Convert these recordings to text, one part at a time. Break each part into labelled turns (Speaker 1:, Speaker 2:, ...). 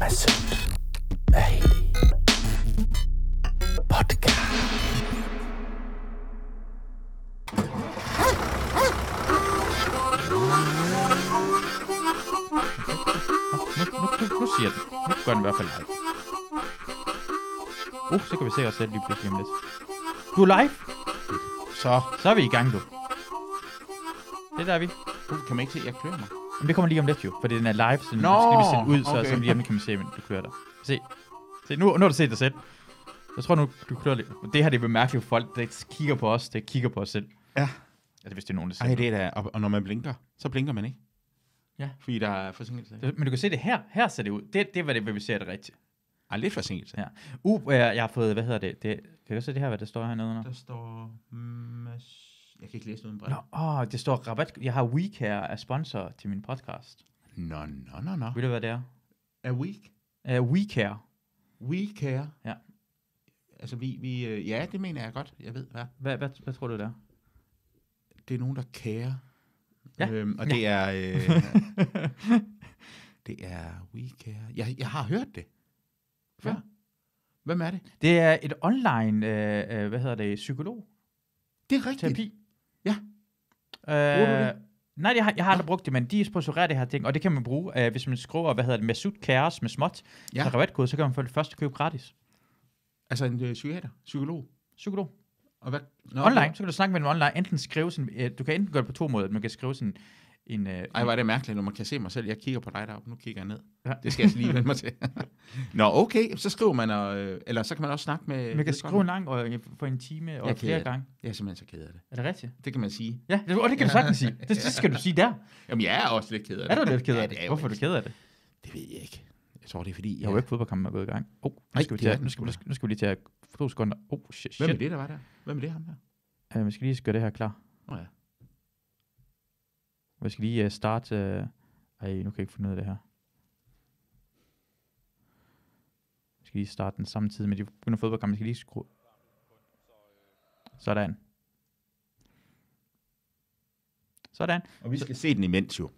Speaker 1: Altså, hvad hedder det? Podcast.
Speaker 2: Nu, nu, nu, nu siger den. Nu gør den i hvert fald live. Uh, så kan vi se os selv lige pludselig om lidt. Du er live.
Speaker 3: Så,
Speaker 2: Så er vi i gang, du. Det der er vi.
Speaker 3: uh, kan man ikke se, at jeg klør mig?
Speaker 2: Men det kommer lige om lidt, jo. For den er live, så den
Speaker 3: Nå,
Speaker 2: skal vi sende ud, så,
Speaker 3: okay.
Speaker 2: så lige om lidt kan man se, men du kører der. Se. Se, nu, nu har du set dig selv. Jeg tror nu, du klør lidt. Det her, det er mærkeligt for folk, der kigger på os. Der kigger på os selv.
Speaker 3: Ja.
Speaker 2: Altså, hvis det er nogen, der ser
Speaker 3: Ej,
Speaker 2: det.
Speaker 3: det er da, og, og når man blinker, så blinker man ikke.
Speaker 2: Ja.
Speaker 3: Fordi der er forsinkelse.
Speaker 2: Men du kan se det her. Her ser det ud. Det, det var det, hvad vi ser det rigtigt.
Speaker 3: Ej, lidt forsinkelse.
Speaker 2: Ja. Uh, jeg, jeg har fået, hvad hedder det? det kan du se det her, hvad der står hernede under?
Speaker 3: Der står... Mm, jeg kan ikke læse noget uden
Speaker 2: Nå, åh, det står rabat. Jeg har WeCare af sponsor til min podcast.
Speaker 3: Nå, nå, nå, nå.
Speaker 2: Ved du, hvad det er?
Speaker 3: A week?
Speaker 2: Uh, WeCare.
Speaker 3: We care.
Speaker 2: Ja.
Speaker 3: Altså, vi, vi... øh, Ja, det mener jeg godt. Jeg ved, hvad.
Speaker 2: Hvad, hvad, hvad tror du, det er?
Speaker 3: Det er nogen, der kærer.
Speaker 2: Ja.
Speaker 3: Øhm, og
Speaker 2: Ja.
Speaker 3: det er... Øh, det er we care. Jeg, jeg har hørt det. Før.
Speaker 2: Ja.
Speaker 3: Ja. Hvem er det?
Speaker 2: Det er et online, øh, øh, hvad hedder det, psykologterapi.
Speaker 3: Det er rigtigt. Ja.
Speaker 2: Bruger
Speaker 3: du
Speaker 2: det? Øh, Nej, jeg har, jeg har aldrig brugt det, men de sponsorerer det her ting, og det kan man bruge, øh, hvis man skriver, hvad hedder det, Masud Kares med småt, ja.
Speaker 3: Ja.
Speaker 2: så rabatkode, så kan man få det første køb gratis.
Speaker 3: Altså en øh, psykiater, psykolog.
Speaker 2: Psykolog.
Speaker 3: Og hvad? Nå,
Speaker 2: Online, så kan du snakke med dem online. Enten skrive sin, øh, du kan enten gøre det på to måder, man kan skrive sin, en, øh,
Speaker 3: Ej, hvor er det mærkeligt, når man kan se mig selv. Jeg kigger på dig deroppe, nu kigger jeg ned.
Speaker 2: Ja.
Speaker 3: Ja. Det skal jeg altså lige vende mig til. Nå, okay, så skriver man, og, øh, eller så kan man også snakke med...
Speaker 2: man kan
Speaker 3: vedkommende.
Speaker 2: skrive en lang, og øh, for en time, og
Speaker 3: Jeg kan-
Speaker 2: flere gange.
Speaker 3: Jeg er simpelthen så ked af det.
Speaker 2: Er det rigtigt?
Speaker 3: Det kan man sige.
Speaker 2: Ja, det, og det kan du sagtens sige. Det, det skal du sige der.
Speaker 3: Jamen, jeg er også lidt ked af
Speaker 2: Er
Speaker 3: det.
Speaker 2: du lidt ked
Speaker 3: Ja,
Speaker 2: af
Speaker 3: det
Speaker 2: det?
Speaker 3: er jeg
Speaker 2: Hvorfor er
Speaker 3: jo
Speaker 2: du ked af det?
Speaker 3: Det ved jeg ikke. Jeg tror, det er fordi...
Speaker 2: Jeg har jo ikke fodboldkampen er gået i gang. Oh, nu
Speaker 3: Nej,
Speaker 2: skal vi
Speaker 3: det
Speaker 2: til,
Speaker 3: er den
Speaker 2: nu skal,
Speaker 3: sgu
Speaker 2: nu,
Speaker 3: da.
Speaker 2: skal, nu skal vi lige til at to sekunder. Oh, shit.
Speaker 3: Hvem er
Speaker 2: shit.
Speaker 3: det, der var der? Hvem er det, ham der?
Speaker 2: Uh, vi skal lige gøre det her klar.
Speaker 3: Nå ja.
Speaker 2: Vi skal lige uh, starte... Uh... Ej, nu kan jeg ikke finde ud af det her. Vi skal lige starte den samme tid, men de begynder fodboldkampen. Vi skal lige skrue... Sådan. Sådan.
Speaker 3: Og vi skal se den imens jo.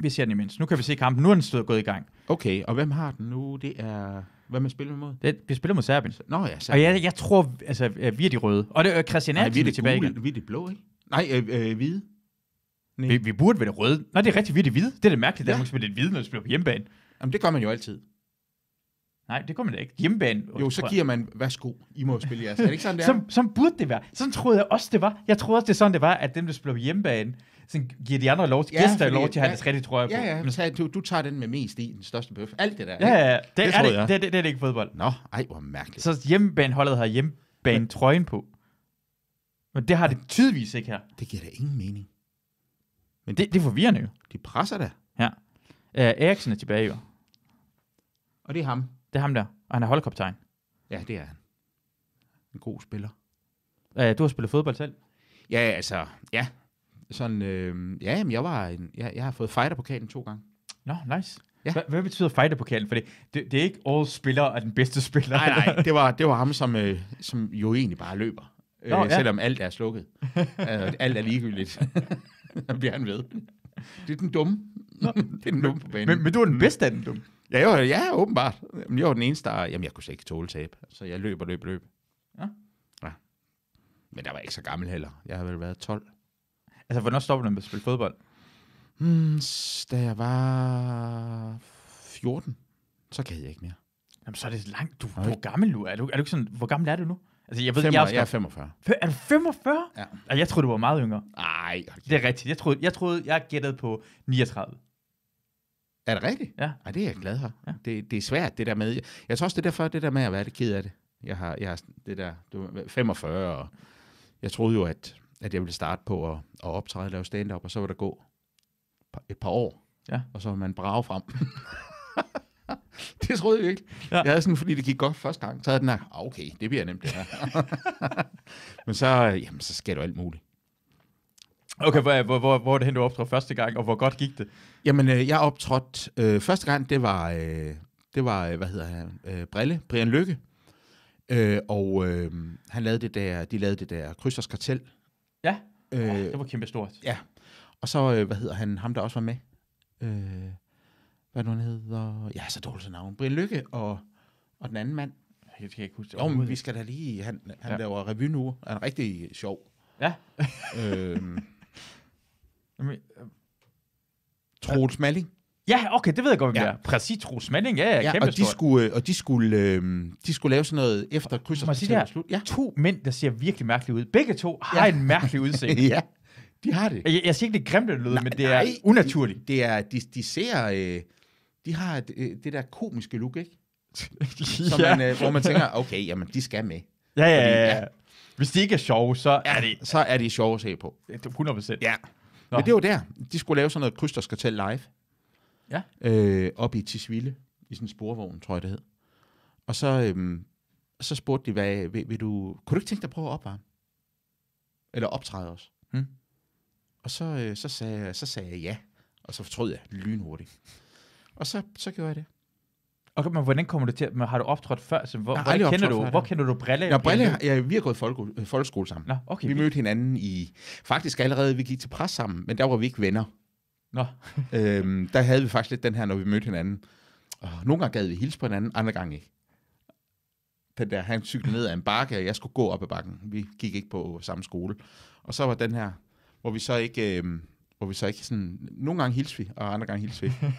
Speaker 2: Vi ser den imens. Nu kan vi se kampen. Nu er den stået gået i gang.
Speaker 3: Okay, og hvem har den nu? Det er... Hvem er spillet imod?
Speaker 2: Det, vi spiller mod Serbien.
Speaker 3: Nå ja, så...
Speaker 2: Og jeg, jeg tror, altså, øh, vi er de røde. Og det, øh, Christian
Speaker 3: Nej,
Speaker 2: Eriksen
Speaker 3: vi er det
Speaker 2: tilbage igen.
Speaker 3: gule, vi er det blå, ikke? Nej, øh, øh, hvide.
Speaker 2: Vi, vi burde være det røde. Nej, det er rigtigt, vi er det hvide. Det er det mærkeligt,
Speaker 3: Ja.
Speaker 2: at Danmark spiller det hvide, når de spiller på hjemmebane.
Speaker 3: Jamen, det gør man jo altid.
Speaker 2: Nej, det kommer man da ikke. Hjemmebane.
Speaker 3: Jo, så giver man, værsgo, I må jo spille jeres. Er det ikke sådan, det er?
Speaker 2: som, som burde det være. Sådan troede jeg også, det var. Jeg troede også, det er sådan, det var, at dem, der spiller på hjemmebane, sådan giver de andre lov til, ja,
Speaker 3: Ja,
Speaker 2: gæster
Speaker 3: fordi-
Speaker 2: lov til at have
Speaker 3: ja.
Speaker 2: deres rigtige trøje på.
Speaker 3: Ja, ja,
Speaker 2: Men-
Speaker 3: tag, du, du tager den med mest i, den største bøf. Alt det der.
Speaker 2: ja,
Speaker 3: ikke?
Speaker 2: ja, ja. Det, det, er,
Speaker 3: troede
Speaker 2: det,
Speaker 3: jeg.
Speaker 2: det, det, det er det ikke fodbold.
Speaker 3: Nå, ej, hvor mærkeligt.
Speaker 2: Så hjemmebaneholdet har hjemmebane trøjen på. Men det har det tydeligvis ikke her.
Speaker 3: Det giver da ingen mening.
Speaker 2: Men det, det er forvirrende jo.
Speaker 3: De presser da.
Speaker 2: Øh, Eriksen er tilbage jo.
Speaker 3: Og det er ham.
Speaker 2: Det er ham der. Og han er holdkaptajn.
Speaker 3: Ja, det er han. En god spiller.
Speaker 2: Øh, du har spillet fodbold selv.
Speaker 3: Ja, altså, ja. Sådan, øh, ja, jamen, jeg var en, jeg, jeg har fået fighterpokalen to gange.
Speaker 2: Nå, no, nice. Ja.
Speaker 3: Ja.
Speaker 2: Hvad, hvad betyder fighterpokalen? For det, det, det er ikke all spiller er den bedste spiller.
Speaker 3: Nej, nej, det var, det var ham, som, øh, som jo egentlig bare løber. Øh,
Speaker 2: Nå, ja.
Speaker 3: Selvom alt er slukket. øh, alt er ligegyldigt. Så bliver han ved. Det er den dumme. det er den dumme på banen.
Speaker 2: men, men du er den bedste af den, du.
Speaker 3: Ja, jeg var, ja, åbenbart. Jamen, Jeg var den eneste, der... Jamen, jeg kunne slet ikke tåle tab. Så jeg løb og løb og løb.
Speaker 2: Ja.
Speaker 3: ja. Men der var jeg ikke så gammel heller. Jeg har vel været 12.
Speaker 2: Altså, hvornår stopper du med at spille fodbold?
Speaker 3: Hmm, s- da jeg var 14, så gad jeg ikke mere.
Speaker 2: Jamen, så er det langt. Du,
Speaker 3: Nej.
Speaker 2: hvor gammel du er. er du. Er du ikke sådan, hvor gammel er du nu? Altså, jeg ved,
Speaker 3: Fem,
Speaker 2: jeg er,
Speaker 3: jeg,
Speaker 2: også
Speaker 3: jeg er
Speaker 2: gammel.
Speaker 3: 45.
Speaker 2: Fø- er du 45?
Speaker 3: Ja.
Speaker 2: Altså, jeg troede, du var meget yngre.
Speaker 3: Ej, hold
Speaker 2: Det er rigtigt. Jeg troede, jeg, troede, jeg gættede på 39.
Speaker 3: kæ- er det rigtigt?
Speaker 2: Ja.
Speaker 3: Ej, det er jeg glad for. Ja.
Speaker 2: Ja.
Speaker 3: Det, det er svært, det der med... Jeg, jeg tror også, det er derfor, det der med at være lidt ked af det. Jeg har, jeg har det der... Du, er 45, og jeg troede jo, at, at jeg ville starte på at, at optræde og lave stand-up, og så var der gå par- et par år,
Speaker 2: Ja.
Speaker 3: og så var man brage frem. det troede jeg virkelig.
Speaker 2: Ja.
Speaker 3: Ja. Jeg havde sådan, fordi det gik godt første gang, så havde den her, "Ah, okay, det bliver nemt det her. Men så, øh, jamen, så sker du alt muligt.
Speaker 2: Okay, hvor, hvor, hvor, hvor er det hen, du optrådte første gang, og hvor godt gik det?
Speaker 3: Jamen, øh, jeg optrådte øh, første gang, det var, øh, det var øh, hvad hedder han, øh, Brille, Brian Lykke. Øh, og øh, han lavede det der, de lavede det der Krydsers Kartel.
Speaker 2: Ja,
Speaker 3: Øh,
Speaker 2: øh, det var kæmpe stort.
Speaker 3: Ja. Og så, øh, hvad hedder han, ham der også var med? Øh, hvad nu han hedder, ja, så dårligt til navn, Brian Lykke og, og den anden mand.
Speaker 2: Jeg kan ikke huske det.
Speaker 3: Jo, men vi skal da lige, han, han
Speaker 2: Ja.
Speaker 3: ja. laver revy nu, han er rigtig sjov.
Speaker 2: Ja.
Speaker 3: øhm,
Speaker 2: Jamen, øh,
Speaker 3: Troels Malling.
Speaker 2: Ja, okay, det ved jeg godt, hvem
Speaker 3: Ja.
Speaker 2: ja. er. Præcis, Troels Manning, ja, ja, ja kæmpe
Speaker 3: og de skulle, øh, og de skulle, øhm, de skulle lave sådan noget efter kryds
Speaker 2: Må jeg sige det her?
Speaker 3: slut. Ja.
Speaker 2: To mænd, der ser virkelig mærkeligt ud. Begge to har
Speaker 3: Ja.
Speaker 2: en mærkelig udseende.
Speaker 3: ja, de har det.
Speaker 2: Jeg, jeg siger ikke, det er grimt, det lyder, men det er
Speaker 3: nej,
Speaker 2: unaturligt.
Speaker 3: Det er, de, de ser, øh, de har et, øh, det der komiske look, ikke? Som ja. man, øh, hvor man tænker, okay, jamen, de skal med.
Speaker 2: ja, ja,
Speaker 3: fordi-
Speaker 2: ja,
Speaker 3: ja.
Speaker 2: ja. Hvis de ikke er sjove, så er det
Speaker 3: Så er de sjove at se på.
Speaker 2: 100 procent.
Speaker 3: Ja.
Speaker 2: Nå.
Speaker 3: Nå. Men det var der. De skulle lave sådan noget kryds, der skal til live.
Speaker 2: Ja.
Speaker 3: Øh, op i Tisvilde, i sådan en sporvogn, tror jeg det hed. Og så, øhm, så spurgte de, hvad, vil, vil du, kunne du ikke tænke dig at prøve at opvarme? Eller optræde os?
Speaker 2: Hmm.
Speaker 3: Og så, øh, så, sagde, så sagde jeg ja. Og så fortrød jeg lynhurtigt. Og så, så gjorde jeg det.
Speaker 2: Okay, men hvordan kommer du til, men har du optrådt før? Så hvor,
Speaker 3: Jeg har
Speaker 2: hvor,
Speaker 3: aldrig
Speaker 2: kender
Speaker 3: optrådt
Speaker 2: du,
Speaker 3: før,
Speaker 2: hvor
Speaker 3: nej.
Speaker 2: kender du Brille?
Speaker 3: Nå, Brille, ja, vi har gået folke, øh, folkeskole sammen.
Speaker 2: Nå, okay.
Speaker 3: Vi mødte hinanden i, faktisk allerede, vi gik til pres sammen, men der var vi ikke venner.
Speaker 2: Nå,
Speaker 3: øhm, der havde vi faktisk lidt den her, når vi mødte hinanden. Og nogle gange gad vi hilse på hinanden, andre gange ikke. Den der, han cyklede ned ad en bakke, og jeg skulle gå op ad bakken. Vi gik ikke på samme skole. Og så var den her, hvor vi så ikke... Øhm, hvor vi så ikke sådan... Nogle gange hilste vi, og andre gange hilste vi ikke.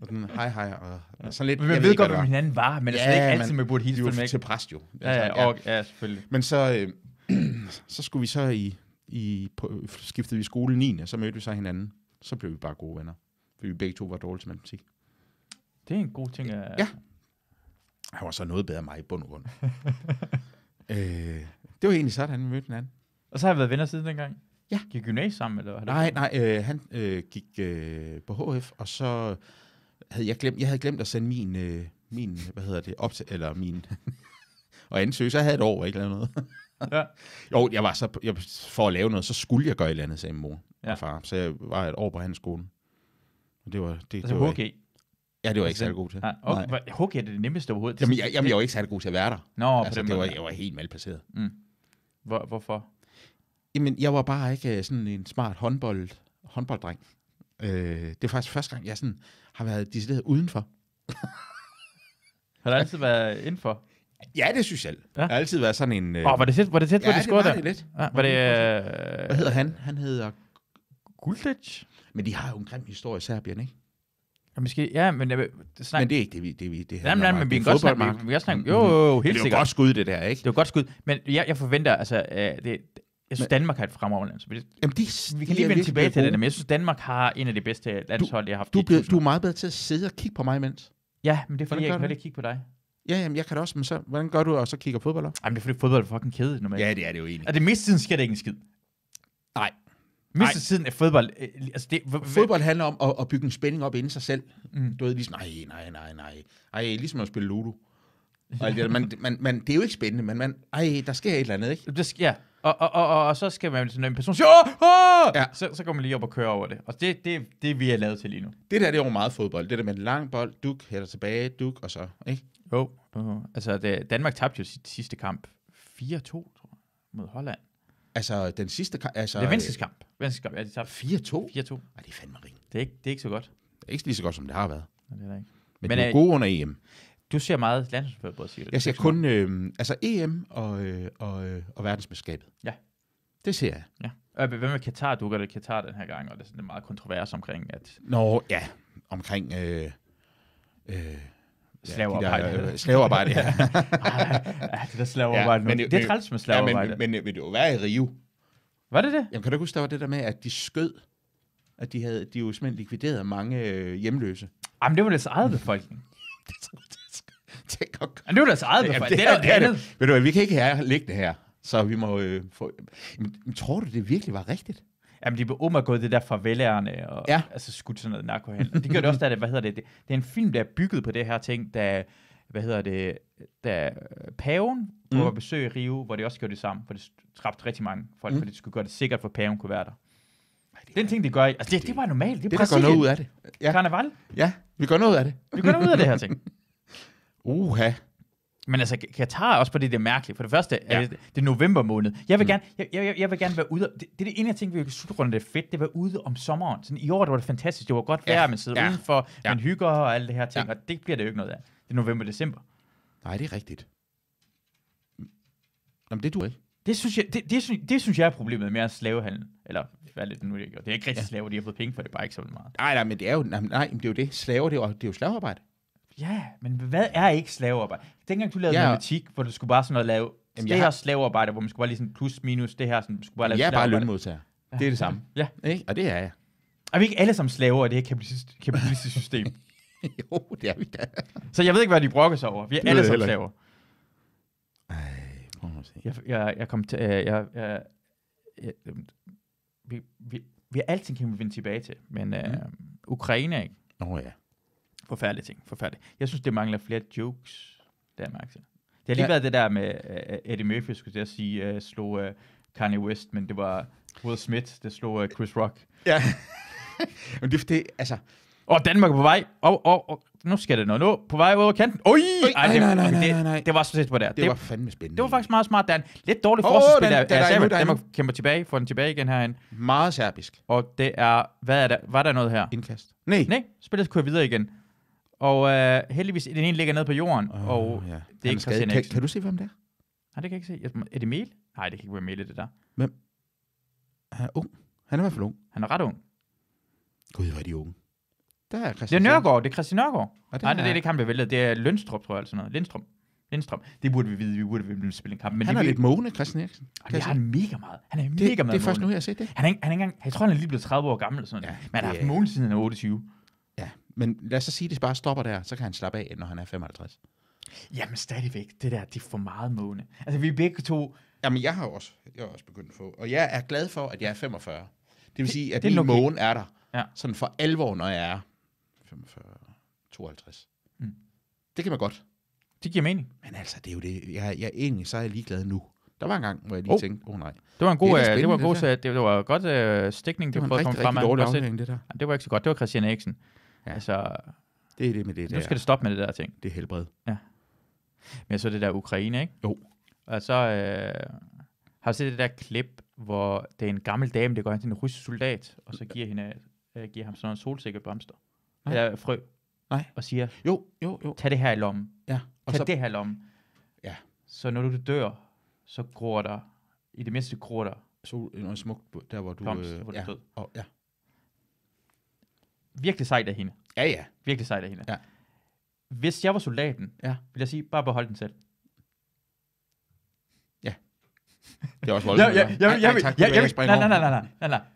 Speaker 3: Og sådan, hej, hej, og, og sådan lidt...
Speaker 2: men jeg,
Speaker 3: jeg
Speaker 2: ved
Speaker 3: ikke,
Speaker 2: godt,
Speaker 3: hvad
Speaker 2: hvem
Speaker 3: det
Speaker 2: hinanden var, men altså, det er
Speaker 3: Ja,
Speaker 2: slet ikke altid,
Speaker 3: men-
Speaker 2: man burde
Speaker 3: var.
Speaker 2: hilse på
Speaker 3: Vi
Speaker 2: dem,
Speaker 3: var jo
Speaker 2: ikke?
Speaker 3: til præst jo. Altså,
Speaker 2: Ja, ja, og, ja, selvfølgelig.
Speaker 3: Men så, øh, så skulle vi så i, i på, skiftede vi skole 9. og så mødte vi så hinanden. Så blev vi bare gode venner. Fordi vi begge to var dårlige til matematik.
Speaker 2: Det er en god ting. øh. At...
Speaker 3: Ja. Han var så noget bedre end mig i bund og grund. øh, det var egentlig sådan, vi mødte hinanden.
Speaker 2: Og så har jeg været venner siden dengang?
Speaker 3: Ja.
Speaker 2: Gik i gymnasiet sammen, eller? har du-
Speaker 3: Nej, nej, øh, han øh, gik øh, på HF, og så havde jeg glemt, jeg havde glemt at sende min, øh, min hvad hedder det, op til, eller min, og ansøge, så jeg havde et år, hvor jeg ikke lavede noget.
Speaker 2: Ja.
Speaker 3: Jo, jeg var så, på- jeg, for at lave noget, så skulle jeg gøre et eller andet, sagde min mor
Speaker 2: Ja.
Speaker 3: ja. og far. Så jeg var et år på hans skole. Og det var, det,
Speaker 2: Altså
Speaker 3: det var
Speaker 2: HG.
Speaker 3: ikke, ja, det var jeg ikke særlig god til.
Speaker 2: Nej, okay. Hvor- HG er det, det nemmeste overhovedet. Det er
Speaker 3: Jamen,
Speaker 2: sådan-
Speaker 3: jeg, jamen, jeg var ikke særlig god til at være der.
Speaker 2: Nå, på
Speaker 3: altså,
Speaker 2: den
Speaker 3: det var,
Speaker 2: måde.
Speaker 3: jeg var helt malplaceret.
Speaker 2: Hvor, hvorfor?
Speaker 3: Jamen, jeg var bare ikke øh, sådan en smart håndbold, håndbolddreng. Øh, det er faktisk første gang, jeg sådan har været decideret udenfor.
Speaker 2: Har du altid været indenfor? Åh,
Speaker 3: Ja, det synes jeg.
Speaker 2: Ja.
Speaker 3: Ja. Jeg har altid været sådan en... Øh,
Speaker 2: oh, var det tæt, var det tæt, hvor
Speaker 3: ja,
Speaker 2: de scorede
Speaker 3: det var
Speaker 2: der?
Speaker 3: det lidt.
Speaker 2: Ja, var det
Speaker 3: Hvad
Speaker 2: øh,
Speaker 3: hedder han? Han hedder...
Speaker 2: Guldic?
Speaker 3: Men de har jo en grim historie i Serbien, ikke?
Speaker 2: Ja, måske, ja, men jeg vil
Speaker 3: Nej.
Speaker 2: snakke...
Speaker 3: Men det er ikke det, vi... Det, vi, det
Speaker 2: Nej,
Speaker 3: handler
Speaker 2: nej,
Speaker 3: om,
Speaker 2: men
Speaker 3: at
Speaker 2: vi
Speaker 3: det er
Speaker 2: kan godt snakke,
Speaker 3: fodboldmarked.
Speaker 2: vi, vi kan godt snakke,
Speaker 3: Mhm.
Speaker 2: jo, jo, jo,
Speaker 3: Men
Speaker 2: helt
Speaker 3: Det er
Speaker 2: sikkert.
Speaker 3: jo godt skud, det der, ikke?
Speaker 2: Det var godt skud, men jeg, jeg forventer, altså, øh, det, jeg synes, Danmark har et fremragende land. så Vi,
Speaker 3: Jamen, de,
Speaker 2: vi
Speaker 3: de
Speaker 2: kan lige
Speaker 3: er
Speaker 2: vende
Speaker 3: virkelig
Speaker 2: tilbage til
Speaker 3: gode.
Speaker 2: det, der, men jeg synes, Danmark har en af de bedste landshold, jeg har haft
Speaker 3: Du,
Speaker 2: i
Speaker 3: er blevet, du
Speaker 2: tusinder.
Speaker 3: er meget bedre til at sidde og kigge på mig imens.
Speaker 2: Ja, men det er fordi,
Speaker 3: Hvordan
Speaker 2: jeg
Speaker 3: gør
Speaker 2: ikke
Speaker 3: du
Speaker 2: rigtig kigge på dig.
Speaker 3: Ja, jamen, jeg kan det også, men så, hvordan gør du, og så kigger fodbold op?
Speaker 2: Jamen, det er fordi, fodbold er fucking kedeligt normalt.
Speaker 3: Ja, det er det jo egentlig.
Speaker 2: Og det meste af tiden sker der ikke en skid.
Speaker 3: Nej.
Speaker 2: Mest af tiden er fodbold... øh, Altså det, h- h-
Speaker 3: Fodbold handler om at, at bygge en spænding op inden sig selv.
Speaker 2: Mm.
Speaker 3: Du ved, ligesom, nej, nej, nej, nej. Ej, ligesom at spille Ludo. Og alt det, der. man, man, man, det er jo ikke spændende, men man, ej, der sker et eller andet, ikke?
Speaker 2: Det sk- ja, og, og, og, og, og så skal man sådan en person sige, åh, åh! Ja.
Speaker 3: Ja.
Speaker 2: Så, så går man lige op og kører over det. Og det, det, det er vi er lavet til lige nu.
Speaker 3: Det der, det er jo meget fodbold. Det der med en lang bold, duk, hætter tilbage, duk, og så, ikke?
Speaker 2: Jo. Oh. Altså, det, Danmark tabte jo sit sidste kamp 4-2, tror jeg, mod Holland.
Speaker 3: Altså, den sidste kamp, altså...
Speaker 2: Så, det er Venstres kamp. Venstres kamp, ja, de tabte
Speaker 3: 4-2?
Speaker 2: 4-2.
Speaker 3: Ej, det er fandme ring.
Speaker 2: Det er ikke, det er ikke så godt.
Speaker 3: Det er ikke lige så godt, som det har været.
Speaker 2: Nej, det er det ikke.
Speaker 3: Men,
Speaker 2: Men,
Speaker 3: men det er
Speaker 2: øh,
Speaker 3: jo gode under EM.
Speaker 2: Du ser meget landsholdsfodbold, siger du.
Speaker 3: Jeg ser kun øh, altså EM og, øh, og, øh, og verdensmesterskabet.
Speaker 2: Ja.
Speaker 3: Det ser jeg.
Speaker 2: Ja. Og Øh, hvad med Katar? Du gør det i Katar den her gang, og det er sådan en meget kontrovers omkring, at
Speaker 3: Nå, ja, omkring øh, øh,
Speaker 2: slavearbejde...
Speaker 3: Ja, de der, øh, slavearbejde, ja.
Speaker 2: ja, det altså, der slavearbejde.
Speaker 3: Ja,
Speaker 2: Ja,
Speaker 3: men
Speaker 2: det,
Speaker 3: det-
Speaker 2: det er træls med
Speaker 3: ja
Speaker 2: slavearbejde.
Speaker 3: men, men øh, vil det jo være i Rio?
Speaker 2: Var det det?
Speaker 3: Jamen, kan du ikke huske, der var det der med, at de skød? At de, havde, de jo simpelthen likviderede mange øh, hjemløse.
Speaker 2: Jamen, det var deres eget befolkning.
Speaker 3: Det er godt.
Speaker 2: Jamen, det var deres eget
Speaker 3: Jamen,
Speaker 2: befolkning. Det er noget andet.
Speaker 3: det. Ved du hvad, vi kan ikke have ligge det her. Så vi må øh, få... Jamen, men tror du, det virkelig var rigtigt?
Speaker 2: Jamen, de blev omgået det der farvelærerne, og ja.
Speaker 3: Ja.
Speaker 2: altså skudt sådan noget narkohandel. Og Det gør det også, da det, hvad hedder det, det, det er en film, der er bygget på det her ting, da, hvad hedder det, da øh, paven mm. var på besøg i Rio, hvor de også gjorde det samme, for det træbte rigtig mange folk, mm. fordi de skulle gøre det sikkert, for paven kunne være der. Det er en ting, de gør. i- Altså, det, det, var normalt. Det er
Speaker 3: Det, der går noget ud af det. Ja,
Speaker 2: Karneval.
Speaker 3: ja vi går noget ud af det.
Speaker 2: Vi gør noget ud af det her ting.
Speaker 3: Uha.
Speaker 2: Men altså, Katar er også på det, det er mærkeligt. For det første, ja. er det, det er november måned. Jeg vil, mm. gerne, jeg, jeg, jeg vil gerne være ude... Det, det er det ene, jeg tænkte ved slutrunde, det er fedt, det var ude om sommeren. Sådan, I år det var det fantastisk, det var godt vejr,
Speaker 3: Ja.
Speaker 2: ja. man sidder
Speaker 3: Ja.
Speaker 2: ja. udenfor,
Speaker 3: Ja.
Speaker 2: ja. man hygger og alle det her ting,
Speaker 3: Ja.
Speaker 2: ja. og det bliver det jo ikke noget af. Det er november-december.
Speaker 3: Nej, det er rigtigt. Jamen, det du ikke.
Speaker 2: Det synes, jeg, det, det, synes, det synes jeg er problemet med at slavehandel. Eller hvad er det nu, det gør? Det er ikke rigtig slaver, de har fået penge for det, bare ikke så meget.
Speaker 3: Nej, nej, men det er jo, nej, nej, men det er jo det. Slaver, det er jo, det er jo slavearbejde.
Speaker 2: Ja, men hvad er ikke slavearbejde? Dengang du lavede
Speaker 3: Ja.
Speaker 2: ja. matematik, hvor du skulle bare sådan noget lave,
Speaker 3: Jamen,
Speaker 2: Jamen,
Speaker 3: jeg
Speaker 2: det her
Speaker 3: har-
Speaker 2: har... slavearbejde, hvor man skulle bare lige sådan plus minus det her, sådan, du skulle bare lave
Speaker 3: Jeg er bare
Speaker 2: slavearbejde.
Speaker 3: lønmodtager. Det er det samme.
Speaker 2: Ja.
Speaker 3: Ikke? Og det er jeg.
Speaker 2: Er vi ikke alle sammen slaver af det her kapitalist- kapitalistiske system?
Speaker 3: jo, det er vi da.
Speaker 2: Så jeg ved ikke, hvad de brokker sig over. Vi er
Speaker 3: ved
Speaker 2: alle
Speaker 3: jeg
Speaker 2: sammen
Speaker 3: heller ikke.
Speaker 2: slaver.
Speaker 3: Ej, prøv nu at se.
Speaker 2: Jeg, jeg, jeg kom til... Øh, jeg, jeg, jeg, øhm, vi, vi, vi, alting kan vi vende tilbage til, men øh,
Speaker 3: Mm.
Speaker 2: Ukraine, ikke?
Speaker 3: Nå ja.
Speaker 2: Forfærdelig ting, forfærdelig. Jeg synes, det mangler flere jokes, der er mærke til. Det har lige
Speaker 3: Ja.
Speaker 2: ja. været det der med uh, Eddie Murphy, skulle jeg til at sige, uh, slog uh, Kanye West, men det var Will Smith, der slog uh, Chris Rock.
Speaker 3: Ja. men det er det, altså...
Speaker 2: Og Danmark er på vej. Og, og, og nu skal det noget. Nu på vej ud over kanten. Oj!
Speaker 3: Oj,
Speaker 2: Ej, det,
Speaker 3: nej, nej, nej,
Speaker 2: det,
Speaker 3: nej, nej.
Speaker 2: Det var så tæt på der.
Speaker 3: Det, det var fandme spændende.
Speaker 2: det var faktisk meget smart, Dan. Lidt dårlig
Speaker 3: Åh,
Speaker 2: oh, forsvarsspil
Speaker 3: den-
Speaker 2: der.
Speaker 3: den er
Speaker 2: Der,
Speaker 3: endnu,
Speaker 2: der,
Speaker 3: der er
Speaker 2: Danmark kæmper tilbage, får den tilbage igen herhen.
Speaker 3: meget serbisk
Speaker 2: Og det er, hvad er der? Var der noget her?
Speaker 3: indkast. Nej.
Speaker 2: Nej, spillet kører videre igen. Og øh, heldigvis, den ene ligger ned på jorden,
Speaker 3: Åh,
Speaker 2: og
Speaker 3: ja.
Speaker 2: det er ikke Christian
Speaker 3: kan,
Speaker 2: Eriksen.
Speaker 3: kan, du se, hvem det er?
Speaker 2: Nej, det kan jeg ikke se. Jeg, er det Mel? Nej, det kan ikke være Mel, det der.
Speaker 3: Han er ung. Han er i hvert fald ung.
Speaker 2: Han er ret ung.
Speaker 3: Gud, hvor er de unge. Der er
Speaker 2: Det er
Speaker 3: Christian
Speaker 2: Nørgaard, det er Christian Nørgaard.
Speaker 3: Og
Speaker 2: Nej, det, det er ikke ham, der væltede. Det er Lønstrup, tror jeg, eller sådan noget. Lindstrøm. Lindstrøm. Det burde vi vide, vi burde vide, spille en kamp. Men
Speaker 3: Han
Speaker 2: de
Speaker 3: er
Speaker 2: ved-
Speaker 3: lidt måne, Christian Eriksen.
Speaker 2: Ej, det har han mega meget. Han er mega
Speaker 3: det,
Speaker 2: meget.
Speaker 3: det er først nu,
Speaker 2: målende.
Speaker 3: jeg har set det.
Speaker 2: Han er, ikke, han er ikke engang, jeg tror, han er lige blevet 30 år gammel eller sådan
Speaker 3: Ja,
Speaker 2: noget. Men han har
Speaker 3: det
Speaker 2: haft
Speaker 3: er-
Speaker 2: mål siden han er 28.
Speaker 3: Ja, men lad os så sige, at det bare stopper der, så kan han slappe af, når han er 55.
Speaker 2: Jamen stadigvæk, det der, det er for meget måne. Altså vi er begge to,
Speaker 3: Jamen, jeg har jo også, jeg har også begyndt at få, og jeg er glad for, at jeg er 45. Det vil sige, at
Speaker 2: det er
Speaker 3: min
Speaker 2: nok-
Speaker 3: måne er der.
Speaker 2: Ja.
Speaker 3: Sådan for alvor, når jeg er 45, 52.
Speaker 2: Mm.
Speaker 3: Det kan man godt.
Speaker 2: det giver mening.
Speaker 3: Men altså, det er jo det. Jeg, jeg egentlig så er jeg ligeglad nu. Der var en gang, hvor jeg lige
Speaker 2: Oh.
Speaker 3: tænkte, åh oh, nej.
Speaker 2: Det var
Speaker 3: Det
Speaker 2: en god, øh,
Speaker 3: er da
Speaker 2: det, det var en
Speaker 3: spændende,
Speaker 2: god,
Speaker 3: det
Speaker 2: det, det var godt øh, stikning,
Speaker 3: Det var
Speaker 2: du
Speaker 3: en
Speaker 2: prøvede at
Speaker 3: rigtig,
Speaker 2: komme
Speaker 3: rigtig,
Speaker 2: frem med.
Speaker 3: dårlig
Speaker 2: Godt set.
Speaker 3: afhængig, det der.
Speaker 2: Jamen, Det var ikke så godt. Det var Christian Eriksen.
Speaker 3: Ja.
Speaker 2: Ja. Altså,
Speaker 3: Det er det med det der.
Speaker 2: nu skal det stoppe med det der ting.
Speaker 3: det er helbred.
Speaker 2: Men så det der Ukraine, ikke?
Speaker 3: Jo.
Speaker 2: Og så øh, har du set det der klip, hvor det er en gammel dame, der går hen til en russisk soldat, og så giver, hende, øh, giver ham sådan en solsikker blomster.
Speaker 3: Nej.
Speaker 2: Eller frø.
Speaker 3: Nej.
Speaker 2: Og siger,
Speaker 3: Jo, jo, jo.
Speaker 2: tag det her i lommen.
Speaker 3: Ja. Og
Speaker 2: Tag
Speaker 3: så,
Speaker 2: det her i lommen.
Speaker 3: Ja.
Speaker 2: Så når du dør, så gror der, i det mindste gror der.
Speaker 3: så noget smukt, der hvor du... øh,
Speaker 2: Blomst, hvor du
Speaker 3: ja.
Speaker 2: død.
Speaker 3: Og, ja.
Speaker 2: Virkelig sejt af hende.
Speaker 3: ja, ja.
Speaker 2: Virkelig sejt af hende.
Speaker 3: Ja.
Speaker 2: Hvis jeg var soldaten,
Speaker 3: Ja.
Speaker 2: ville jeg sige, bare behold den selv.
Speaker 3: Det er også
Speaker 2: Ja,
Speaker 3: voldsomt.
Speaker 2: ja,
Speaker 3: hva'?
Speaker 2: ja,
Speaker 3: Ej,
Speaker 2: ja,
Speaker 3: ej, tak,
Speaker 2: ja,
Speaker 3: du vil
Speaker 2: ja,
Speaker 3: ikke springe
Speaker 2: nej, nej,
Speaker 3: over.
Speaker 2: nej, nej, nej, nej, nej.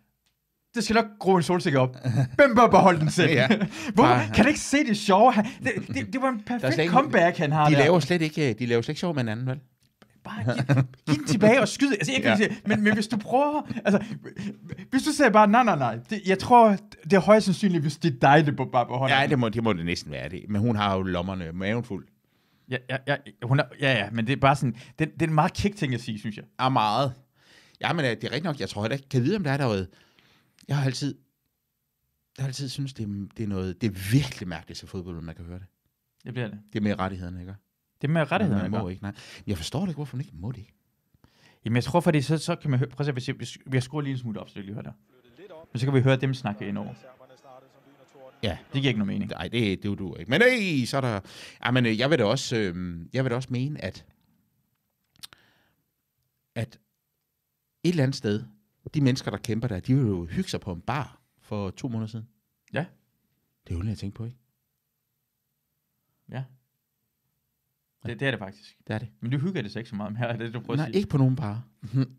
Speaker 2: Det skal nok gro en solsikke op. Hvem bør beholde den selv?
Speaker 3: Ja.
Speaker 2: ja. Hvorfor?
Speaker 3: Bare-
Speaker 2: Kan du ikke se det sjove? Han- Det, det, det var en perfekt
Speaker 3: slet ikke-
Speaker 2: comeback, han har
Speaker 3: De
Speaker 2: der.
Speaker 3: laver slet ikke, de laver slet ikke sjov med hinanden, vel?
Speaker 2: Bare giv, giv den tilbage og skyd. Altså, jeg kan
Speaker 3: Ja.
Speaker 2: ja. sige, men, men hvis du prøver... Altså, hvis du sagde bare, nej, nej, nej. Det, jeg tror, det er højst sandsynligt, hvis det er dig, der bare beholder
Speaker 3: Ja,
Speaker 2: den.
Speaker 3: det må, det må det næsten være det. Men hun har jo lommerne maven fuld.
Speaker 2: Ja, ja, ja, hun er, ja, ja, men det er bare sådan... Det, det er en meget kæk ting at sige, synes jeg.
Speaker 3: Er meget. Ja, men øh, det er rigtigt nok. Jeg tror heller ikke, kan vide, om der er derude. Jeg har altid, jeg har altid synes, det er, det er noget, det er virkelig mærkeligt til fodbold, når man kan høre det.
Speaker 2: Det bliver det.
Speaker 3: Det er med rettighederne, ikke?
Speaker 2: Det er med rettighederne.
Speaker 3: man
Speaker 2: at gøre.
Speaker 3: må ikke, nej. Jeg forstår det ikke, hvorfor man ikke må det.
Speaker 2: Jamen, jeg tror, fordi så, så kan man høre... Prøv at se, hvis jeg, hvis jeg skruer lige en smule op, så jeg lige hører der. Men så kan vi høre dem snakke indover.
Speaker 3: Ja,
Speaker 2: Det giver ikke nogen mening.
Speaker 3: nej, det, det er du ikke. Men nej, så er der... Ja, men øh, jeg vil da også, øh, jeg vil da også mene, at, at et eller andet sted, de mennesker, der kæmper der, de vil jo hygge sig på en bar for to måneder siden.
Speaker 2: Ja.
Speaker 3: Det er jo jeg tænke på, ikke?
Speaker 2: Det, det er det faktisk.
Speaker 3: Det er det.
Speaker 2: Men du hygger det sig ikke så meget med, er det du prøver
Speaker 3: Nej,
Speaker 2: at sige?
Speaker 3: ikke på nogen par.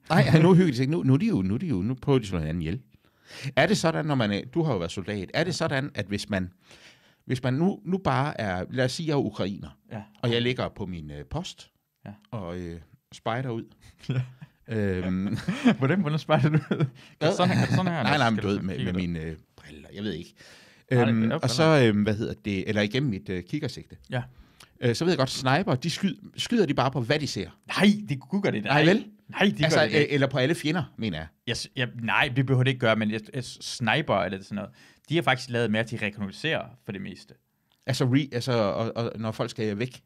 Speaker 3: Nej, ja, nu hygger de sig ikke. Nu, nu, er de jo, nu, er de jo, nu prøver de at slå hinanden ihjel. Er det sådan, når man... er- Du har jo været soldat. Er det sådan, at hvis man... Hvis man nu, nu bare er... Lad os sige, jeg er ukrainer,
Speaker 2: Ja.
Speaker 3: og jeg ligger på min øh, post, ja.
Speaker 2: Ja.
Speaker 3: og øh, spejder ud. øhm,
Speaker 2: Hvordan, hvordan spejler du ud? Kan du sådan her? Kan du sådan her?
Speaker 3: nej, nej, men
Speaker 2: Skal
Speaker 3: du ved, med,
Speaker 2: kigge
Speaker 3: med
Speaker 2: lidt?
Speaker 3: mine øh, briller, jeg ved ikke.
Speaker 2: Nej, det er
Speaker 3: Øhm,
Speaker 2: jo
Speaker 3: og så, øh, hvad hedder det, eller igennem mit øh, kikkersigte.
Speaker 2: Ja.
Speaker 3: Øh, så ved jeg godt, sniper, de skyd, skyder de bare på, hvad de ser.
Speaker 2: Nej, det kunne gøre det.
Speaker 3: Nej, vel?
Speaker 2: Nej, det
Speaker 3: altså,
Speaker 2: gør det
Speaker 3: øh,
Speaker 2: ikke.
Speaker 3: eller på alle fjender, mener jeg.
Speaker 2: Jeg, s- jeg, nej, det behøver det ikke gøre, men jeg, jeg, sniper eller sådan noget, de har faktisk lavet mere til at rekognosere for det meste.
Speaker 3: Altså, re, altså og, og, når folk skal væk.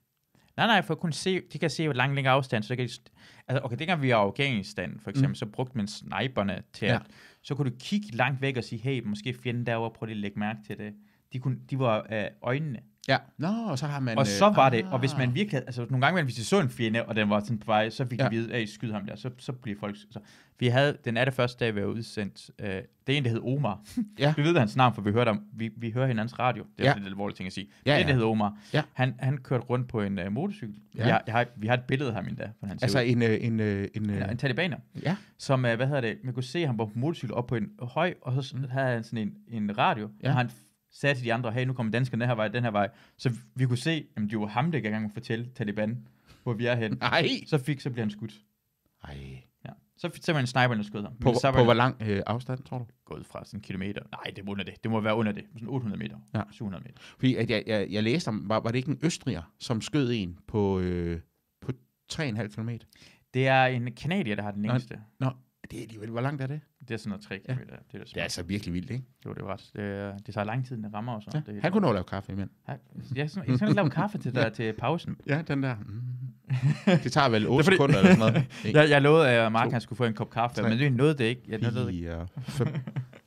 Speaker 2: Nej, nej, for at kunne se, de kan se, hvor lang længere afstand, så kan de, st- altså, okay, dengang vi var i Afghanistan, for eksempel, mm. så brugte man sniperne til at,
Speaker 3: Ja.
Speaker 2: ja. så kunne du kigge langt væk og sige, hey, måske fjenden derovre, prøv lige at lægge mærke til det. De, kunne, de var øh, øjnene.
Speaker 3: Ja, nå, og så har man...
Speaker 2: Men, og
Speaker 3: øh,
Speaker 2: så var det, og hvis
Speaker 3: ah.
Speaker 2: man virkelig, havde- altså nogle gange, imellem, hvis de så en fjende, og den var sådan på vej, så fik ja.
Speaker 3: Ja.
Speaker 2: de vide, at skyd ham der, så, så bliver folk... Så. Vi havde, den allerførste dag, vi var udsendt, øh, det er en, der hed Omar.
Speaker 3: Ja.
Speaker 2: Vi ved hans navn, for vi hørte om, vi, vi hører hinandens radio. Det er
Speaker 3: Ja.
Speaker 2: ja. lidt alvorligt ting at sige.
Speaker 3: Ja,
Speaker 2: Ja, det
Speaker 3: ja.
Speaker 2: ja. hed Omar.
Speaker 3: Ja.
Speaker 2: Han, han kørte rundt på en øh, motorcykel.
Speaker 3: Ja.
Speaker 2: Ja. Jeg, jeg har, vi har et billede af ham endda, hvordan han ser
Speaker 3: Altså
Speaker 2: ud.
Speaker 3: en... øh, en, øh, en, øh,
Speaker 2: En, en talibaner,
Speaker 3: ja,
Speaker 2: som, øh, hvad hedder det, man kunne se ham på motorcykel op på en høj, og så mm. havde han sådan en, en radio,
Speaker 3: Ja.
Speaker 2: ja. og han f- sagde til de andre, hey, nu kommer danskerne den her vej, den her vej. Så vi, vi kunne se, at det var ham, der ikke engang fortælle Taliban, hvor vi er henne.
Speaker 3: nej.
Speaker 2: Så fik, så blev han skudt.
Speaker 3: Ej.
Speaker 2: Ja. Så fik simpelthen sniperen, der skød ham.
Speaker 3: På,
Speaker 2: Men så var
Speaker 3: på
Speaker 2: han
Speaker 3: hvor lang øh, afstand, tror du?
Speaker 2: gået fra sådan en kilometer. Nej, det var under det. Det må være under det. Sådan 800 meter.
Speaker 3: Ja.
Speaker 2: 700 meter.
Speaker 3: Fordi at jeg, jeg, jeg læste om, var, var det ikke en østriger, som skød en på, øh, på 3,5 km?
Speaker 2: Det er en kanadier, der har den
Speaker 3: Nå.
Speaker 2: længste.
Speaker 3: Nå, det er alligevel, hvor langt er det?
Speaker 2: Det er sådan noget 3
Speaker 3: Ja.
Speaker 2: km. Ja. Det er
Speaker 3: Det er
Speaker 2: smart.
Speaker 3: altså virkelig vildt, ikke?
Speaker 2: Jo, det er ret. Det, er- det tager lang tid, den rammer og sådan. Det er
Speaker 3: Ja.
Speaker 2: helt-
Speaker 3: Han kunne nå at lave kaffe imens.
Speaker 2: Ja, Jeg skal jeg skal lave kaffe til dig til pausen.
Speaker 3: Ja, den der. Mm. Det tager vel 8
Speaker 2: fordi-
Speaker 3: sekunder eller sådan noget. Ikke?
Speaker 2: Jeg, jeg lovede, at Mark
Speaker 3: To.
Speaker 2: han skulle få en kop kaffe,
Speaker 3: Tre.
Speaker 2: men det nåede det ikke. Jeg nåede det, ikke.
Speaker 3: Fire, øh, fem.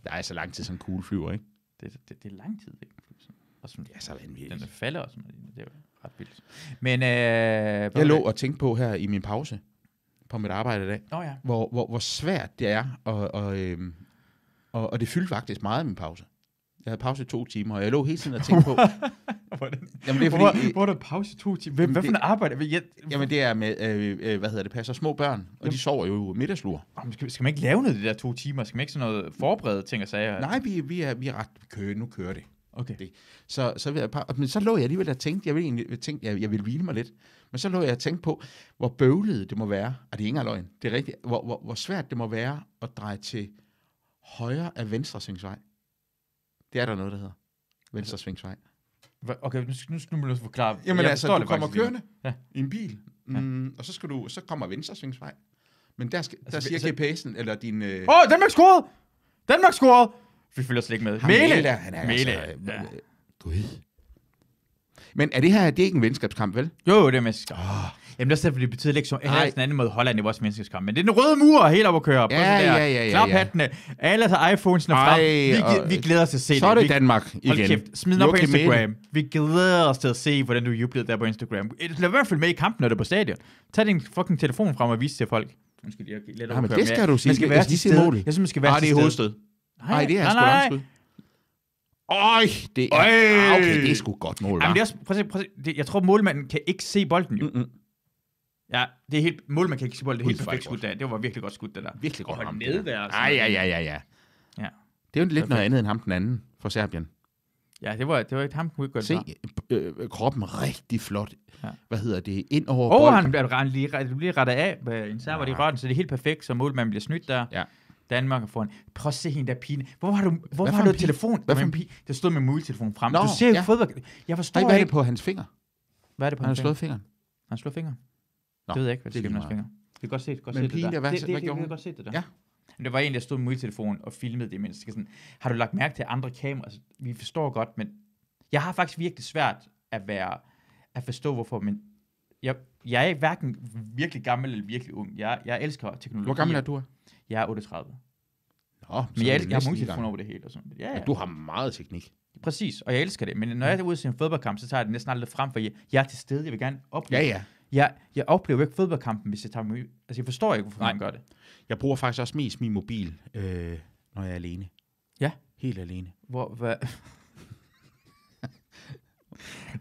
Speaker 3: Der er så lang tid, som kugle flyver, ikke?
Speaker 2: Det, det, det er lang tid. Ikke? Og sådan,
Speaker 3: Det er så
Speaker 2: den
Speaker 3: vanvittigt.
Speaker 2: der falder og sådan noget. Det er jo ret vildt. Men, øh, hvad
Speaker 3: Jeg lå
Speaker 2: var
Speaker 3: og tænkte på her i min pause på mit arbejde i dag,
Speaker 2: det? Nå ja.
Speaker 3: hvor, hvor, hvor svært det er, og, og, øhm, og, og det fyldte faktisk meget i min pause. Jeg havde pause i to timer, og jeg lå hele tiden og tænkte på,
Speaker 2: Hvordan?
Speaker 3: jamen det er
Speaker 2: Hvor,
Speaker 3: fordi, øh,
Speaker 2: hvor er der pause i to timer?
Speaker 3: Jamen,
Speaker 2: Hvem, hvad for
Speaker 3: det-
Speaker 2: en arbejde? Hvad- Jeg,
Speaker 3: Jamen det er med, øh, øh, hvad hedder det, passer små børn, og de sover jo middagslur.
Speaker 2: Jamen, skal, skal man ikke lave noget i de der to timer? Skal man ikke sådan noget forberede ting og sager?
Speaker 3: Nej, vi, vi, er, vi er ret, vi kører, nu kører det.
Speaker 2: Okay.
Speaker 3: Det- Så, så, vil jeg bare, men så lå jeg alligevel og tænkte, jeg ville, egentlig, tænkte, jeg, jeg ville hvile mig lidt, men så lå jeg og tænkte på, hvor bøvlet det må være, og det er ingen løgn, det er rigtigt, hvor, hvor, hvor svært det må være at dreje til højre af venstre svingsvej. Det er der noget, der hedder. Venstre svingsvej.
Speaker 2: Hva- Okay, nu, skal- nu, skal- nu må du forklare.
Speaker 3: Jamen
Speaker 2: Jeg
Speaker 3: altså,
Speaker 2: forstår
Speaker 3: du
Speaker 2: det
Speaker 3: kommer
Speaker 2: faktisk ikke.
Speaker 3: kørende ja.
Speaker 2: Ja.
Speaker 3: i en bil, mm, og så, skal du, så kommer venstre svingsvej. Men der, skal, der
Speaker 2: Altså,
Speaker 3: siger
Speaker 2: så-
Speaker 3: GPS'en, eller din... Øh,
Speaker 2: Åh, oh, Danmark scorede! Danmark scorede! Vi følger slet ikke med.
Speaker 3: Ham
Speaker 2: Mæle!
Speaker 3: der, han er
Speaker 2: Mæle.
Speaker 3: altså...
Speaker 2: ja.
Speaker 3: Ja. Gud. Men er det her, det er ikke en venskabskamp, vel?
Speaker 2: Jo, jo, det er mennesker. Oh. Jamen, der er selvfølgelig betyder det ikke som...
Speaker 3: Nej.
Speaker 2: Heller sådan anden måde, Holland er vores menneskeskamp. Men det er den røde mur helt op at køre. Prøv
Speaker 3: Ja,
Speaker 2: sådan
Speaker 3: ja,
Speaker 2: der.
Speaker 3: ja, ja, ja.
Speaker 2: Knaphattene. Alle tager iPhonesene
Speaker 3: Ej,
Speaker 2: frem. Vi,
Speaker 3: og-
Speaker 2: og... vi glæder os til at se
Speaker 3: Så er
Speaker 2: det.
Speaker 3: det
Speaker 2: Vi-
Speaker 3: Danmark igen.
Speaker 2: Hold kæft, smid den op på
Speaker 3: Joachim Mæhle.
Speaker 2: Instagram. Vi glæder os til at se, hvordan du jublede der på Instagram. Øh, Lad være at følge med i kampen, når du er på stadion. Tag din fucking telefon frem og vis til folk. Undskyld, jeg lidt
Speaker 3: men det skal du sige.
Speaker 2: Man skal
Speaker 3: Jeg
Speaker 2: være
Speaker 3: skal lige
Speaker 2: til
Speaker 3: sige
Speaker 2: stede.
Speaker 3: mål.
Speaker 2: Jeg synes, man skal være
Speaker 3: Ah,
Speaker 2: til
Speaker 3: det er
Speaker 2: stede.
Speaker 3: hovedstød. Nej, det er sgu langskud. Øj, det er...
Speaker 2: Øj.
Speaker 3: Ah, okay, det er sgu godt mål,
Speaker 2: Jamen, det er
Speaker 3: hva'?
Speaker 2: også, prøv at se, prøv at se, det, jeg tror, målmanden kan ikke se bolden jo.
Speaker 3: Mm-mm.
Speaker 2: Ja, det er helt, målmanden kan ikke se bolden. Det
Speaker 3: Mm. Gud,
Speaker 2: er helt
Speaker 3: det var godt.
Speaker 2: perfekt skudt der. Det var virkelig godt skudt, det der.
Speaker 3: Virkelig godt
Speaker 2: Og
Speaker 3: ramt, det der.
Speaker 2: nede der. og sådan
Speaker 3: Ej,
Speaker 2: noget.
Speaker 3: ja, ja, ja, ja.
Speaker 2: Ja.
Speaker 3: Det er jo lidt
Speaker 2: Perfekt.
Speaker 3: noget andet end ham den anden fra Serbien.
Speaker 2: Ja, det var, det var ikke ham, kunne ikke gøre det.
Speaker 3: Se
Speaker 2: fra.
Speaker 3: øh, kroppen rigtig flot.
Speaker 2: Ja.
Speaker 3: Hvad hedder det? Ind over
Speaker 2: Åh, oh,
Speaker 3: bolden.
Speaker 2: han bliver, han lige, det bliver rettet af med en server i
Speaker 3: Ja.
Speaker 2: røven, så det er helt perfekt, så målmanden bliver snydt der.
Speaker 3: Ja.
Speaker 2: Danmark er foran. Prøv at se hende der pigen. Hvor har du, hvor
Speaker 3: Hvad for
Speaker 2: har du
Speaker 3: en pige?
Speaker 2: telefon?
Speaker 3: Hvad
Speaker 2: Hvad
Speaker 3: for
Speaker 2: for
Speaker 3: en-
Speaker 2: pige? Der stod med mobiltelefonen frem.
Speaker 3: Nå,
Speaker 2: du ser jo
Speaker 3: ja.
Speaker 2: ja. fodbold. Jeg forstår
Speaker 3: Ej, hvad er det
Speaker 2: ikke.
Speaker 3: på hans finger?
Speaker 2: Hvad er det på
Speaker 3: Han har
Speaker 2: hans finger?
Speaker 3: slået fingeren.
Speaker 2: Han slår fingre.
Speaker 3: Nå,
Speaker 2: Nå, det ved jeg ikke, hvad
Speaker 3: det er
Speaker 2: det er
Speaker 3: lige
Speaker 2: med hans fingre. Vi kan godt se, godt
Speaker 3: Men
Speaker 2: se det
Speaker 3: pigen
Speaker 2: der.
Speaker 3: der, hvad-
Speaker 2: det,
Speaker 3: hvad gjorde
Speaker 2: det, det, vi
Speaker 3: hun?
Speaker 2: kan godt se det der.
Speaker 3: Ja.
Speaker 2: Men Det var en, der stod med mobiltelefonen og filmede det imens. Det er Sådan, har du lagt mærke til andre kameraer? Altså, vi forstår godt, men jeg har faktisk virkelig svært at være, at forstå, hvorfor, men jeg, jeg er hverken virkelig gammel eller virkelig ung. Jeg, jeg elsker teknologi.
Speaker 3: Hvor gammel er du?
Speaker 2: Jeg er 38.
Speaker 3: Nå, så
Speaker 2: Men jeg,
Speaker 3: er
Speaker 2: elsker,
Speaker 3: du
Speaker 2: jeg har
Speaker 3: næsten i gang.
Speaker 2: mobiltelefoner over det hele og sådan. Ja,
Speaker 3: Ja,
Speaker 2: ja.
Speaker 3: Du har meget teknik.
Speaker 2: Præcis, og jeg elsker det. Men når jeg er ude til en fodboldkamp, så tager jeg det næsten aldrig frem, for jeg, jeg er til stede. Jeg vil gerne opleve.
Speaker 3: Ja, ja.
Speaker 2: Jeg, jeg oplever ikke fodboldkampen, hvis jeg tager mig ud. Altså, jeg forstår ikke, hvorfor
Speaker 3: Nej.
Speaker 2: man gør det.
Speaker 3: Jeg bruger faktisk også mest min mobil, øh, når jeg er alene.
Speaker 2: Ja.
Speaker 3: Helt alene.
Speaker 2: Hvor, hvad?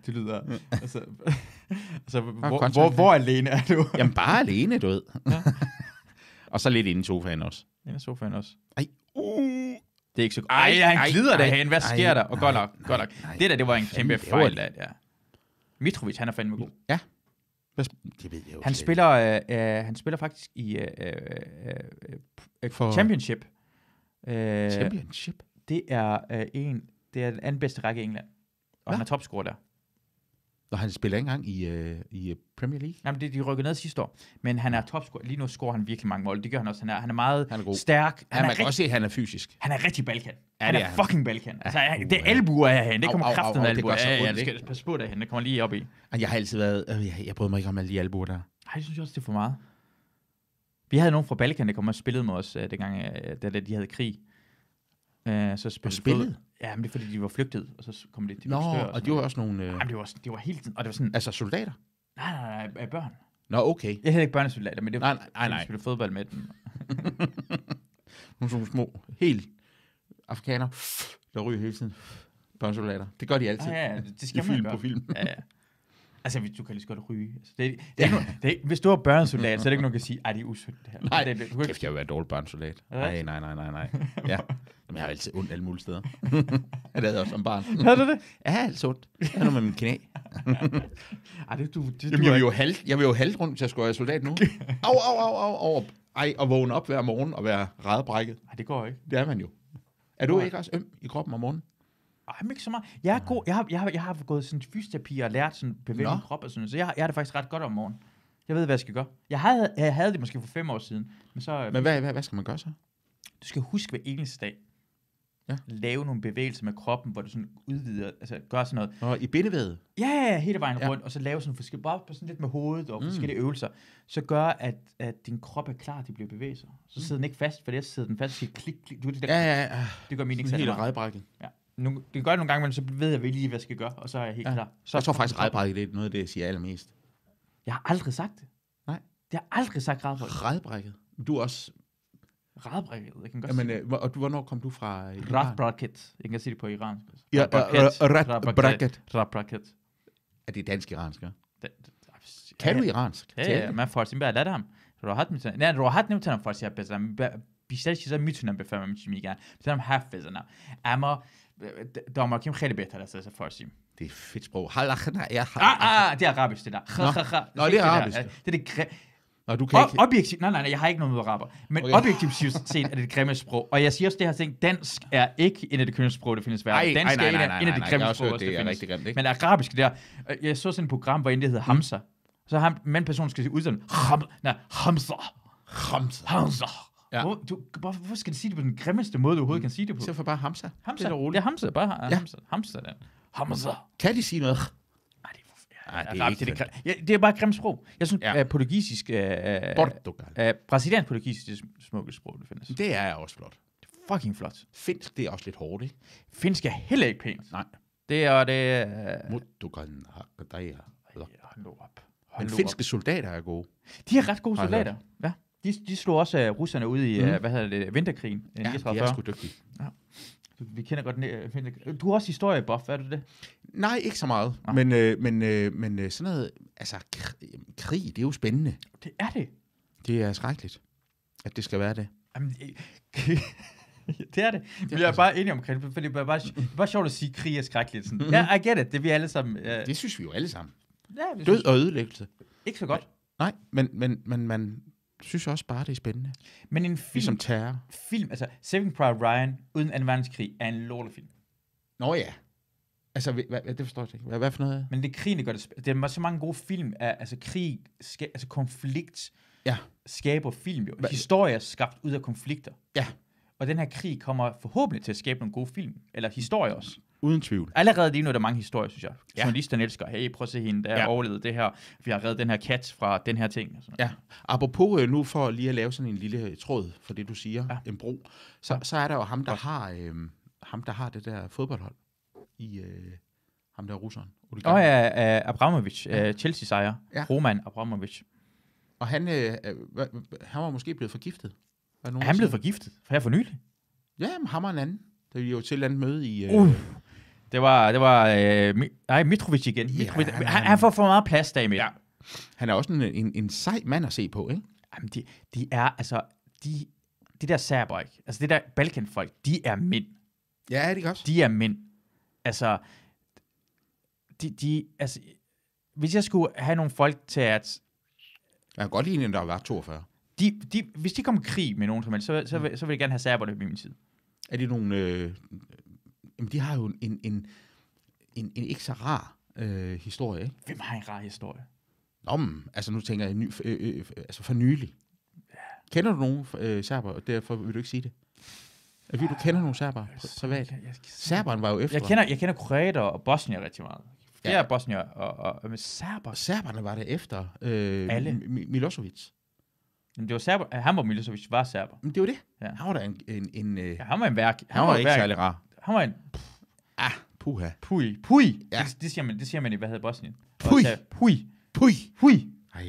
Speaker 2: det lyder... altså, altså hvor,
Speaker 3: content,
Speaker 2: hvor,
Speaker 3: ja.
Speaker 2: hvor alene er du?
Speaker 3: Jamen bare alene, du ved.
Speaker 2: Ja.
Speaker 3: og så lidt inde i sofaen også.
Speaker 2: Jeg er sofaen også.
Speaker 3: Ej, uh.
Speaker 2: Det er ikke så godt.
Speaker 3: Ej,
Speaker 2: Ej,
Speaker 3: ej,
Speaker 2: han glider
Speaker 3: ej,
Speaker 2: derhen. Hvad
Speaker 3: ej,
Speaker 2: sker der? Og
Speaker 3: nej,
Speaker 2: godt nok,
Speaker 3: nej,
Speaker 2: godt nok.
Speaker 3: nej.
Speaker 2: Det der, det var en kæmpe
Speaker 3: Fanden, det var
Speaker 2: fejl. Der, ja. Mitrovic, han er fandme god.
Speaker 3: Hvad sp- Det ved jeg jo
Speaker 2: Han
Speaker 3: slet
Speaker 2: spiller, øh, øh, han spiller faktisk i øh, øh, øh, øh,
Speaker 3: For-
Speaker 2: For Championship. Øh,
Speaker 3: ikke. Championship.
Speaker 2: Det er øh, en, det er den anden bedste række i England. Og
Speaker 3: Hva?
Speaker 2: han er topscorer der.
Speaker 3: Og han spiller ikke engang i, øh, i øh, Premier League.
Speaker 2: Jamen, det, de rykkede ned sidste år, men han er topscorer. Lige nu scorer han virkelig mange mål. Det gør han også. Han er, han er meget
Speaker 3: Han er god.
Speaker 2: stærk. Han,
Speaker 3: Han
Speaker 2: er
Speaker 3: man kan
Speaker 2: rigtig,
Speaker 3: også se, at han er fysisk.
Speaker 2: han er rigtig Balkan. han
Speaker 3: det
Speaker 2: er,
Speaker 3: er han.
Speaker 2: fucking Balkan. Altså,
Speaker 3: uha.
Speaker 2: han, det er albuer af hende. Det
Speaker 3: Au,
Speaker 2: kommer
Speaker 3: au, au,
Speaker 2: kraften
Speaker 3: au,
Speaker 2: af
Speaker 3: det
Speaker 2: albuer.
Speaker 3: gør så
Speaker 2: Ja, ja,
Speaker 3: ondt,
Speaker 2: det
Speaker 3: ikke?
Speaker 2: skal passe på derhen. Det kommer lige op i.
Speaker 3: Og Jeg har altid været... Øh, jeg, jeg bryder mig ikke om alle de albuer der.
Speaker 2: Ej, jeg synes også, det er for meget. Vi havde nogen fra Balkan, der kom og spillede med os, øh, dengang øh, da da de havde krig. Øh, så spillede,
Speaker 3: spillede?
Speaker 2: Ja, men det er fordi, de var flygtet, og så kom det til
Speaker 3: Nå, og de var også nogle... Øh,
Speaker 2: Jamen, det var, sådan- det var hele tiden, og det var sådan,
Speaker 3: altså soldater?
Speaker 2: nej, nej, nej, øh, børn.
Speaker 3: Nå, okay.
Speaker 2: Jeg havde ikke børnesoldater, men det var,
Speaker 3: Nej, nej, nej, nej.
Speaker 2: vi spillede fodbold med dem.
Speaker 3: Nogle sådan små, helt afrikanere, der ryger hele tiden. Børnesoldater. Det gør de altid.
Speaker 2: Ah, ja, ja, det
Speaker 3: I
Speaker 2: skal man
Speaker 3: film på
Speaker 2: gøre.
Speaker 3: film.
Speaker 2: Ja, ja. Altså, hvis- du kan lige så godt ryge. Altså, det, er- det, er ikke, nogen- det er, ikke- hvis du har børnesoldat, så er det ikke nogen, der kan sige, at det er usyndt det her.
Speaker 3: Nej,
Speaker 2: det, er- du kan ikke,
Speaker 3: Kæft, jeg vil være dårlig børnesoldat.
Speaker 2: det
Speaker 3: Nej, nej, nej, nej, nej. Ja. Jamen, jeg har altid ondt alle mulige steder. det havde jeg også som barn.
Speaker 2: havde du det?
Speaker 3: Ja, jeg har altid ondt. Jeg har noget med min knæ.
Speaker 2: Ej, det, du, det,
Speaker 3: Jamen,
Speaker 2: du
Speaker 3: jeg
Speaker 2: er-
Speaker 3: vil jo halte, jeg vil jo halte rundt, hvis jeg skulle være soldat nu. Au, au, au, au, au. Ej, og vågne op hver morgen og være redbrækket.
Speaker 2: Ej, det går ikke.
Speaker 3: Det er man jo. Er du ikke også øm i kroppen om morgenen?
Speaker 2: Ej, men ikke så meget. Jeg er god. Jeg har, jeg har, jeg har gået sådan til fysioterapi og lært sådan bevæge
Speaker 3: Nå.
Speaker 2: min krop og sådan noget, så jeg, har- jeg har det faktisk ret godt om morgenen. Jeg ved, hvad jeg skal gøre. Jeg havde, jeg havde det måske for fem år siden, men så... Men,
Speaker 3: Men hvad, hvad, hvad skal man gøre så?
Speaker 2: du skal huske hver eneste dag.
Speaker 3: Ja.
Speaker 2: Lave nogle bevægelser med kroppen, hvor du sådan udvider, altså gør sådan noget.
Speaker 3: Og i bindevævet.
Speaker 2: Ja, ja, ja, hele vejen
Speaker 3: Ja.
Speaker 2: ja. rundt, og så lave sådan forskellige, bare på sådan lidt med hovedet og mm. forskellige øvelser, så gør, at, at din krop er klar, at de bliver bevæget sig. Så sidder den ikke fast, for det sidder den fast og siger klik, klik. Du, det, der,
Speaker 3: Mm. Ja,
Speaker 2: ja,
Speaker 3: ja, ja.
Speaker 2: det gør min ikke
Speaker 3: Ah, Sådan
Speaker 2: særlig
Speaker 3: helt
Speaker 2: meget.
Speaker 3: redbrækket.
Speaker 2: Ja. Nu, det kan gøre det nogle gange, men så ved jeg lige, hvad jeg skal gøre, og så er jeg helt
Speaker 3: Ja.
Speaker 2: ja. klar.
Speaker 3: Så jeg tror faktisk, at redbrækket det er noget af det, jeg siger allermest.
Speaker 2: Jeg har aldrig sagt det.
Speaker 3: Nej.
Speaker 2: Jeg har aldrig sagt radbrækket.
Speaker 3: Redbrækket. Du er også...
Speaker 2: Radbrækket, jeg kan godt
Speaker 3: Jamen,
Speaker 2: sige
Speaker 3: øh, hvor- og du, hvornår kom du fra? øh,
Speaker 2: det.
Speaker 3: Iran?
Speaker 2: Radbrækket. Jeg kan sige det på iransk.
Speaker 3: Ja,
Speaker 2: Radbrækket.
Speaker 3: øh, øh, rat-
Speaker 2: Radbrækket.
Speaker 3: brækket.
Speaker 2: Radbrækket.
Speaker 3: Er det dansk-iransk, ja?
Speaker 2: Det- det- ej,
Speaker 3: Kan
Speaker 2: ja,
Speaker 3: du iransk?
Speaker 2: Ja,
Speaker 3: Tal
Speaker 2: ja,
Speaker 3: det.
Speaker 2: mən farsim بلدم راحت میتونم نه راحت نمیتونم فارسی حرف بزنم ب... بیشتر چیزا میتونم بفهمم چی میگن میتونم حرف بزنم اما د- دانمارکیم خیلی بهتر است از فارسیم
Speaker 3: Det er et fedt sprog. Halachna, ja.
Speaker 2: آه آه دی عربش دیدم خ خ خ
Speaker 3: Nå, det er arabisk.
Speaker 2: Det er det gr-
Speaker 3: Nå, du kan ikke...
Speaker 2: Og objektivt, nej, nej, nej, jeg har ikke noget med araber, men
Speaker 3: Okay.
Speaker 2: okay. objektivt set er det det grimme sprog. Og jeg siger også det her ting, dansk er ikke en af de kønne sprog, der findes
Speaker 3: Ej,
Speaker 2: verden.
Speaker 3: ej,
Speaker 2: Dansk
Speaker 3: nej,
Speaker 2: er en
Speaker 3: nej,
Speaker 2: af-
Speaker 3: nej,
Speaker 2: en af
Speaker 3: nej,
Speaker 2: de
Speaker 3: jeg har
Speaker 2: grimme
Speaker 3: også
Speaker 2: sprog,
Speaker 3: hørt,
Speaker 2: der
Speaker 3: det er
Speaker 2: findes.
Speaker 3: rigtig grimt, ikke?
Speaker 2: Men arabisk, det er, øh, jeg så sådan et program, hvor en
Speaker 3: Mm.
Speaker 2: der hedder Hamza. Så ham, en person skal sige udtalen, ham, nej, Hamza,
Speaker 3: Hamza.
Speaker 2: Hamza.
Speaker 3: Ja.
Speaker 2: Ja. Hvor, du, hvorfor hvorfor skal du sige det på den grimmeste måde, du overhovedet kan sige det på?
Speaker 3: Så får bare Hamza.
Speaker 2: Hamza,
Speaker 3: Det er da roligt.
Speaker 2: det er Hamza, bare
Speaker 3: Ja.
Speaker 2: ja. Hamza, Hamza, den. Hamza.
Speaker 3: Kan de sige noget?
Speaker 2: Ej, det er, for,
Speaker 3: Ej,
Speaker 2: ja,
Speaker 3: det er
Speaker 2: det, er
Speaker 3: ikke
Speaker 2: det, er grim- ja, det er bare et grimt sprog. Jeg synes,
Speaker 3: Ja.
Speaker 2: ja. portugisisk... Øh,
Speaker 3: Portugal.
Speaker 2: Øh, brasiliansk portugisisk er det sm- smukkeste sprog, det findes.
Speaker 3: Det er også flot.
Speaker 2: Fucking flot.
Speaker 3: Finsk, det er også lidt hårdt, ikke?
Speaker 2: Finsk er heller ikke pænt.
Speaker 3: Nej.
Speaker 2: Det er det... Øh,
Speaker 3: Muttukan hakadaya.
Speaker 2: hold nu op. Hold
Speaker 3: Men
Speaker 2: nu
Speaker 3: finske soldater er gode.
Speaker 2: op. De er ret gode
Speaker 3: Har jeg
Speaker 2: soldater. Ja. De, de slog også uh, russerne ud i,
Speaker 3: Mhm.
Speaker 2: mm. uh, hvad hedder det, vinterkrigen. øh,
Speaker 3: Ja, de
Speaker 2: 39.
Speaker 3: er sgu dygtige.
Speaker 2: Vi kender godt uh, vinterkrigen. Du er også historiebuff, er du det?
Speaker 3: Nej, ikke så meget. Men, øh, men, øh, men øh, sådan noget, altså krig, jamen, krig, det er jo spændende.
Speaker 2: Det er det.
Speaker 3: Det er skrækkeligt, at det skal være det.
Speaker 2: Jamen, øh, det er det. Vi er bare enige omkring det, for det er bare, det er bare sjovt at sige, at krig er skrækkeligt. Sådan. Ja, I get it. Det er vi alle sammen. Øh, ja,
Speaker 3: Mhm. Det synes vi jo alle sammen.
Speaker 2: vi
Speaker 3: Død
Speaker 2: synes-
Speaker 3: og ødelæggelse.
Speaker 2: Ikke så godt.
Speaker 3: Nej, men, men, men man synes også bare, det er spændende.
Speaker 2: Men en film,
Speaker 3: Ligesom terror.
Speaker 2: film, altså Saving Private Ryan uden 2. verdenskrig er en lortefilm.
Speaker 3: Nå ja. Altså, hvad, hvad, det forstår jeg ikke. Hvad, hvad for noget?
Speaker 2: Men det er krigen, der gør det sp- Der er så mange gode film af, altså krig, ska- altså konflikt
Speaker 3: Ja.
Speaker 2: skaber film jo.
Speaker 3: Hva-
Speaker 2: Historier er skabt ud af konflikter.
Speaker 3: Ja.
Speaker 2: Og den her krig kommer forhåbentlig til at skabe nogle gode film, eller historier også.
Speaker 3: Uden tvivl.
Speaker 2: Allerede lige nu er der mange historier, synes jeg.
Speaker 3: Ja.
Speaker 2: Ja. Journalisterne elsker, hey, prøv at se hende, der
Speaker 3: Ja.
Speaker 2: ja. overlevede det her. Vi har reddet den her kat fra den her ting. Og sådan noget.
Speaker 3: Ja, apropos øh, nu for lige at lave sådan en lille tråd for det, du siger, ja.
Speaker 2: Ja.
Speaker 3: en bro, så, ja. så er der jo ham, der har, øh, ham, der har det der fodboldhold i øh, ham der russeren. Ole
Speaker 2: Åh
Speaker 3: Gammelgaard.
Speaker 2: ja, uh, Abramovic, uh, Chelsea-sejr.
Speaker 3: Ja.
Speaker 2: Ja. Roman Abramovic.
Speaker 3: Og han, øh, øh, hva- han var måske blevet forgiftet. Er
Speaker 2: Er han blevet forgiftet? For her for nylig?
Speaker 3: Ja, men ham og en anden. Da vi jo til et eller andet møde i... Øh,
Speaker 2: Uh, Det var, det var øh, Mi- nej, Mitrovic igen. Mitrovic,
Speaker 3: han-
Speaker 2: han,
Speaker 3: han-
Speaker 2: han, han, får for meget plads der i midten. Ja.
Speaker 3: Han er også en, en, en sej mand at se på, ikke?
Speaker 2: Jamen, de, de er, altså, de, det der serber, ikke? Altså, det der balkanfolk, de er mænd.
Speaker 3: Ja, er det ikke også?
Speaker 2: De er mænd. Altså, de, de, altså, hvis jeg skulle have nogle folk til at,
Speaker 3: Jeg kan godt lide, at der var 42.
Speaker 2: de, de, hvis de kom i krig med nogen som helst, så, så,
Speaker 3: Mm.
Speaker 2: vil, så vil jeg gerne have serberne på min side.
Speaker 3: Er det nogle... Øh, jamen, de har jo en, en, en, en ikke så rar... øh, historie, ikke?
Speaker 2: Hvem har en rar historie?
Speaker 3: Nå, men, altså nu tænker jeg, ny, øh, øh, altså for nylig. Kender du nogen øh, serber, og derfor vil du ikke sige det? Er vi, du kender nogen serber pri- privat?
Speaker 2: Jeg, jeg, jeg,
Speaker 3: Serberen var jo efter.
Speaker 2: jeg, kender, jeg kender kroater og bosnier rigtig meget. Flere
Speaker 3: Ja.
Speaker 2: ja. bosnier og, og, og men serber.
Speaker 3: Serberne var der efter øh,
Speaker 2: Alle.
Speaker 3: Mi- Mi- Milosevic.
Speaker 2: Jamen, det var serber. Han var Milosevic, var serber.
Speaker 3: Men det var det.
Speaker 2: Ja.
Speaker 3: Han var da en... en, en øh,
Speaker 2: Ja,
Speaker 3: ja,
Speaker 2: han var en værk.
Speaker 3: han, var,
Speaker 2: en
Speaker 3: ikke
Speaker 2: værk.
Speaker 3: særlig rar.
Speaker 2: Han var en
Speaker 3: Ah, puha.
Speaker 2: pui. Pui!
Speaker 3: Ja.
Speaker 2: Ja. Det, det, siger man, det siger man i, hvad hedder Bosnien? Og
Speaker 3: Pui.
Speaker 2: så- Pui.
Speaker 3: Puh.
Speaker 2: Pui.
Speaker 3: Ej.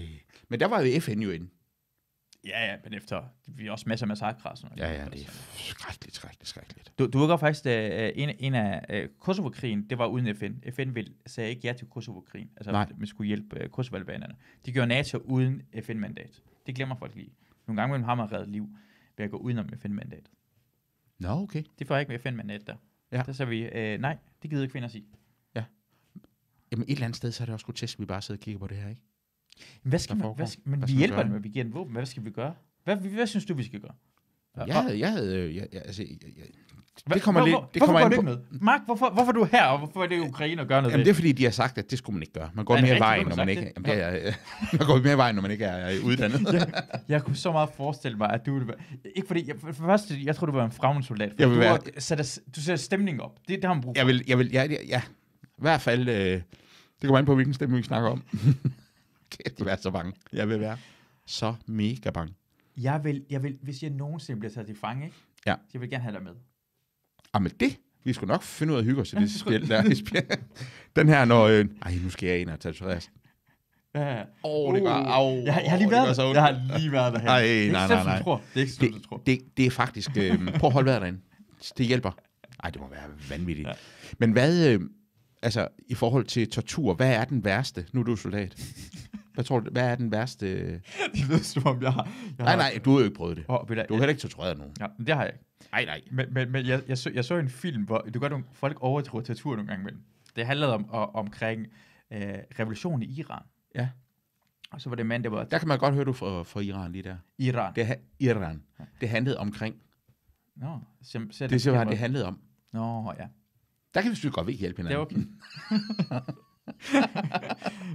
Speaker 3: Men der var jo FN jo inde.
Speaker 2: Ja, ja, men efter, vi har også masser af massakre og sådan noget.
Speaker 3: Ja, ja, det er skrækkeligt, skrækkeligt, skrækkeligt.
Speaker 2: Du, du var godt faktisk, øh, en, en af øh, Kosovo-krigen, det var uden FN. FN ville, sagde ikke ja til Kosovo-krigen, altså
Speaker 3: Nej.
Speaker 2: Nej. man skulle hjælpe øh, Kosovo-albanerne. De gjorde NATO uden FN-mandat. Det glemmer folk lige. Nogle gange mellem har man reddet liv ved at gå udenom FN-mandatet.
Speaker 3: Nå, okay.
Speaker 2: Det får ikke med FN-mandat der.
Speaker 3: Ja.
Speaker 2: Der sagde vi, øh, nej, det gider kvinder sige.
Speaker 3: Jamen et eller andet sted, så er det også grotesk, at vi bare sidder og kigger på det her, ikke?
Speaker 2: Men Hvad skal
Speaker 3: Der
Speaker 2: man,
Speaker 3: foregår.
Speaker 2: hvad skal, men
Speaker 3: Hvad
Speaker 2: vi
Speaker 3: skal man
Speaker 2: hjælper
Speaker 3: gøre?
Speaker 2: dem, og vi giver dem våben. Hvad skal vi gøre? Hvad, hvad synes du, vi skal gøre?
Speaker 3: Jeg havde, jeg havde, øh, jeg, jeg, altså, jeg, jeg,
Speaker 2: Hva-
Speaker 3: det kommer
Speaker 2: hvor-
Speaker 3: lidt,
Speaker 2: hvor-
Speaker 3: det
Speaker 2: hvorfor
Speaker 3: kommer
Speaker 2: går
Speaker 3: an
Speaker 2: du
Speaker 3: på,
Speaker 2: ikke med? Mark, hvorfor, hvorfor er du her, og hvorfor er det Ukraine at gøre noget
Speaker 3: Jamen,
Speaker 2: ved?
Speaker 3: det er fordi, de har sagt, at det skulle man ikke gøre. Man går
Speaker 2: Er det
Speaker 3: mere i
Speaker 2: rigtigt,
Speaker 3: vejen,
Speaker 2: du
Speaker 3: når
Speaker 2: har
Speaker 3: man
Speaker 2: sagt
Speaker 3: ikke
Speaker 2: det?
Speaker 3: jamen, det er, jeg- man går mere i vejen, når man ikke er, er uddannet.
Speaker 2: Jeg kunne så meget forestille mig, at du ville være... Ikke fordi... Jeg, for det første, jeg tror, du var en fremmedsoldat. fordi
Speaker 3: Jeg vil
Speaker 2: du,
Speaker 3: være-
Speaker 2: var- sætter, du sætter stemningen op. Det, det har man brug for.
Speaker 3: jeg vil, jeg vil, ja, ja, ja. I hvert fald, øh, det kommer an på, hvilken stemme vi snakker om. Kæft, jeg vil være så bange. Jeg vil være så mega bange.
Speaker 2: Jeg vil, jeg vil, hvis jeg nogensinde bliver taget til fange, ikke?
Speaker 3: Ja.
Speaker 2: Så jeg vil gerne have dig med.
Speaker 3: Jamen Ah, det, vi skulle nok finde ud af at hygge os i det
Speaker 2: det
Speaker 3: spil. Der, den her, når... Øh, ej, nu skal jeg ind og tatoveres.
Speaker 2: Ja. Oh.
Speaker 3: Åh, det gør... Au,
Speaker 2: Uh. Jeg, har- jeg har lige
Speaker 3: det
Speaker 2: været
Speaker 3: gør så
Speaker 2: der.
Speaker 3: ondt.
Speaker 2: Jeg har lige været der her.
Speaker 3: Ej,
Speaker 2: det er ikke
Speaker 3: nej,
Speaker 2: sådan,
Speaker 3: nej, nej.
Speaker 2: Du tror. Det er ikke sådan, du
Speaker 3: det,
Speaker 2: tror.
Speaker 3: det, det er faktisk... Øh, prøv at holde vejret derinde. Det hjælper. Ej, det må være vanvittigt. Ja.
Speaker 2: Ja.
Speaker 3: Men hvad... Øh, altså, i forhold til tortur, hvad er den værste? Nu er du soldat. Hvad tror du, hvad er den værste?
Speaker 2: Det lyder som om, jeg har... Jeg
Speaker 3: Nej,
Speaker 2: har
Speaker 3: nej, du har jo ikke prøvet det.
Speaker 2: Åh, ved du,
Speaker 3: Du har heller ikke tortureret nogen.
Speaker 2: ja, men det har jeg ikke.
Speaker 3: Nej, nej.
Speaker 2: Men, men, men jeg, jeg, så, jeg så en film, hvor du gør, nogle, folk overtråder tortur nogle gange imellem. Det handlede om, om omkring øh, revolutionen i Iran.
Speaker 3: Ja.
Speaker 2: Og så var det en mand, der var
Speaker 3: Der kan man godt høre, du fra, fra Iran lige der.
Speaker 2: Iran.
Speaker 3: Det, ha- Iran. Det handlede omkring.
Speaker 2: Nå, sim, sim,
Speaker 3: Det er simpelthen, det handlede om.
Speaker 2: Nå, ja.
Speaker 3: Der kan vi selvfølgelig godt ved hjælpe
Speaker 2: Det er
Speaker 3: hinanden.
Speaker 2: okay.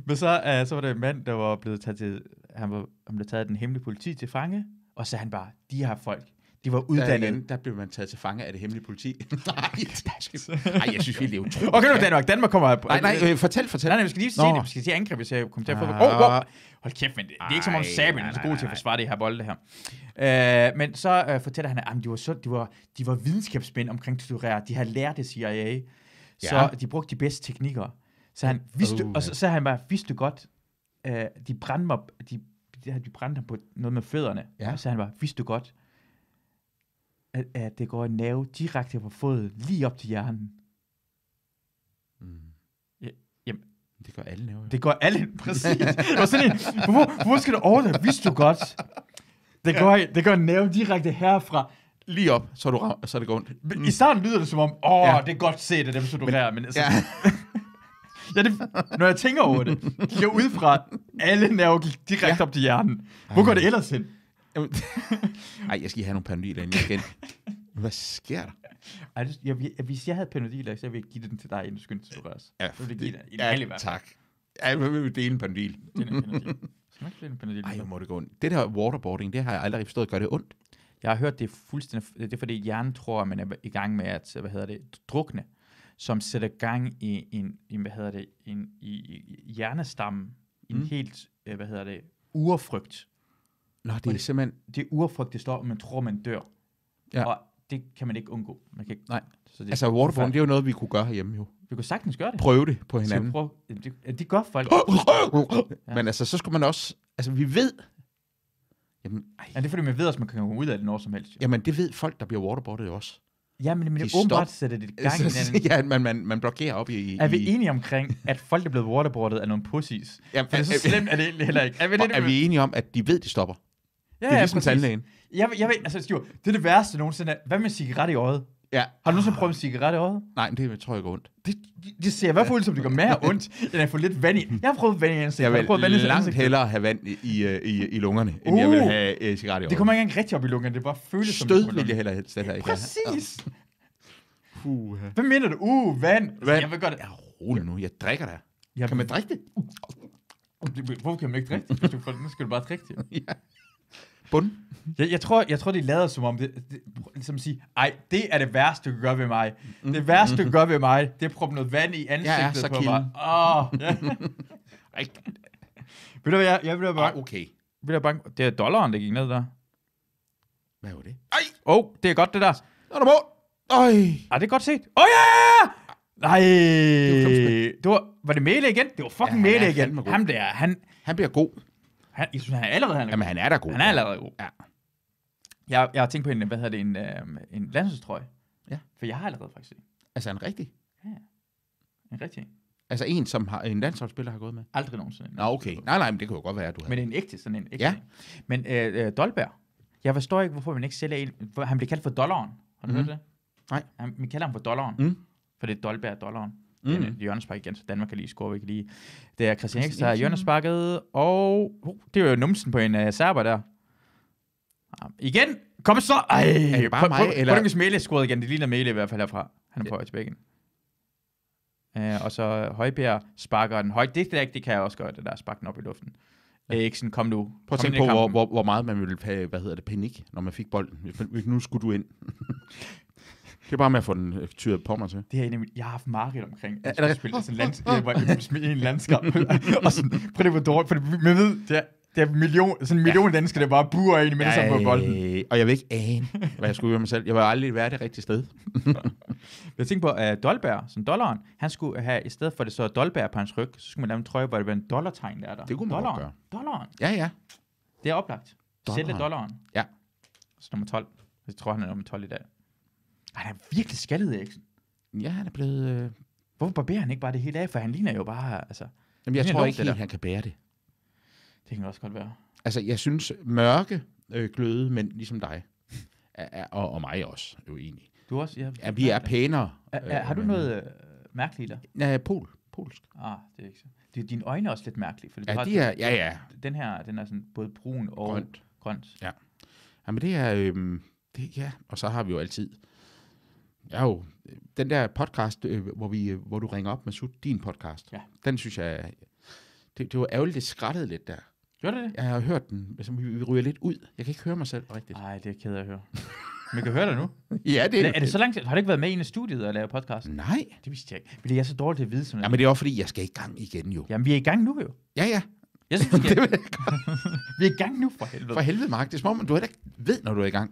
Speaker 2: Men så, uh, så var der en mand, der var blevet taget til, han, var, han blev taget af den hemmelige politi til fange, og så sagde han bare, de her folk, de var
Speaker 3: Der,
Speaker 2: uddannet.
Speaker 3: igen, der blev man taget til fange af det hemmelige politi. nej, nej, jeg synes virkelig, det er utroligt.
Speaker 2: Okay, nu Danmark. Danmark kommer her på.
Speaker 3: Nej, nej, øh, fortæl, fortæl.
Speaker 2: Nej, nej, vi skal lige se
Speaker 3: Nå.
Speaker 2: det. Vi skal lige angribe, så jeg kommer til at få...
Speaker 3: Ah.
Speaker 2: Åh, oh, wow. Hold kæft, men det, det er ikke som om
Speaker 3: Ej,
Speaker 2: Sabin er
Speaker 3: nej,
Speaker 2: så
Speaker 3: nej,
Speaker 2: god til at
Speaker 3: nej.
Speaker 2: forsvare det her bolde her. Øh, men så øh, fortæller han, at jamen, de, var så, de, var, de var videnskabsmænd omkring torturere. De har lært det CIA. Så
Speaker 3: Ja.
Speaker 2: de brugte de bedste teknikker. Så han, vidste,
Speaker 3: Uh,
Speaker 2: og så, så han bare, vidste du godt, øh, de brændte mig, de, de, de brændte ham på noget med fødderne.
Speaker 3: Ja.
Speaker 2: Og så han bare, vidste du godt, at, at det går en nerve direkte fra foden, lige op til hjernen.
Speaker 3: Mm.
Speaker 2: Ja, jamen.
Speaker 3: Det gør alle nævner.
Speaker 2: Det går alle, præcis. Det var sådan en, hvor, hvor skal du overdrive? Vidste du godt? Det går, det går en nerve direkte herfra.
Speaker 3: lige op, så, er du ram, så er det går ondt.
Speaker 2: Men I starten lyder det som om, åh, oh,
Speaker 3: Mm. Ja.
Speaker 2: ja. det er godt set af dem, som du men, men altså,
Speaker 3: Ja.
Speaker 2: ja. ja det, når jeg tænker over det, kigger ud fra, alle nerver gik direkte ja. op til hjernen. Hvor går det ellers hen?
Speaker 3: Ej, jeg skal lige have nogle paranoid derinde igen. Hvad sker der?
Speaker 2: Ej, det, jeg, jeg, hvis jeg havde Panodil, så ville jeg give den til dig, inden du skyndte til Rørs. Ja, det, give dig en halv i hvert fald.
Speaker 3: tak. Ja, hvad vil vi dele en pandil?
Speaker 2: Den er Panodil. Skal man ikke finde en Panodil?
Speaker 3: Ej, hvor må det gå ondt. Det der waterboarding, det har jeg aldrig forstået. Gør det ondt?
Speaker 2: Jeg har hørt, det er fuldstændig... Det er fordi hjernen tror, at man er i gang med at, hvad hedder det, drukne, som sætter gang i en, en hvad hedder det, en, i, i- i hjernestammen, en
Speaker 3: Mm.
Speaker 2: helt, øh, hvad hedder det, urfrygt.
Speaker 3: Nå, det er simpelthen...
Speaker 2: Det er urfrygt, det står, og man tror, man dør.
Speaker 3: Ja.
Speaker 2: Og det kan man ikke undgå. Man kan ikke,
Speaker 3: Nej.
Speaker 2: Så det,
Speaker 3: Altså, waterboarding, det er jo noget, vi kunne gøre herhjemme jo.
Speaker 2: vi kunne sagtens gøre det.
Speaker 3: Prøve det på
Speaker 2: Skal vi
Speaker 3: hinanden.
Speaker 2: prøve, det, det gør folk.
Speaker 3: Men altså, så skulle man også... Altså, vi ved... Jamen, ej.
Speaker 2: Ja, det er fordi, man ved, at man kan komme ud af det når som helst. Ja,
Speaker 3: Jamen, det ved folk, der bliver waterboardet jo også.
Speaker 2: ja men, men
Speaker 3: de
Speaker 2: det
Speaker 3: stop-
Speaker 2: åbenbart sætter det i gang i hinanden.
Speaker 3: ja, man, man, man blokerer op i... i
Speaker 2: Er vi enige omkring, at folk, der er blevet waterboardet, er nogle pussies?
Speaker 3: Jamen,
Speaker 2: For det er
Speaker 3: er-
Speaker 2: så slemt, at det egentlig heller ikke. Er vi,
Speaker 3: Og er vi enige om, at de ved, de stopper?
Speaker 2: ja,
Speaker 3: det er ligesom
Speaker 2: præcis.
Speaker 3: tandlægen.
Speaker 2: Jeg, ved- jeg ved, altså, Stur, det er det værste nogensinde. Hvad med en cigaret i øjet?
Speaker 3: Ja.
Speaker 2: Har du nogensinde prøvet en cigaret i øjet?
Speaker 3: Nej, men det tror jeg går ondt.
Speaker 2: Det, det- det ser i hvert fald ud, som det gør mere ondt, end at få lidt vand i. Jeg har prøvet vand i ansigtet.
Speaker 3: Jeg
Speaker 2: har
Speaker 3: vil
Speaker 2: prøvet vand i
Speaker 3: langt
Speaker 2: ansigtet.
Speaker 3: hellere have vand i, i, øh, i, i lungerne, end jeg
Speaker 2: Uh!
Speaker 3: vil have øh, cigaret i
Speaker 2: Det kommer ikke engang rigtig op i lungerne. Det bare føles som...
Speaker 3: Stød vil jeg heller helst heller ikke have.
Speaker 2: Præcis.
Speaker 3: Puh,
Speaker 2: Hvad mener du? Uh, vand.
Speaker 3: Vand.
Speaker 2: Jeg vil godt...
Speaker 3: rolig nu, jeg drikker der.
Speaker 2: Jeg,
Speaker 3: Kan man drikke det?
Speaker 2: Hvorfor kan man ikke drikke det? Hvis du får det, så skal du bare drikke det.
Speaker 3: Bund?
Speaker 2: Jeg, jeg, tror, jeg tror, de lader som om, det, det, ligesom at sige, ej, det er det værste, du kan gøre ved mig.
Speaker 3: Mm.
Speaker 2: Det værste, du kan gøre ved mig, det er at proppe noget vand i ansigtet
Speaker 3: Ja, ja, Mm-hmm. så
Speaker 2: på
Speaker 3: kilden.
Speaker 2: mig. Åh, ja. Ej. Ved du hvad, jeg, jeg vil da
Speaker 3: Ah,
Speaker 2: bare,
Speaker 3: okay.
Speaker 2: vil da banke, det er dollaren, der gik ned der.
Speaker 3: Hvad var det?
Speaker 2: Åh, oh, det er godt det der.
Speaker 3: Nå, der må. Øj.
Speaker 2: Ej, det er godt set. Åh oh, ja! Nej,
Speaker 3: var
Speaker 2: det var, var det Mæle igen? Det var
Speaker 3: Ja,
Speaker 2: fucking
Speaker 3: han er
Speaker 2: Mæle igen.
Speaker 3: fandme god.
Speaker 2: Ham der, han,
Speaker 3: Han bliver god.
Speaker 2: han, jeg synes, han er allerede, han er,
Speaker 3: Jamen, han er da god.
Speaker 2: han er allerede god.
Speaker 3: Ja.
Speaker 2: Jeg, jeg har tænkt på en, hvad hedder det, en, øh, en landsholdstrøje.
Speaker 3: Ja.
Speaker 2: For jeg har allerede faktisk en.
Speaker 3: Altså, han er rigtig.
Speaker 2: En rigtig en.
Speaker 3: Altså, en, som har, en landsholdsspiller har gået med.
Speaker 2: Aldrig nogensinde. en.
Speaker 3: Nå, okay. Nej, nej, men det kunne jo godt være, at du havde.
Speaker 2: Men en ægte, sådan en ægte.
Speaker 3: Ja.
Speaker 2: Ja. Men øh, øh, Dolberg, jeg forstår ikke, hvorfor man ikke sælger en. hvor- Han bliver kaldt for dollaren. Har du
Speaker 3: Mhm.
Speaker 2: hørt det?
Speaker 3: Nej.
Speaker 2: Han, man kalder ham for dollaren.
Speaker 3: Mm.
Speaker 2: For det er Dolberg dollaren.
Speaker 3: Mm.
Speaker 2: Mm. Det er Jørgenspark igen, så Danmark kan lige score, vi kan lige. Det er Christian Eriksen, der har
Speaker 3: Eriksen.
Speaker 2: Jørgensparket, og oh, det var jo numsen på en uh, serber der. Ah, igen! Kom så! Ej,
Speaker 3: Er det bare mig, eller-
Speaker 2: Prøv, prøv, prøv Mæle scorede igen. Det ligner Mæle i hvert fald herfra. Han er på vej tilbage igen. Uh, og så Højbjerg sparker den højt. Det, det, det kan jeg også gøre, det der spark den op i luften. Ja. Eriksen, kom nu.
Speaker 3: Prøv at
Speaker 2: Kom
Speaker 3: tænke
Speaker 2: ind i
Speaker 3: på, hvor,
Speaker 2: kampen.
Speaker 3: hvor, hvor meget man ville have, hvad hedder det, panik, når man fik bolden. Hvis, man- hvis nu skulle du ind. det er bare med at få den øh, tyret på mig til.
Speaker 2: Det her er en af mine, jeg har haft mareridt omkring, at
Speaker 3: er
Speaker 2: jeg
Speaker 3: det
Speaker 2: skulle spille sådan en lands, jeg var jeg ville spille i en landskab, og sådan, prøv det hvor dårligt, for det, man ved, det er, det er million, sådan en million ja. danskere, der bare buer ind i mindre
Speaker 3: ligesom
Speaker 2: sammen på bolden.
Speaker 3: Ej, Og jeg vil ikke ane, hvad jeg skulle gøre mig selv. Jeg vil aldrig være det rigtige sted.
Speaker 2: Jeg tænkte på, at Dolberg, som dollaren, han skulle have, i stedet for det så Dolberg på hans ryg, så skulle man lave en trøje, hvor det var en dollartegn, der er der.
Speaker 3: Det kunne man godt
Speaker 2: dollaren.
Speaker 3: gøre.
Speaker 2: Dollaren.
Speaker 3: Ja, ja.
Speaker 2: Det er oplagt.
Speaker 3: Dollaren.
Speaker 2: Sælge dollaren.
Speaker 3: Ja.
Speaker 2: Så nummer 12. Jeg tror, han er nummer 12 i dag. Ej, han er virkelig skaldet, Eriksen.
Speaker 3: Ja, han er blevet... Øh...
Speaker 2: Hvorfor barberer han ikke bare det hele af? For han ligner jo bare, altså,
Speaker 3: Jamen, jeg
Speaker 2: Det er
Speaker 3: tror
Speaker 2: lort,
Speaker 3: ikke
Speaker 2: det
Speaker 3: helt,
Speaker 2: der.
Speaker 3: han kan bære det.
Speaker 2: det kan også godt være.
Speaker 3: Altså, jeg synes, mørke, øh, gløde mænd, ligesom dig, er, er, og, og mig også, jo egentlig,
Speaker 2: Du er også, ja,
Speaker 3: ja, vi er pænere.
Speaker 2: Er, er, har du
Speaker 3: men-
Speaker 2: noget øh, mærkeligt der?
Speaker 3: Ja, pol. Polsk.
Speaker 2: Ah, det er ikke så. Det, dine øjne er også lidt mærkelige, for
Speaker 3: Ja, de er... Ja, ja.
Speaker 2: den her den er sådan både brun og
Speaker 3: Grønt.
Speaker 2: grønt.
Speaker 3: Jamen det er, øhm, det, ja, og så har vi jo altid, ja jo, øh, den der podcast, øh, hvor, vi, øh, hvor du ringer op med Sut, din podcast,
Speaker 2: Ja.
Speaker 3: den synes jeg, er- det, det var ærgerligt, det skrattede lidt der.
Speaker 2: Gjorde det det?
Speaker 3: Jeg har hørt den, altså, vi, vi ryger lidt ud. Jeg kan ikke høre mig selv rigtigt.
Speaker 2: Nej, det er jeg ked af at høre. Men jeg kan høre dig nu.
Speaker 3: Ja, det
Speaker 2: Er, er det så lang tid? Har du ikke været med i en af studiet og lavet podcast?
Speaker 3: Nej.
Speaker 2: Det vidste jeg ikke. Fordi jeg er så dårlig til at vide sådan noget.
Speaker 3: Mm. Jamen det er også fordi, jeg skal i gang igen jo.
Speaker 2: Jamen, vi er i gang nu jo.
Speaker 3: Ja, ja.
Speaker 2: Jeg synes, vi,
Speaker 3: Det
Speaker 2: skal,
Speaker 3: ved jeg godt.
Speaker 2: vi er i gang nu for helvede.
Speaker 3: For helvede, Mark. Det er som om, du heller ikke ved, når du er i gang.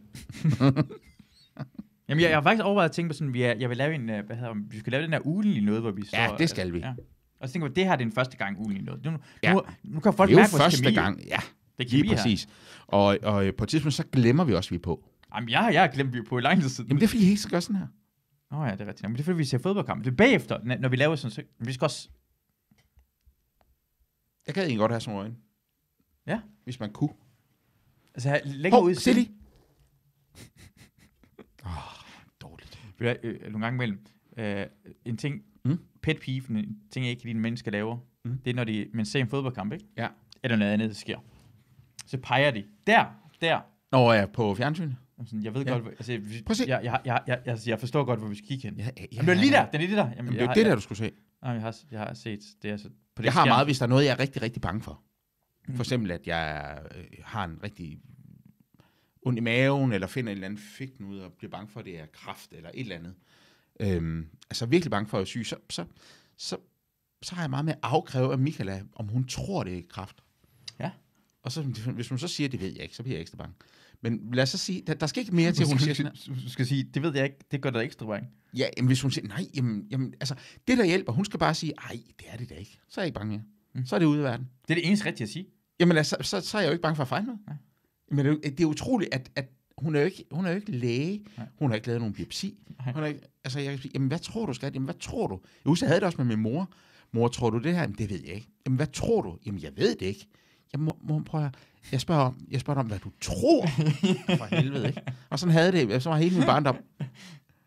Speaker 2: Jamen, jeg, jeg har faktisk overvejet at tænke på sådan, vi er, jeg vil lave en, øh, hvad hedder det, vi skal lave den her ugenlige noget, hvor vi så...
Speaker 3: Ja, det skal vi.
Speaker 2: Ja. Og så tænker jeg, det her det er den første gang ugenlige noget. Nu,
Speaker 3: Ja.
Speaker 2: ja. nu, nu kan folk
Speaker 3: det er
Speaker 2: mærke
Speaker 3: jo
Speaker 2: vores
Speaker 3: første
Speaker 2: kemi.
Speaker 3: gang. Ja,
Speaker 2: Det er kemi
Speaker 3: lige præcis. Og, og øh, på et tidspunkt, så glemmer vi også, vi er på.
Speaker 2: Her. Jamen, jeg, jeg har glemt, vi er på i lang tid siden.
Speaker 3: Jamen det er fordi, jeg ikke skal gøre sådan her.
Speaker 2: Nå ja, det er rigtigt. nok. Men det er fordi, vi ser fodboldkamp. Det er bagefter, n- når vi laver sådan så, Vi skal også...
Speaker 3: Jeg gad egentlig godt have sådan nogle øjne.
Speaker 2: Ja.
Speaker 3: Hvis man kunne.
Speaker 2: Altså, have længere ud i
Speaker 3: se
Speaker 2: siden.
Speaker 3: lige. Åh, dårligt.
Speaker 2: Ved du hvad, øh, Nogle gange imellem. Øh, en ting...
Speaker 3: Mm.
Speaker 2: Mm. Pet peeve, en ting, jeg ikke kan lide, mennesker laver.
Speaker 3: Mm.
Speaker 2: Mm. Det er, når de... Men ser en fodboldkamp, ikke?
Speaker 3: Ja.
Speaker 2: Eller noget andet, der sker. Så peger de. Der! Der!
Speaker 3: Nå, ja, på fjernsynet.
Speaker 2: Og sådan, Jeg ved
Speaker 3: Ja.
Speaker 2: godt, hvor- altså, vi,
Speaker 3: Prøv at se.
Speaker 2: jeg, jeg, jeg, jeg, altså, jeg, jeg forstår godt, hvor vi skal kigge hen.
Speaker 3: Ja, ja,
Speaker 2: Jamen, det er lige der, det er lige der. Jamen,
Speaker 3: Jamen, det
Speaker 2: jeg
Speaker 3: er jo
Speaker 2: har-
Speaker 3: det der, du skulle se.
Speaker 2: Jeg, nej, jeg, har, jeg har set det. Altså, på det
Speaker 3: Jeg har
Speaker 2: skærm.
Speaker 3: meget, hvis der er noget, jeg er rigtig, rigtig bange for. For eksempel, at jeg øh, har en rigtig ond i maven, eller finder en eller anden fik ud og bliver bange for, at det er kraft eller et eller andet. Øhm, altså virkelig bange for at være syg, så, så, så, så har jeg meget med at afkræve af Michaela, om hun tror, det er kraft.
Speaker 2: Ja.
Speaker 3: Og så, hvis hun så siger, det ved jeg ikke, så bliver jeg ekstra bange. Men lad os så sige, der, der skal ikke mere til,
Speaker 2: Du
Speaker 3: at hun siger
Speaker 2: skal,
Speaker 3: sådan her.
Speaker 2: du skal sige, det ved jeg ikke, det gør dig ekstra bange.
Speaker 3: Ja, jamen, hvis hun siger, nej, jamen, jamen, altså, det der hjælper, hun skal bare sige, ej, det er det da ikke. Så er jeg ikke bange mere. Mm.
Speaker 2: Mm.
Speaker 3: Så er det ude af verden.
Speaker 2: Det er det eneste rigtige at sige.
Speaker 3: Jamen, altså, så, så er jeg jo ikke bange for at fejle noget.
Speaker 2: Nej.
Speaker 3: Men det, er jo- det er utroligt, at, at hun, er jo ikke, hun er jo ikke læge. Nej.
Speaker 2: Nej.
Speaker 3: Hun har ikke lavet nogen biopsi.
Speaker 2: Nej.
Speaker 3: Hun er ikke, altså, jeg kan sige, jamen, hvad tror du, skat? Jamen, hvad tror du? Jeg husker, jeg havde det også med min mor. Mor, tror du det her? Jamen, det ved jeg ikke. Jamen, hvad tror du? Jamen, jeg ved det ikke. Jamen, mor, mor prøv at, jeg spørger, om, jeg spørger dig om, hvad du tror. For helvede, ikke? Og sådan havde det, så var hele min barndom.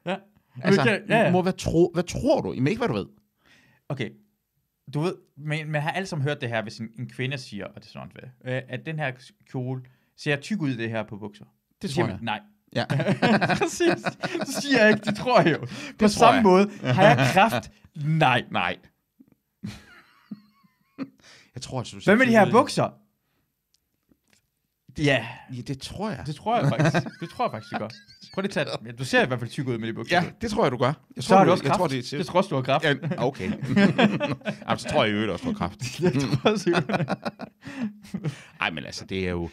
Speaker 2: Ja.
Speaker 3: Altså,
Speaker 2: Men det- ja, ja.
Speaker 3: mor, hvad, tro, hvad tror du? Jamen, ikke hvad du ved.
Speaker 2: Okay. Du ved, men man har alle sammen hørt det her, hvis en, en kvinde siger, og det er sådan noget, øh, at den her kjole ser tyk ud i det her på bukser.
Speaker 3: Det
Speaker 2: Så
Speaker 3: tror
Speaker 2: siger
Speaker 3: jeg.
Speaker 2: man, nej.
Speaker 3: Ja.
Speaker 2: Præcis. Så siger jeg ikke, det tror jeg jo. På
Speaker 3: tror
Speaker 2: samme
Speaker 3: jeg.
Speaker 2: måde, har jeg kraft? Nej.
Speaker 3: Nej. Jeg tror, at du
Speaker 2: Hvad med de her bukser? Ja,
Speaker 3: Ja, det tror jeg.
Speaker 2: det tror jeg faktisk. Det tror jeg faktisk, du gør. Prøv lige at tage ja, Du ser i hvert fald tyk ud med de bukser.
Speaker 3: Ja, det tror jeg, du gør. Jeg
Speaker 2: Så har du også
Speaker 3: jeg
Speaker 2: kraft.
Speaker 3: tror, det er til.
Speaker 2: det tror også, du har kraft. Ja.
Speaker 3: Ja, okay. Jamen, så tror jeg i øvrigt også, du har kraft.
Speaker 2: det tror også, du har.
Speaker 3: Nej, men altså, det er jo...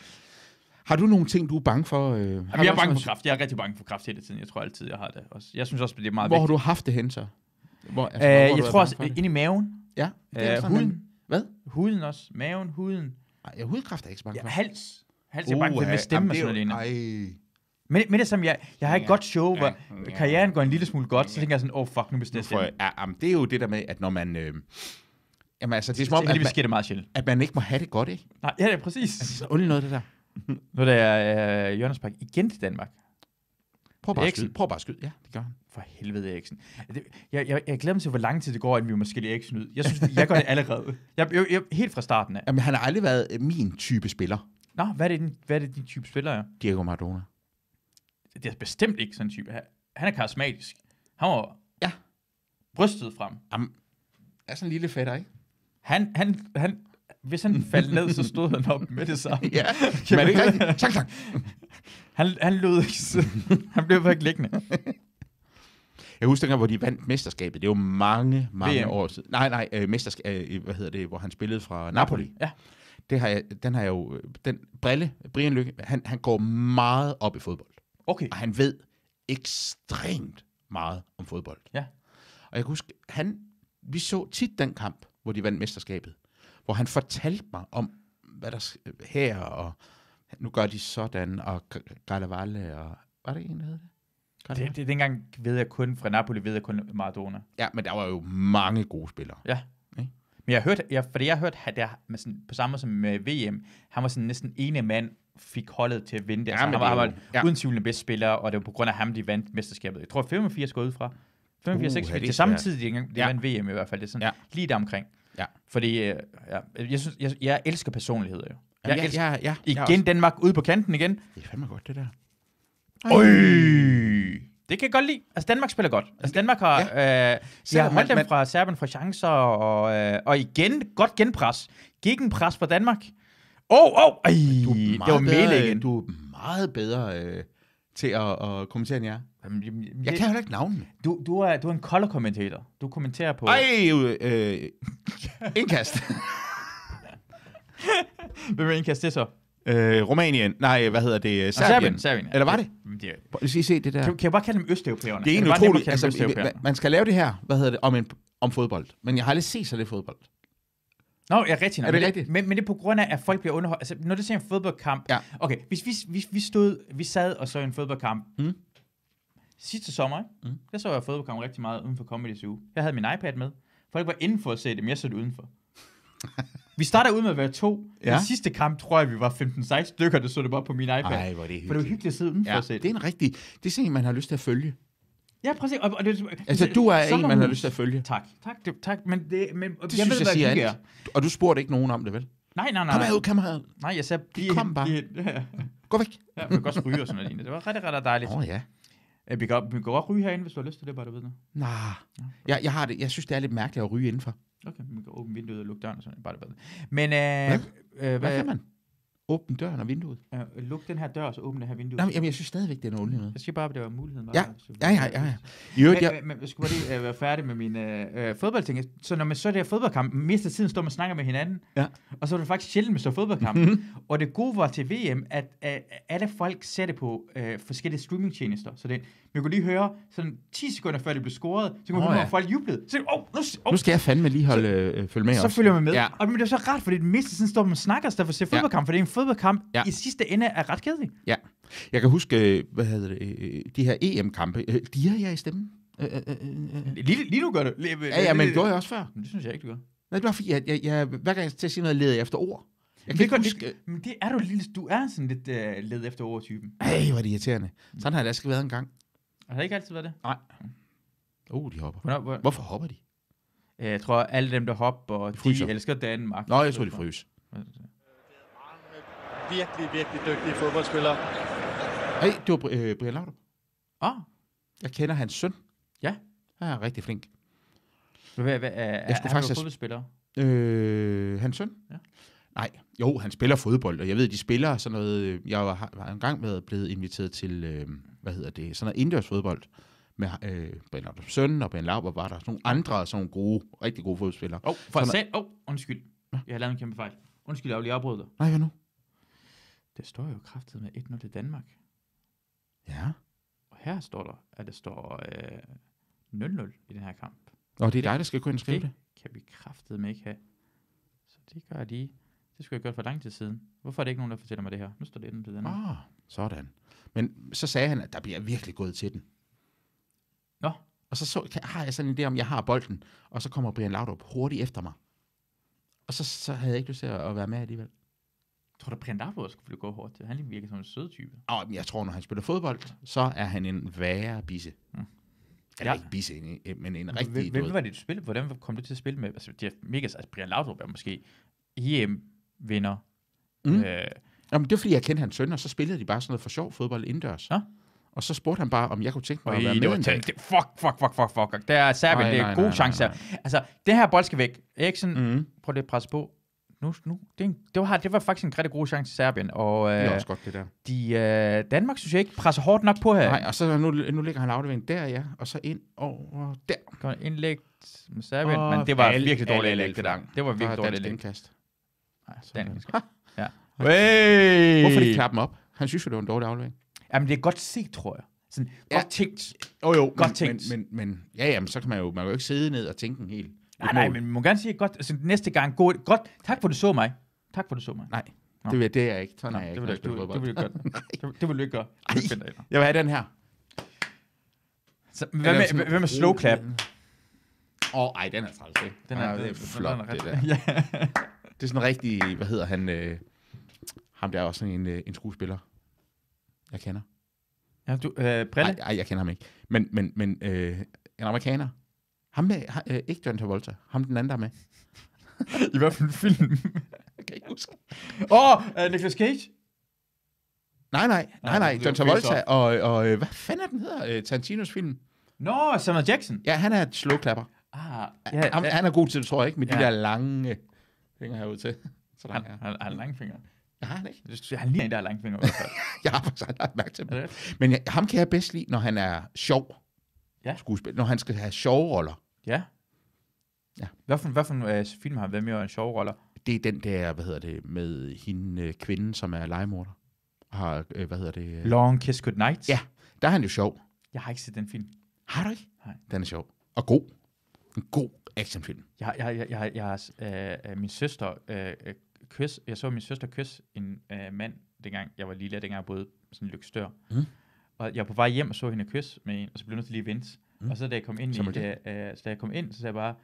Speaker 3: Har du nogle ting, du er bange for? Øh, har
Speaker 2: Jamen,
Speaker 3: du også
Speaker 2: jeg er bange for
Speaker 3: nogle-
Speaker 2: kraft. Jeg er rigtig bange for kraft hele tiden. Jeg tror altid, jeg har det også. Jeg synes også, det er meget
Speaker 3: Hvor har
Speaker 2: vigtigt.
Speaker 3: du haft det hen, så? Hvor, altså, hvor har du
Speaker 2: Øh, jeg
Speaker 3: været
Speaker 2: tror
Speaker 3: bange
Speaker 2: også,
Speaker 3: for det?
Speaker 2: ind i maven.
Speaker 3: Ja, det er
Speaker 2: Øh,
Speaker 3: sådan,
Speaker 2: huden.
Speaker 3: Hvad?
Speaker 2: Huden også. Maven, huden.
Speaker 3: Ej, jeg hudkræft er jeg ikke så bange
Speaker 2: Ja,
Speaker 3: for.
Speaker 2: hals. Hals er bange for det med stemme og sådan noget. lignende.
Speaker 3: noget.
Speaker 2: Men, men det er som, jeg, jeg har et
Speaker 3: Ja.
Speaker 2: godt show, hvor
Speaker 3: Ja.
Speaker 2: karrieren går en lille smule godt, så tænker jeg sådan, åh oh, fuck, nu bestiller
Speaker 3: Nu
Speaker 2: jeg
Speaker 3: får jeg,
Speaker 2: stemme.
Speaker 3: ja, jamen, det er jo det der med, at når man... Øh, jamen altså, det er som om,
Speaker 2: Det
Speaker 3: at
Speaker 2: heldigvis sker
Speaker 3: man,
Speaker 2: det meget sjældent.
Speaker 3: at man ikke må have det godt, ikke?
Speaker 2: Nej, ja, det er præcis.
Speaker 3: Så ondt noget, det der.
Speaker 2: Nu er der øh, Jørgens Park igen til Danmark.
Speaker 3: Prøv bare at
Speaker 2: Eriksen.
Speaker 3: skyde. Prøv bare at skyde. Ja, det gør han.
Speaker 2: For helvede, Eriksen. Det- Jeg, jeg, jeg glæder mig til, hvor lang tid det går, inden vi måske lige Eriksen ud. Jeg synes, jeg gør det allerede. Jeg, jeg, jeg, helt fra starten af.
Speaker 3: Jamen, han har aldrig været øh, min type spiller,
Speaker 2: Nå, hvad er det, din, hvad er det, din type spiller er?
Speaker 3: Diego Maradona.
Speaker 2: Det er bestemt ikke sådan en type. Han- Han er karismatisk. Han var
Speaker 3: Ja.
Speaker 2: brystet frem.
Speaker 3: Er sådan en lille fætter, ikke?
Speaker 2: Han, han, han, hvis han faldt ned, så stod han op med det samme.
Speaker 3: Ja, men er det ikke rigtigt? Tak, tak.
Speaker 2: Han, han lød ikke sidde. Han blev bare ikke liggende.
Speaker 3: Jeg husker dengang, hvor de vandt mesterskabet. Det var mange, mange
Speaker 2: VM.
Speaker 3: år siden. Nej, nej, øh, mesterskab, øh, hvad hedder det, hvor han spillede fra Napoli.
Speaker 2: Ja.
Speaker 3: Det har jeg, den har jeg jo, øh, den brille, Brian Lykke, han, han går meget op i fodbold.
Speaker 2: Okay.
Speaker 3: Og han ved ekstremt meget om fodbold.
Speaker 2: Ja.
Speaker 3: Og jeg kan huske, han, vi så tit den kamp, hvor de vandt mesterskabet, hvor han fortalte mig om, hvad der sk- her, og nu gør de sådan, og Galavalle, og var det en, der hed det?
Speaker 2: Det, det, det dengang ved jeg kun, fra Napoli ved jeg kun Maradona.
Speaker 3: Ja, men der var jo mange gode spillere.
Speaker 2: Ja.
Speaker 3: Ikke?
Speaker 2: Men jeg hørte, jeg, fordi jeg hørte, at der, med sådan, på samme måde som med VM, han var sådan næsten ene mand, fik holdet til at vinde det.
Speaker 3: Ja,
Speaker 2: altså,
Speaker 3: men
Speaker 2: han var,
Speaker 3: det er
Speaker 2: han
Speaker 3: jo-
Speaker 2: var
Speaker 3: ja.
Speaker 2: uden tvivl den bedste spiller, og det var på grund af ham, de vandt mesterskabet. Jeg tror 85 går ud fra. 85,
Speaker 3: Uha,
Speaker 2: 86,
Speaker 3: Uh, det er
Speaker 2: det er samme
Speaker 3: svært.
Speaker 2: tid, de, engang- de
Speaker 3: Ja.
Speaker 2: vandt VM i hvert fald. Det er sådan,
Speaker 3: Ja.
Speaker 2: lige der omkring.
Speaker 3: Ja.
Speaker 2: Fordi øh, ja, jeg, synes, jeg, jeg elsker personligheder jo. Jeg
Speaker 3: Jamen,
Speaker 2: elsker,
Speaker 3: ja, ja, jeg
Speaker 2: igen
Speaker 3: også.
Speaker 2: Danmark ude på kanten igen.
Speaker 3: Det er fandme godt, det der.
Speaker 2: Øj! Det kan jeg godt lide. Altså, Danmark spiller godt. Altså, Danmark har, ja. øh, de har
Speaker 3: Selvom
Speaker 2: holdt
Speaker 3: man-
Speaker 2: dem
Speaker 3: man-
Speaker 2: fra Serbien fra chancer, og, øh, og igen, godt genpres. Gik en pres på Danmark. Åh, oh, åh, oh, ej, det var Mæle igen.
Speaker 3: Du er meget bedre øh, til at, at kommentere end jeg.
Speaker 2: Jamen, jamen,
Speaker 3: Jeg
Speaker 2: det-
Speaker 3: kan heller ikke navnene.
Speaker 2: du, du, er, du er en kolder kommentator. Du kommenterer på...
Speaker 3: Ej, øh, øh, indkast.
Speaker 2: Hvem er indkast det så?
Speaker 3: øh, Rumænien. Nej, hvad hedder det? Serbien.
Speaker 2: Serbien. Serbien ja.
Speaker 3: Eller var det?
Speaker 2: Jamen, det er,
Speaker 3: Prøv- Skal I se det der?
Speaker 2: kan, kan jeg bare kalde dem østeuropæerne?
Speaker 3: Det er en
Speaker 2: bare nemmere at
Speaker 3: utrolig...
Speaker 2: kalde dem
Speaker 3: Altså,
Speaker 2: østeuropæerne?
Speaker 3: man- man skal lave det her, hvad hedder det, om, en, om fodbold. Men jeg har aldrig set så lidt fodbold.
Speaker 2: Nå, ja, rigtigt. nok.
Speaker 3: Er det
Speaker 2: men
Speaker 3: rigtigt?
Speaker 2: Men, men det er på grund af, at folk bliver underholdt. Altså, når du ser en fodboldkamp...
Speaker 3: Ja.
Speaker 2: Okay, hvis vi, vi, vi, stod, vi sad og så en fodboldkamp
Speaker 3: Mm.
Speaker 2: sidste sommer, ikke?
Speaker 3: Mm.
Speaker 2: der så jeg fodboldkamp rigtig meget uden for Comedy Zoo. Jeg havde min iPad med. Folk var indenfor at se det, men jeg så det udenfor. vi starter ud med at være to. Ja.
Speaker 3: Ja.
Speaker 2: Den sidste kamp, tror jeg, vi var 15-16 stykker, der så det bare på min iPad.
Speaker 3: Ej, hvor er det
Speaker 2: For det var
Speaker 3: hyggeligt.
Speaker 2: hyggeligt at sidde udenfor ja.
Speaker 3: Ja,
Speaker 2: og se
Speaker 3: det er
Speaker 2: det.
Speaker 3: en rigtig... Det er sådan en, man har lyst til at følge.
Speaker 2: Ja, præcis. Og, og det, ligesom-
Speaker 3: Altså, du er en, man har
Speaker 2: Sommerhus.
Speaker 3: lyst til at følge.
Speaker 2: Tak, tak, det, tak. Men, det, men
Speaker 3: Det jeg synes jeg
Speaker 2: hvad
Speaker 3: siger
Speaker 2: hygge er.
Speaker 3: andet. Og du spurgte ikke nogen om det, vel?
Speaker 2: Nej, nej, nej.
Speaker 3: Kom
Speaker 2: nej.
Speaker 3: herud, kammerat.
Speaker 2: Nej, jeg sagde, bliv
Speaker 3: kom
Speaker 2: hen,
Speaker 3: bare.
Speaker 2: bliv hen.
Speaker 3: Gå væk.
Speaker 2: Ja, man kan også ryge og sådan noget lignende. Det var rigtig, rigtig dejligt.
Speaker 3: Åh oh, ja.
Speaker 2: Øh, Vi kan, vi kan godt ryge herinde, hvis du har lyst til det, bare du ved det.
Speaker 3: Nah. Jeg, jeg, har det. jeg synes, det er lidt mærkeligt at ryge indenfor.
Speaker 2: Okay, vi kan åbne vinduet og lukke døren og sådan noget, bare du ved det. Men øh, øh,
Speaker 3: Hvad
Speaker 2: hvad,
Speaker 3: kan man? Åbne døren og vinduet.
Speaker 2: øh, luk den her dør, og så åbne det her vindue.
Speaker 3: Nå, men, jamen, jeg synes stadigvæk, det er noget noget.
Speaker 2: Jeg siger bare, at det var muligheden. Var
Speaker 3: Ja,
Speaker 2: der, så-
Speaker 3: ja, ja, ja. ja. I øvrigt, jeg,
Speaker 2: Men, men, men skulle bare lige øh, være færdig med min øh, øh, fodboldting. Så når man så det her fodboldkamp, mest af tiden står man og snakker med hinanden,
Speaker 3: Ja. Mhm.
Speaker 2: og så er det faktisk sjældent, man så fodboldkamp. Mm-hmm. Og det gode var til VM, at øh, alle folk ser det på øh, forskellige streamingtjenester. Så det, man kunne lige høre, sådan 10 sekunder før det blev scoret, så kunne man
Speaker 3: Nå,
Speaker 2: høre,
Speaker 3: ja.
Speaker 2: at folk jublede. Så åh, oh, nu, oh,
Speaker 3: nu skal jeg fandme lige holde, øh, følge med
Speaker 2: så
Speaker 3: også.
Speaker 2: følger man med.
Speaker 3: Ja.
Speaker 2: Ja. Og men det er så rart, fordi det meste af tiden står man og snakker, i stedet for at se
Speaker 3: Ja.
Speaker 2: fodboldkamp, for det er en fodboldkamp
Speaker 3: Ja.
Speaker 2: ja. i sidste ende er ret kedelig.
Speaker 3: ja. Jeg kan huske, øh, hvad hedder det, øh, de her EM-kampe. Øh, De har jeg i stemmen. Øh, øh, øh, øh.
Speaker 2: Lige, lige nu gør det. Lige,
Speaker 3: Ja, ja, men det gjorde jeg også før.
Speaker 2: Men det synes jeg ikke, du gør.
Speaker 3: Nej, det var fordi, jeg, jeg, jeg, hver gang jeg til at sige noget, leder jeg efter ord. Jeg kan
Speaker 2: Det
Speaker 3: ikke
Speaker 2: gør
Speaker 3: huske...
Speaker 2: det, men det er du lille, du er sådan lidt øh, led efter overtypen.
Speaker 3: Ej, hvor er det irriterende. Sådan har det altså ikke været engang.
Speaker 2: Har det ikke altid været det?
Speaker 3: Uh, de hopper.
Speaker 2: Hvornår, hvor,
Speaker 3: Hvorfor hopper de?
Speaker 2: Øh, jeg tror, alle dem, der hopper, de,
Speaker 3: fryser.
Speaker 2: elsker Danmark.
Speaker 3: Nå, jeg tror, de fryser.
Speaker 4: virkelig, virkelig dygtige fodboldspillere.
Speaker 3: Hey, det var Bri- øh, Brian Laudrup.
Speaker 2: Åh,
Speaker 3: Jeg kender hans søn.
Speaker 2: Ja.
Speaker 3: Han er rigtig flink.
Speaker 2: Hvad, hvad, er, jeg
Speaker 3: skulle
Speaker 2: skulle er,
Speaker 3: faktisk
Speaker 2: faktisk...
Speaker 3: have-
Speaker 2: Er fodboldspiller?
Speaker 3: Øh, hans søn?
Speaker 2: Ja.
Speaker 3: Nej, jo, han spiller fodbold, og jeg ved, de spiller sådan noget... øh, Jeg var, har engang været blevet inviteret til, øh, hvad hedder det, sådan noget indendørs fodbold med øh, Brian Laudrup søn, og Brian Laudrup var der sådan nogle andre, sådan nogle gode, rigtig gode fodboldspillere.
Speaker 2: Åh, oh, for
Speaker 3: Sådan-
Speaker 2: selv. Åh, oh, undskyld. Jeg har lavet en kæmpe fejl. Undskyld, jeg vil lige afbryde dig.
Speaker 3: Nej, hvad nu?
Speaker 2: Det står jo kraftet med 1-0 til Danmark.
Speaker 3: Ja.
Speaker 2: Og her står der, at det står øh, 0-0 i den her kamp.
Speaker 3: Nå, det er dig, der skal gå ind og skrive det.
Speaker 2: Det kan vi kraftet med ikke have. Så det gør de. Det skulle jeg gøre for lang tid siden. Hvorfor er det ikke nogen, der fortæller mig det her? Nu står det 1-0 til Danmark.
Speaker 3: Ah, sådan. Men så sagde han, at der bliver virkelig gået til den.
Speaker 2: Nå.
Speaker 3: Og så, så kan- har jeg sådan en idé om, jeg har bolden, og så kommer Brian Laudrup hurtigt efter mig. Og så, så havde jeg ikke lyst til at at være med alligevel.
Speaker 2: Jeg tror du, Brian Darbo skulle blive gå hårdt til? Han lige virker som en sød type.
Speaker 3: Og jeg tror, når han spiller fodbold, så er han en værre bisse.
Speaker 2: Mm.
Speaker 3: Eller
Speaker 2: Ja.
Speaker 3: ja. ikke bisse, en- en- men en
Speaker 2: Hvem-
Speaker 3: rigtig... du
Speaker 2: Hvem
Speaker 3: ved-
Speaker 2: var det, du spillede? Hvordan kom du til at spille med? Altså, det er mega, altså Brian Laudrup er måske EM-vinder.
Speaker 3: Mm.
Speaker 2: Øh,
Speaker 3: Jamen, det var, fordi jeg kendte hans søn, og så spillede de bare sådan noget for sjov fodbold indendørs.
Speaker 2: Nå.
Speaker 3: Og så spurgte han bare, om jeg kunne tænke mig
Speaker 2: og
Speaker 3: at være
Speaker 2: i, det
Speaker 3: med
Speaker 2: var
Speaker 3: en dag.
Speaker 2: tænkt, det- fuck, fuck, fuck, fuck, fuck. Der er Serbien,
Speaker 3: Nej,
Speaker 2: det
Speaker 3: nej,
Speaker 2: er
Speaker 3: nej,
Speaker 2: gode
Speaker 3: nej,
Speaker 2: chancer. Altså, det her bold skal væk. Eriksen, mm.
Speaker 3: Mm.
Speaker 2: prøv lige at presse på. Nu, nu, det, er en, det, var, det var faktisk en rigtig god chance til Serbien, og
Speaker 3: Det er
Speaker 2: øh,
Speaker 3: også godt, det der.
Speaker 2: de, øh, Danmark synes jeg ikke presser hårdt nok på her.
Speaker 3: Nej, og så nu, nu ligger han afleveringen der, ja, og så ind over der.
Speaker 2: Kom indlæg med Serbien,
Speaker 3: Og-
Speaker 2: men det var
Speaker 3: Al-
Speaker 2: virkelig
Speaker 3: al-
Speaker 2: dårligt
Speaker 3: al-
Speaker 2: indlæg, det der.
Speaker 3: al-
Speaker 2: Det var
Speaker 3: Der er
Speaker 2: virkelig dårligt
Speaker 3: dansk
Speaker 2: indlæg.
Speaker 3: indkast.
Speaker 2: Nej,
Speaker 3: Sådan.
Speaker 2: dansk.
Speaker 3: Ha,
Speaker 2: Ja. Hey!
Speaker 3: Hvorfor de klappe dem op? Han synes jo, det var en dårlig aflevering.
Speaker 2: Jamen, det er godt set, tror jeg. Sådan,
Speaker 3: Ja.
Speaker 2: godt tænkt.
Speaker 3: Oh, jo,
Speaker 2: Godt
Speaker 3: men,
Speaker 2: tænkt.
Speaker 3: Men, men, men, ja, jamen, så kan man jo, man kan jo ikke sidde ned og tænke en hel. et
Speaker 2: Nej, nej,
Speaker 3: mål.
Speaker 2: men man må gerne sige godt. Altså, næste gang, god, godt. Tak for, du så mig. Tak for, du så mig.
Speaker 3: Nej,
Speaker 2: Nå.
Speaker 3: det, vil, det er jeg ikke. Sådan er jeg
Speaker 2: det
Speaker 3: ikke,
Speaker 2: vil
Speaker 3: når
Speaker 2: du
Speaker 3: jeg
Speaker 2: ikke.
Speaker 3: spiller
Speaker 2: Det,
Speaker 3: fodbold.
Speaker 2: det vil du ikke gøre. Det, det vil du ikke gøre. Det vil du ikke gøre.
Speaker 3: Jeg vil have den her.
Speaker 2: Så, hvad, med, hvad med slow clap?
Speaker 3: Åh, oh, ej, den er træls, ikke?
Speaker 2: Den er,
Speaker 3: ah,
Speaker 2: den-
Speaker 3: det er
Speaker 2: den-
Speaker 3: flot,
Speaker 2: den er
Speaker 3: det
Speaker 2: ret-
Speaker 3: der. Det er sådan en rigtig, hvad hedder han? Øh, ham der er også sådan en, øh, en skuespiller, jeg kender.
Speaker 2: ja. ja, du, øh, Brille?
Speaker 3: Nej, ej, jeg kender ham ikke. Men, men, men øh, en amerikaner. Ham med, ha, øh, ikke John Travolta. Ham den anden, der er med.
Speaker 2: I hvert fald en film.
Speaker 3: Jeg kan ikke huske.
Speaker 2: Åh, oh, uh, Nicolas Cage?
Speaker 3: Nej, nej, nej,
Speaker 2: det
Speaker 3: nej.
Speaker 2: er
Speaker 3: John
Speaker 2: jo Chris
Speaker 3: Travolta og, og øh, hvad fanden er den hedder? Øh, Tarantinos film.
Speaker 2: Nå, Samuel Jackson.
Speaker 3: Ja, han er et slowklapper.
Speaker 2: Ah,
Speaker 3: Ja, ham,
Speaker 2: ja,
Speaker 3: han er god til det, tror jeg ikke, med ja.
Speaker 2: Ja.
Speaker 3: de der lange øh, fingre herude til. Så der
Speaker 2: han,
Speaker 3: er.
Speaker 2: han, han har lange fingre.
Speaker 3: Jeg har han ikke.
Speaker 2: Jeg synes, Han ligner en, der har lange fingre. i hvert fald.
Speaker 3: Jeg har faktisk aldrig lagt mærke til
Speaker 2: Er
Speaker 3: dem.
Speaker 2: det
Speaker 3: Men jeg, ham kan jeg bedst lide, når han er sjov.
Speaker 2: Ja.
Speaker 3: Skuespiller. Når han skal have sjove roller.
Speaker 2: ja.
Speaker 3: Ja.
Speaker 2: Hvad for, hvad for en øh, film har været med i en sjov roller?
Speaker 3: Det er den der, hvad hedder det, med hende øh, kvinden, som er legemorder. Har, øh, hvad hedder det? øh,
Speaker 2: Long Kiss Goodnight?
Speaker 3: Ja. Der er han jo sjov.
Speaker 2: Jeg har ikke set den film.
Speaker 3: Har du ikke?
Speaker 2: Nej.
Speaker 3: Den er sjov. Og god. En god actionfilm.
Speaker 2: Jeg, har- jeg, jeg, jeg, har- jeg har øh, øh, min søster øh, øh, kys, jeg så min søster kys en øh, mand, dengang jeg var lille, dengang jeg boede sådan en lykstør.
Speaker 3: Mm.
Speaker 2: Og jeg var på vej hjem og så hende kys med en, og så blev jeg nødt til lige at vente.
Speaker 3: Mm.
Speaker 2: Mm. Og så da jeg kom ind, i,
Speaker 3: Som er
Speaker 2: øh, øh, så da jeg kom ind, så sagde jeg bare,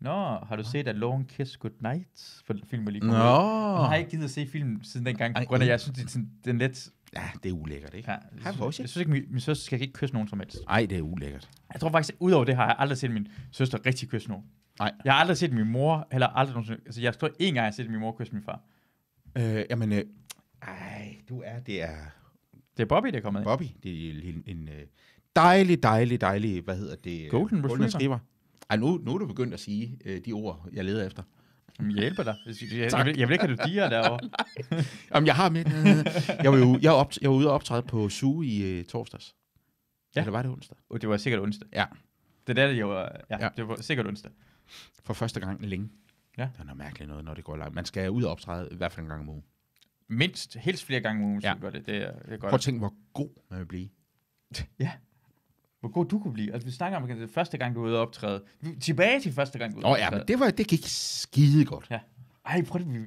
Speaker 2: Nå, har du set A Long Kiss Goodnight? For den film, jeg lige kom ud. Og Jeg har ikke gidet at se filmen siden dengang,
Speaker 3: Ej,
Speaker 2: på grund af,
Speaker 3: ej.
Speaker 2: jeg synes, det er sådan, den er lidt...
Speaker 3: Ja, det er ulækkert, ikke?
Speaker 2: Ja,
Speaker 3: Ja.
Speaker 2: jeg,
Speaker 3: Hej,
Speaker 2: synes, jeg
Speaker 3: Porsche.
Speaker 2: synes ikke, min, min søster skal ikke kysse nogen som helst.
Speaker 3: Ej, det er ulækkert.
Speaker 2: Jeg tror faktisk, udover det har jeg aldrig set min søster rigtig kysse nogen.
Speaker 3: Nej.
Speaker 2: Jeg har aldrig set min mor, eller aldrig nogensinde. Altså, jeg tror ikke engang, jeg har set min mor kysse min far.
Speaker 3: Øh, jamen, øh, ej, du er, det er
Speaker 2: Det er Bobby, der er kommet ind.
Speaker 3: Bobby. Det er en, en øh, dejlig, dejlig, dejlig, hvad hedder det? øh,
Speaker 2: Golden Retriever.
Speaker 3: Retriever. Ej, nu, nu er du begyndt at sige øh, de ord, jeg leder efter.
Speaker 2: Jamen, Jeg hjælper dig. Jeg, jeg,
Speaker 3: Tak.
Speaker 2: jeg, vil, jeg vil ikke have, du diger derovre.
Speaker 3: Jamen, jeg har mit. Øh, jeg, var jo, jeg, var op, jeg var ude og optræde på Zoo i øh, torsdags. Ja.
Speaker 2: Ja.
Speaker 3: Eller var det onsdag?
Speaker 2: Oh, det var sikkert onsdag.
Speaker 3: Ja.
Speaker 2: Det er der, jeg var, ja,
Speaker 3: Ja.
Speaker 2: ja. det var sikkert onsdag.
Speaker 3: For første gang længe.
Speaker 2: Ja.
Speaker 3: Det er noget mærkeligt noget, når det går langt. Man skal ud og optræde i hvert fald en gang om ugen.
Speaker 2: Mindst, helst flere gange om ugen,
Speaker 3: Ja.
Speaker 2: ja. gør det. Det er, det er
Speaker 3: Prøv at
Speaker 2: godt.
Speaker 3: tænke, hvor god man vil blive.
Speaker 2: Hvor god du kunne blive. Altså, vi snakker om, at det er første gang, du er ude og optræde. Vi- Tilbage til første gang, du er ude
Speaker 3: Nå
Speaker 2: og
Speaker 3: ja,
Speaker 2: optræde.
Speaker 3: men det, var, det gik skide godt.
Speaker 2: Ej, prøv det. vi-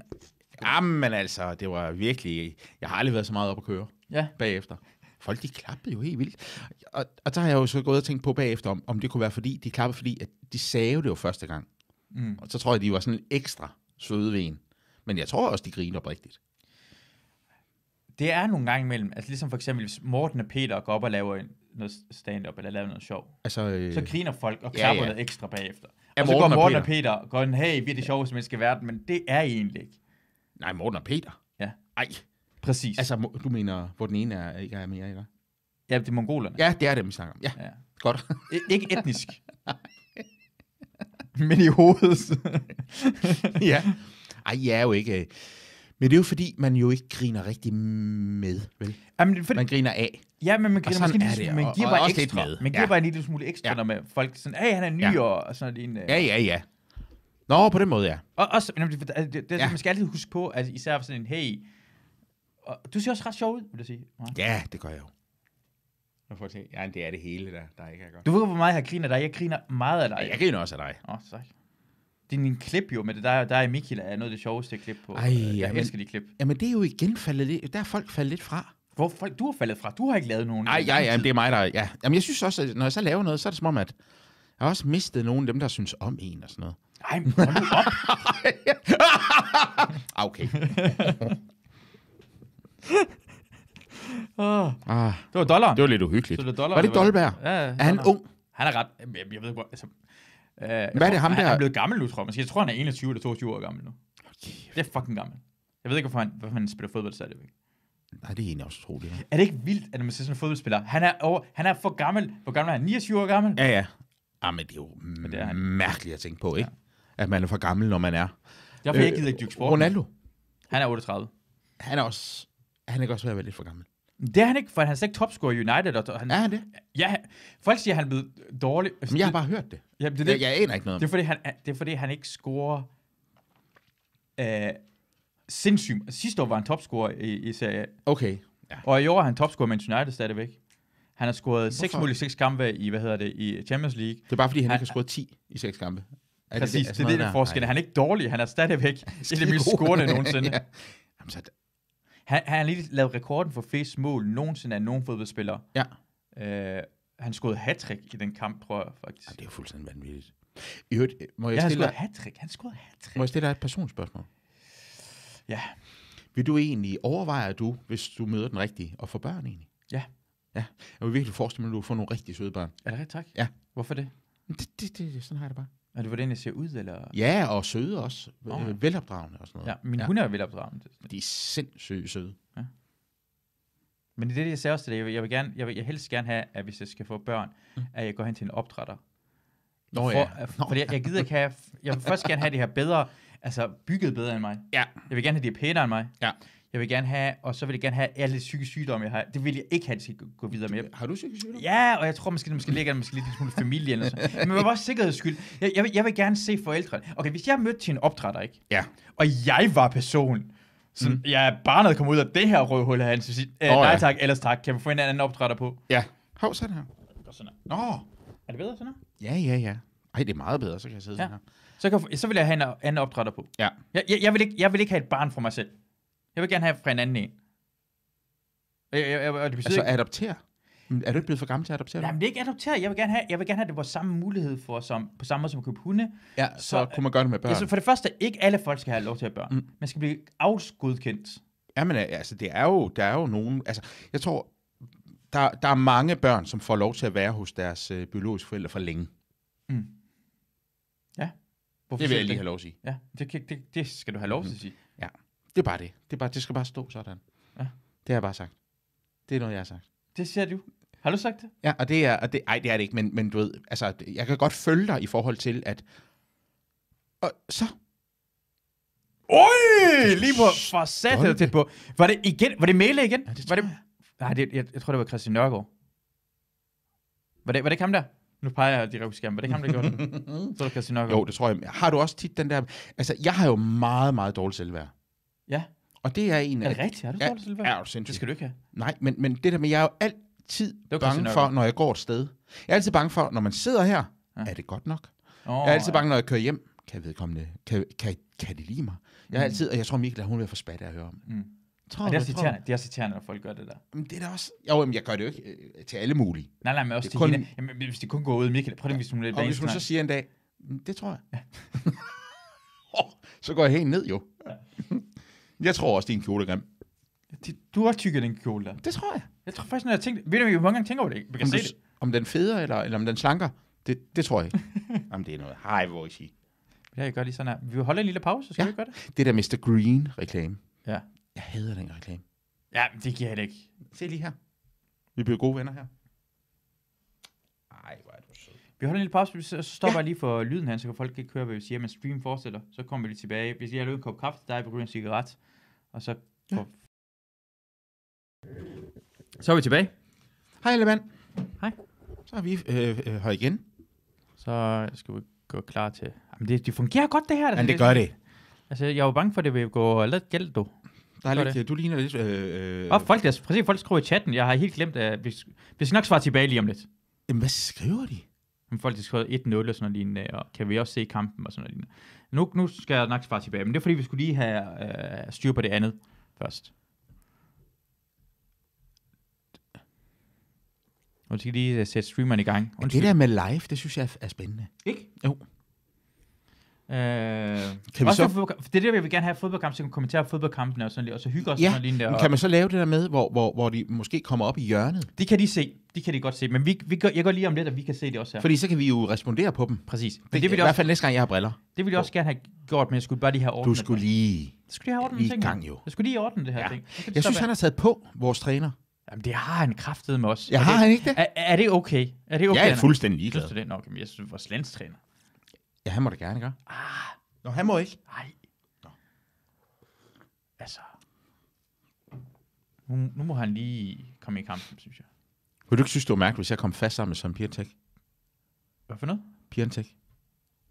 Speaker 3: Jamen altså, det var virkelig... Jeg har aldrig været så meget op at køre
Speaker 2: Ja.
Speaker 3: bagefter. Folk, de klappede jo helt vildt. Og, og der har jeg jo så gået og tænkt på bagefter, om, om det kunne være fordi, de klappede, fordi at de sagde jo det jo første gang.
Speaker 2: Mm.
Speaker 3: Og så tror jeg, de var sådan ekstra søde ved en. Men jeg tror også, de griner rigtigt.
Speaker 2: Det er nogle gange imellem. Altså, ligesom for eksempel, hvis Morten og Peter går op og laver en, noget stand-up, eller laver noget sjov.
Speaker 3: Altså, øh,
Speaker 2: Så griner folk og
Speaker 3: Ja, ja.
Speaker 2: klapper ja, ja. noget ekstra bagefter.
Speaker 3: Ja,
Speaker 2: og så
Speaker 3: Morten
Speaker 2: går
Speaker 3: og
Speaker 2: Morten og Peter og går, en, hey, vi er det sjoveste menneske i verden, men det er I egentlig ikke.
Speaker 3: nej, Morten og Peter.
Speaker 2: Ja.
Speaker 3: Ej,
Speaker 2: Præcis. Altså,
Speaker 3: altså, mo- du mener, hvor den ene er, ikke er mere, ikke?
Speaker 2: ja, det er mongolerne.
Speaker 3: Ja, det er det, vi snakker om. Ja,
Speaker 2: Ja.
Speaker 3: godt.
Speaker 2: I- ikke etnisk. midt i hovedet.
Speaker 3: ja. Ej, jeg er jo ikke... øh, Men det er jo fordi, man jo ikke griner rigtig med, vel?
Speaker 2: Jamen, for,
Speaker 3: Man griner af.
Speaker 2: ja, men man,
Speaker 3: og
Speaker 2: griner
Speaker 3: sådan
Speaker 2: måske en lille
Speaker 3: er det,
Speaker 2: smule, man
Speaker 3: og-
Speaker 2: giver
Speaker 3: og
Speaker 2: bare
Speaker 3: også lidt
Speaker 2: ekstra.
Speaker 3: med.
Speaker 2: Man giver
Speaker 3: Ja.
Speaker 2: bare en lille smule ekstra,
Speaker 3: Ja.
Speaker 2: når man, folk sådan, hey, han er ny,
Speaker 3: Ja.
Speaker 2: og, og sådan en... øh,
Speaker 3: Ja, ja, ja. Nå, på den måde, ja.
Speaker 2: Og også, jamen, det, altså, det, det,
Speaker 3: Ja.
Speaker 2: ja. man skal altid huske på, at især for sådan en, hey, og, du ser også ret sjov ud, vil jeg sige. Mark.
Speaker 3: Ja, det gør jeg jo. Jeg får se. Ja, det er det hele, der, der ikke er godt.
Speaker 2: Du ved, hvor meget jeg griner af dig. Jeg griner meget af dig.
Speaker 3: Ej, jeg griner også af dig.
Speaker 2: Åh, sej. Det er en klip jo, men det der, der er i Mikkel er noget af det sjoveste klip på.
Speaker 3: Ej,
Speaker 2: Øh, jeg
Speaker 3: ja, men-
Speaker 2: elsker de klip.
Speaker 3: Jamen, det er jo igen faldet lidt... Der er folk faldet lidt fra.
Speaker 2: Hvor folk, du har faldet fra. Du har ikke lavet nogen.
Speaker 3: Nej,
Speaker 2: i
Speaker 3: ja,
Speaker 2: lang
Speaker 3: ja,
Speaker 2: tid.
Speaker 3: det er mig, der... Ja. Jamen, jeg synes også, at når jeg så laver noget, så er det som om, at jeg har også mistet nogle af dem, der synes om en og sådan noget.
Speaker 2: Ej, men hold nu op.
Speaker 3: Ah, okay.
Speaker 2: Åh,
Speaker 3: Ah,
Speaker 2: det var dollar.
Speaker 3: det var lidt uhyggeligt.
Speaker 2: Så det var dollar,
Speaker 3: var det
Speaker 2: eller hvad?
Speaker 3: Dolberg?
Speaker 2: Ja,
Speaker 3: Er han
Speaker 2: Dollar.
Speaker 3: ung?
Speaker 2: Han er ret... Jeg, jeg ved godt... Altså, øh, Hvad
Speaker 3: Hvad er det ham
Speaker 2: han,
Speaker 3: der-
Speaker 2: Han er blevet gammel nu, tror jeg. måske. Jeg tror, han er 21 eller 22 år gammel nu.
Speaker 3: Okay.
Speaker 2: Det er fucking gammel. Jeg ved ikke, hvorfor han, hvorfor han spiller fodbold stadigvæk.
Speaker 3: Nej, det er egentlig også utroligt.
Speaker 2: Er det ikke vildt, at når man ser sådan en fodboldspiller? Han er, over, han er for gammel. Hvor gammel er han? 29 år gammel?
Speaker 3: Ja, ja. Ah, men det er jo
Speaker 2: det er han.
Speaker 3: mærkeligt at tænke på, ikke? At man er for gammel, når man er.
Speaker 2: Derfor jeg gider ikke dyrke sport.
Speaker 3: Øh, Ronaldo,
Speaker 2: Han er 38.
Speaker 3: han er også... Han er ikke også ved at være lidt for gammel.
Speaker 2: Det er han ikke, for han er slet ikke topscorer i United. Og og han,
Speaker 3: Er han det?
Speaker 2: Ja, folk siger, at han er blevet dårlig.
Speaker 3: Men jeg har bare hørt det.
Speaker 2: Jamen, det, er
Speaker 3: Jeg,
Speaker 2: det,
Speaker 3: jeg aner ikke noget om
Speaker 2: det, er,
Speaker 3: det.
Speaker 2: fordi, han, det er fordi, han ikke scorer øh, sindssygt. Sidste år var han topscorer i, i Serie A,
Speaker 3: Okay. Ja.
Speaker 2: og i år er han topscorer med United stadigvæk. Han har scoret 6
Speaker 3: Hvorfor?
Speaker 2: mål i 6 kampe i, hvad hedder det, i Champions League.
Speaker 3: Det er bare, fordi han
Speaker 2: Han-
Speaker 3: ikke har scoret 10 i seks kampe. Er
Speaker 2: Er Præcis, det,
Speaker 3: sådan
Speaker 2: det, det, det,
Speaker 3: noget
Speaker 2: er det
Speaker 3: der?
Speaker 2: forskel.
Speaker 3: Nej.
Speaker 2: Han er ikke dårlig, han er stadigvæk et af de mest
Speaker 3: Skidegod.
Speaker 2: scorende nogensinde.
Speaker 3: ja. Jamen, så,
Speaker 2: han, han har lige lavet rekorden for flest mål nogensinde af nogen fodboldspiller.
Speaker 3: ja.
Speaker 2: Øh, han scorede hat i den kamp, tror jeg faktisk.
Speaker 3: Jamen, det er jo fuldstændig vanvittigt. I øvrigt, øh, må jeg,
Speaker 2: Ja, han
Speaker 3: stille
Speaker 2: scorede
Speaker 3: dig,
Speaker 2: hat Han scorede hat
Speaker 3: må jeg stille dig et personspørgsmål?
Speaker 2: Ja.
Speaker 3: Vil du egentlig, overvejer du, hvis du møder den rigtige, at få børn egentlig?
Speaker 2: Ja.
Speaker 3: Ja, jeg vil virkelig forestille mig, at du får nogle rigtig søde børn.
Speaker 2: Er det rigtigt, tak?
Speaker 3: Ja.
Speaker 2: Hvorfor det?
Speaker 3: Men Det, det, det, sådan har jeg det bare.
Speaker 2: Er det, hvordan jeg ser ud, eller?
Speaker 3: Ja, og søde også.
Speaker 2: Nå, ja.
Speaker 3: Oh. Velopdragende og sådan noget.
Speaker 2: Ja, min ja. hund er vel opdraget.
Speaker 3: De er sindssygt søde.
Speaker 2: Men det er det, jeg sagde også til dig. Jeg vil, jeg vil, gerne, jeg vil jeg helst gerne have, at hvis jeg skal få børn, mm. at jeg går hen til en opdrætter.
Speaker 3: Nå
Speaker 2: For,
Speaker 3: ja.
Speaker 2: Nå. Fordi jeg, jeg gider ikke have... Jeg vil først gerne have det her bedre, altså bygget bedre end mig.
Speaker 3: Ja.
Speaker 2: Jeg vil gerne have, det er pænere end mig.
Speaker 3: Ja.
Speaker 2: Jeg vil gerne have, og så vil jeg gerne have alle de psykiske sygdomme, jeg har. Det vil jeg ikke have, at de skal gå- gå videre med.
Speaker 3: Har du psykisk sygdom?
Speaker 2: Ja, og jeg tror måske, det måske ligger der måske lidt en smule familie eller sådan. Men man var også sikkerheds skyld. Jeg, jeg, vil, jeg vil gerne se forældrene. Okay, hvis jeg mødte til en opdrætter, ikke?
Speaker 3: Ja.
Speaker 2: og jeg var personen, så mm. jeg er barnet kom ud af det her røvhul af hans, så sige, øh,
Speaker 3: Åh,
Speaker 2: nej
Speaker 3: ja.
Speaker 2: tak, ellers tak, kan vi få en anden opdrætter på?
Speaker 3: Ja. Hov, sådan her.
Speaker 2: Og sådan her.
Speaker 3: Nå.
Speaker 2: Er det bedre sådan her?
Speaker 3: Ja, ja, ja. Ej, det er meget bedre, så kan jeg sidde
Speaker 2: Ja.
Speaker 3: sådan her.
Speaker 2: Så, kan, jeg få- så vil jeg have en anden opdrætter på.
Speaker 3: Ja.
Speaker 2: Jeg, jeg, jeg, vil ikke, jeg vil ikke have et barn for mig selv. Jeg vil gerne have fra en anden en. Jeg, jeg, jeg, og det betyder
Speaker 3: Altså,
Speaker 2: altså, ikke,
Speaker 3: adoptere. Men Er du ikke blevet for gammel til at adoptere?
Speaker 2: nej, men det er ikke adopteret. Jeg vil gerne have, jeg vil gerne have det på samme mulighed for, som, på samme måde som at købe hunde.
Speaker 3: Ja, så, så
Speaker 2: så- øh,
Speaker 3: kunne man gøre det med børn.
Speaker 2: Ja, så for det første, ikke alle folk skal have lov til at have børn. Mm. Man skal blive afgodkendt.
Speaker 3: Ja, men altså, det er jo, der er jo nogen... Altså, jeg tror, der, der er mange børn, som får lov til at være hos deres øh, biologiske forældre for længe.
Speaker 2: Hvorfor
Speaker 3: Det vil
Speaker 2: siger
Speaker 3: jeg
Speaker 2: du
Speaker 3: lige have Mm. lov at sige.
Speaker 2: Ja, det, kan- det, det skal du have lov til at sige.
Speaker 3: Det er bare det. Det, er bare, det skal bare stå sådan.
Speaker 2: Ja.
Speaker 3: Det har jeg bare sagt. Det er noget, jeg har sagt.
Speaker 2: Det siger du. Har du sagt det?
Speaker 3: Ja, og det er... Og det, ej, det er det ikke, men, men du ved... Altså, det- jeg kan godt følge dig i forhold til, at... Og så...
Speaker 2: Oj, lige på for satte
Speaker 3: Stolte.
Speaker 2: tæt på. Var det igen? Var det Mæle igen?
Speaker 3: Ja, det
Speaker 2: var
Speaker 3: tror
Speaker 2: det, Nej, det, jeg, jeg, tror, det var Christian Nørgaard. Var det, var det ikke ham der? Nu peger jeg direkte på skærmen. Var det ikke ham, der gjorde det? Så var det Christian Nørgaard.
Speaker 3: Jo, det tror jeg. Har du også tit den der... Altså, jeg har jo meget, meget dårligt selvværd.
Speaker 2: Ja.
Speaker 3: Og det er en...
Speaker 2: Er det
Speaker 3: af-
Speaker 2: rigtigt? Har du
Speaker 3: Ja,
Speaker 2: dårlig selvværd?
Speaker 3: er du sindssyg.
Speaker 2: Det skal du ikke have.
Speaker 3: Nej, men, men det der med, jeg er jo altid
Speaker 2: var Christian
Speaker 3: bange for,
Speaker 2: Nørgaard.
Speaker 3: når jeg går et sted. Jeg er altid bange for, når man sidder her,
Speaker 2: Ja.
Speaker 3: ja. er det godt nok?
Speaker 2: Oh,
Speaker 3: Jeg er altid bange, når jeg kører hjem, kan vedkommende, kan, kan, kan de lide mig? Jeg er altid, og jeg tror Mikkel, at hun vil få spat af at høre om.
Speaker 2: Mm.
Speaker 3: Tror,
Speaker 2: Og det er
Speaker 3: du,
Speaker 2: også
Speaker 3: tror du?
Speaker 2: irriterende, det er også irriterende, når folk gør det der.
Speaker 3: Men det er da også... Jo, jamen, jeg gør det jo ikke øh, til alle mulige.
Speaker 2: Nej, nej, men også
Speaker 3: Det er
Speaker 2: til
Speaker 3: kun-
Speaker 2: hende. Jamen, hvis det kun går ud, Michael, prøv lige, hvis hun er
Speaker 3: Og hvis hun så
Speaker 2: så...
Speaker 3: siger en dag, "Mm, det tror jeg. Ja. så går jeg helt ned, jo. jeg tror også, din kjole er grim.
Speaker 2: Du har tykket den kjole der.
Speaker 3: Det tror jeg.
Speaker 2: Jeg tror faktisk, når jeg tænkte... Ved du, hvor mange gange tænker over det? ikke? Vi kan
Speaker 3: Om,
Speaker 2: se
Speaker 3: du,
Speaker 2: det.
Speaker 3: om den feder, eller, eller om den slanker, det, det tror jeg ikke. jamen, det er noget. Hej, hvor I sige.
Speaker 2: Ja, jeg gør lige sådan her. Vi holder en lille pause, skal
Speaker 3: Ja.
Speaker 2: ja. vi gøre det?
Speaker 3: Det der Mr. Green-reklame.
Speaker 2: Ja.
Speaker 3: Jeg hader den reklame.
Speaker 2: Ja, men det giver jeg det ikke.
Speaker 3: Se lige her. Vi bliver gode venner her. Ej, hvor er du sød.
Speaker 2: Vi holder en lille pause, så så stopper jeg lige for lyden her, så kan folk ikke høre, hvad vi siger, men stream fortsætter. Så kommer vi lige tilbage. Hvis jeg har lavet en kop kaffe til dig, vi ryger en cigaret, og så... Ja. Så er vi tilbage.
Speaker 3: Hej, Ellemann.
Speaker 2: Hej.
Speaker 3: Så er vi øh, øh, her igen.
Speaker 2: Så skal vi gå klar til... Jamen, det, det fungerer godt, det her.
Speaker 3: Men det gør det.
Speaker 2: Altså, jeg var bange for, at det ville gå lidt galt, du.
Speaker 3: Der er
Speaker 2: Gør
Speaker 3: lidt, du ligner lidt... Øh, øh,
Speaker 2: Og folk, der, præcis, folk skriver i chatten, jeg har helt glemt, at vi, vi skal nok svare tilbage lige om lidt.
Speaker 3: Jamen, hvad skriver de?
Speaker 2: Men folk har skrevet 1-0 og sådan noget lignende, og kan vi også se kampen og sådan noget lignende. Nu, nu skal jeg nok svare tilbage, men det er fordi, vi skulle lige have øh, styr på det andet først. Og vi skal lige øh, sætte streameren i gang.
Speaker 3: Det der med live, det synes jeg er- er spændende.
Speaker 2: Ikke?
Speaker 3: Jo.
Speaker 2: Øh,
Speaker 3: Kan vi
Speaker 2: kan vi
Speaker 3: så-
Speaker 2: også så... Fodboldkamp, for det er der, vi vil gerne have fodboldkamp, så vi kan kommentere fodboldkampen og sådan lidt, og så hygge os
Speaker 3: Ja,
Speaker 2: sådan noget lignende.
Speaker 3: Men
Speaker 2: og-
Speaker 3: kan man så lave det der med, hvor, hvor, hvor de måske kommer op i hjørnet?
Speaker 2: Det kan de se, det kan de godt se, men vi, vi gør, jeg går lige om lidt, at vi kan se det også her.
Speaker 3: Fordi så kan vi jo respondere på dem.
Speaker 2: Præcis. Men
Speaker 3: Det,
Speaker 2: det,
Speaker 3: det
Speaker 2: ville
Speaker 3: I
Speaker 2: jeg
Speaker 3: hvert
Speaker 2: også,
Speaker 3: fald næste gang, jeg har briller.
Speaker 2: det ville jeg også gerne have gjort, men jeg skulle bare lige have
Speaker 3: Du
Speaker 2: ordnet
Speaker 3: skulle
Speaker 2: det.
Speaker 3: lige...
Speaker 2: Jeg skulle lige have ordnet
Speaker 3: lige i
Speaker 2: tingene.
Speaker 3: gang, jo.
Speaker 2: Jeg skulle lige ordne det her
Speaker 3: Ja.
Speaker 2: ting. Så kan det
Speaker 3: Jeg
Speaker 2: så
Speaker 3: synes,
Speaker 2: være-
Speaker 3: han har taget på vores træner.
Speaker 2: Jamen, det har han kraftet med os.
Speaker 3: Jeg
Speaker 2: Er
Speaker 3: har
Speaker 2: det,
Speaker 3: han ikke det?
Speaker 2: Er, er det okay? Er det okay?
Speaker 3: Jeg er
Speaker 2: han har-
Speaker 3: fuldstændig
Speaker 2: Synes
Speaker 3: ligeglad.
Speaker 2: du det nok? Jamen, jeg synes, det var slendstræner.
Speaker 3: Ja, han må det gerne gøre. Ah. Nå, han må ikke.
Speaker 2: Nej. Altså. Nu, nu må han lige komme i kampen, synes jeg.
Speaker 3: Kunne du ikke synes, det var mærkeligt, hvis jeg kom fast sammen med Søren Piantek?
Speaker 2: Hvad for noget?
Speaker 3: Piantek,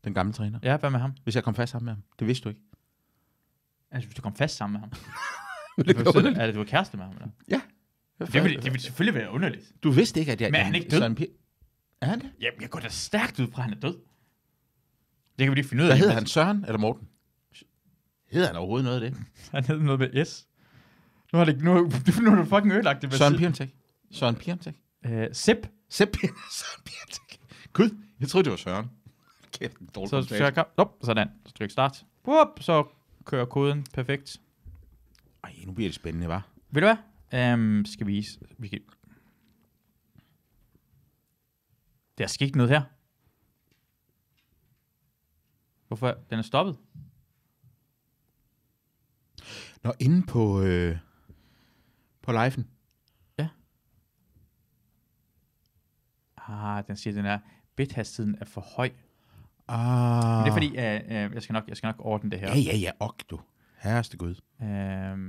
Speaker 3: den gamle træner.
Speaker 2: Ja, hvad med ham?
Speaker 3: Hvis jeg kom fast sammen med ham. Det vidste du ikke.
Speaker 2: Altså, hvis du kom fast sammen med ham.
Speaker 3: Det
Speaker 2: Er du- er det, du var kæreste med ham? Eller? Det ville, det ville selvfølgelig være underligt.
Speaker 3: Du vidste ikke, at jeg...
Speaker 2: Men er han ikke død?
Speaker 3: Søren Pier... Er han det?
Speaker 2: Jamen, jeg går da stærkt ud fra, at han er død. Det kan vi lige finde ud af.
Speaker 3: Hvad hedder han? Søren eller Morten? Hedder han overhovedet noget af det?
Speaker 2: Han hed noget med S. Nu har det, nu, nu har du fucking ødelagt det.
Speaker 3: Søren Piantek. Søren Piantek.
Speaker 2: Øh, Sip.
Speaker 3: Sepp Piantek. Søren Piantek. Gud, jeg troede, det var Søren. Kæft, en dårlig
Speaker 2: Så
Speaker 3: kommentar.
Speaker 2: trykker jeg op. Sådan. Så tryk start. Bup, så kører koden. Perfekt.
Speaker 3: Ej, nu bliver det spændende, hva'?
Speaker 2: Ved du hvad? Um, skal vi... vi kan... Der er sket noget her. Hvorfor? Den er stoppet.
Speaker 3: Nå, inde på, øh, på liven.
Speaker 2: Ah, den siger, den er... Bithastigheden er for høj. Men
Speaker 3: Ah.
Speaker 2: det er fordi, uh, uh, jeg, skal nok, jeg skal nok ordne det her.
Speaker 3: Ja, ja, ja, ok, du. Herreste Gud.
Speaker 2: Øhm,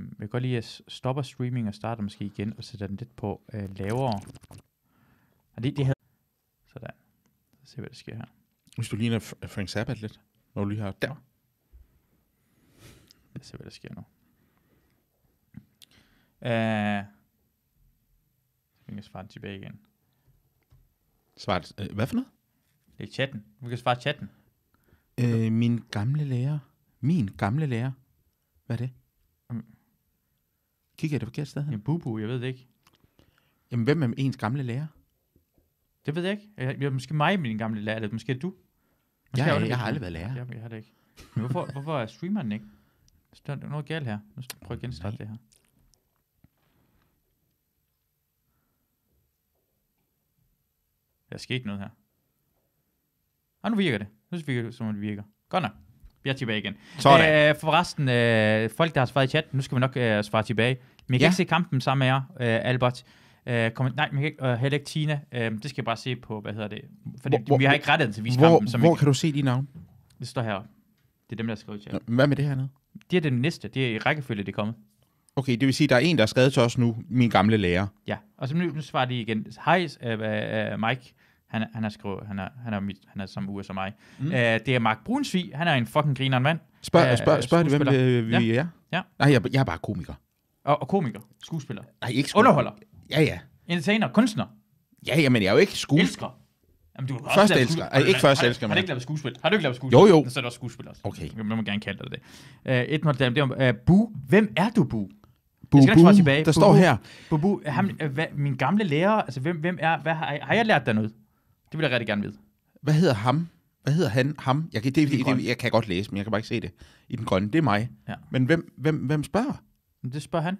Speaker 2: jeg kan godt lide, at jeg s- stopper streaming og starter måske igen, og sætter den lidt på øh, lavere. Og det, det havde... Sådan. Så se, hvad der sker her.
Speaker 3: Hvis du ligner F- Frank Sabbat lidt, når du lige har... Der.
Speaker 2: Lad os se, hvad der sker nu. Øh, så vi kan svare den tilbage igen.
Speaker 3: Svart. Øh, hvad for noget?
Speaker 2: Det er chatten. Vi kan svare chatten.
Speaker 3: Øh, min gamle lærer. Min gamle lærer. Hvad er det?
Speaker 2: Mm.
Speaker 3: Kigger jeg det forkert sted hen?
Speaker 2: En bubu, jeg ved det ikke.
Speaker 3: Jamen, hvem er ens gamle lærer?
Speaker 2: Det ved jeg ikke. Jeg, jeg, måske mig, min gamle lærer, eller måske er det du.
Speaker 3: Jeg,
Speaker 2: er
Speaker 3: jeg,
Speaker 2: det
Speaker 3: jeg har
Speaker 2: du.
Speaker 3: aldrig været lærer.
Speaker 2: Ja, men jeg har det ikke. Men hvorfor, hvorfor er streameren ikke? Der er noget galt her. Nu skal jeg prøve at genstarte det her. Der er sket noget her. Og nu virker det. Nu virker det, som om det virker. Godt nok. Vi er tilbage igen.
Speaker 3: Sådan.
Speaker 2: Øh, for resten, øh, folk, der har svaret i chat, nu skal vi nok øh, svare tilbage. Men jeg kan
Speaker 3: Ja.
Speaker 2: ikke se kampen sammen med jer, øh, Albert. Øh, kom, nej, men ikke, øh, heller ikke Tina. Øh, det skal jeg bare se på, hvad hedder det? For det,
Speaker 3: Hvor-
Speaker 2: vi har ikke rettet den til at vise kampen,
Speaker 3: Hvor,
Speaker 2: som
Speaker 3: hvor
Speaker 2: hvor,
Speaker 3: kan du se de navn?
Speaker 2: det står heroppe. Det er dem, der har skrevet i chat.
Speaker 3: Nå, Hvad med det hernede?
Speaker 2: Det er den næste. Det er i rækkefølge, det er kommet.
Speaker 3: Okay, det vil sige, der er en, der er skrevet til os nu. Min gamle lærer.
Speaker 2: Ja, og så nu, nu svarer de igen. Hej, øh, øh, Mike. Han, er- han har skrevet, han er, han er, mit, han er som uge som mig. Mm. Øh, det er Mark Brunsvig. Han er en fucking grineren mand.
Speaker 3: Spørg,
Speaker 2: Øh,
Speaker 3: spørg, spørg det, hvem øh, vi er.
Speaker 2: Ja.
Speaker 3: Nej, jeg, jeg er bare komiker.
Speaker 2: Og, og komiker. Skuespiller.
Speaker 3: Nej, ikke sku...
Speaker 2: Underholder.
Speaker 3: Ja, ja.
Speaker 2: Entertainer. Kunstner.
Speaker 3: Ja, ja, men jeg er jo ikke skuespiller.
Speaker 2: Elsker. Jamen, du har
Speaker 3: Først
Speaker 2: også lavet
Speaker 3: elsker.
Speaker 2: skuespil-
Speaker 3: Ej, ikke
Speaker 2: Har-
Speaker 3: først
Speaker 2: har-
Speaker 3: elsker,
Speaker 2: Har du
Speaker 3: men-
Speaker 2: ikke lavet skuespil? Har du ikke lavet skuespil?
Speaker 3: Jo, jo.
Speaker 2: Så er der også skuespiller også.
Speaker 3: Okay.
Speaker 2: Man må gerne kalde dig det. Øh, et mål, det er uh, Bu. Hvem er du, Bu?
Speaker 3: Boo,
Speaker 2: Jeg skal nok svare tilbage.
Speaker 3: Der
Speaker 2: Boo,
Speaker 3: står
Speaker 2: boo.
Speaker 3: her.
Speaker 2: Bubu, ham,
Speaker 3: Mm.
Speaker 2: øh, hvad, min gamle lærer, altså hvem, hvem er, hvad har, har jeg lært dig noget? Det vil jeg rigtig gerne vide.
Speaker 3: Hvad hedder ham? Hvad hedder han? Ham? Jeg kan, det,
Speaker 2: den
Speaker 3: det,
Speaker 2: grønne.
Speaker 3: det, jeg kan godt læse, men jeg kan bare ikke se det. I den grønne, det er mig.
Speaker 2: Ja.
Speaker 3: Men hvem, hvem, hvem spørger?
Speaker 2: Men det spørger han.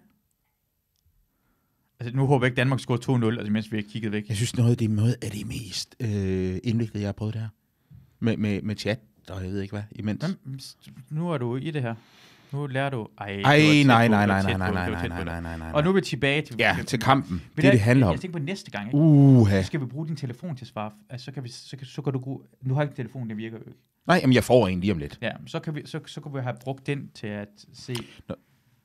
Speaker 2: Altså, nu håber jeg ikke, Danmark scorer 2-0, altså, mens vi har kigget væk.
Speaker 3: Jeg synes, noget af det, noget af det mest øh, indviklede, jeg har prøvet det her. Med, med, med chat og jeg ved ikke hvad, imens.
Speaker 2: Hvem, nu er du i det her. Nu lærer du... Ej, det var
Speaker 3: Ej,
Speaker 2: tæt
Speaker 3: nej,
Speaker 2: på,
Speaker 3: nej,
Speaker 2: det var
Speaker 3: nej,
Speaker 2: tæt
Speaker 3: nej,
Speaker 2: på,
Speaker 3: nej,
Speaker 2: det var
Speaker 3: nej,
Speaker 2: tæt på
Speaker 3: nej,
Speaker 2: det.
Speaker 3: nej, nej, nej.
Speaker 2: Og nu er vi tilbage til...
Speaker 3: Ja, til kampen.
Speaker 2: Ved
Speaker 3: Det, er
Speaker 2: du
Speaker 3: det
Speaker 2: hvad,
Speaker 3: handler om. Uh,
Speaker 2: Jeg tænker på næste gang, ikke?
Speaker 3: Uha.
Speaker 2: Så skal vi bruge din telefon til svar. Altså, så kan vi... Så kan, så kan du gå... Nu har jeg ikke telefonen, den virker jo ikke.
Speaker 3: Nej, jamen, jeg får en lige om lidt.
Speaker 2: Ja, men så kan vi, så, så kan vi have brugt den til at se...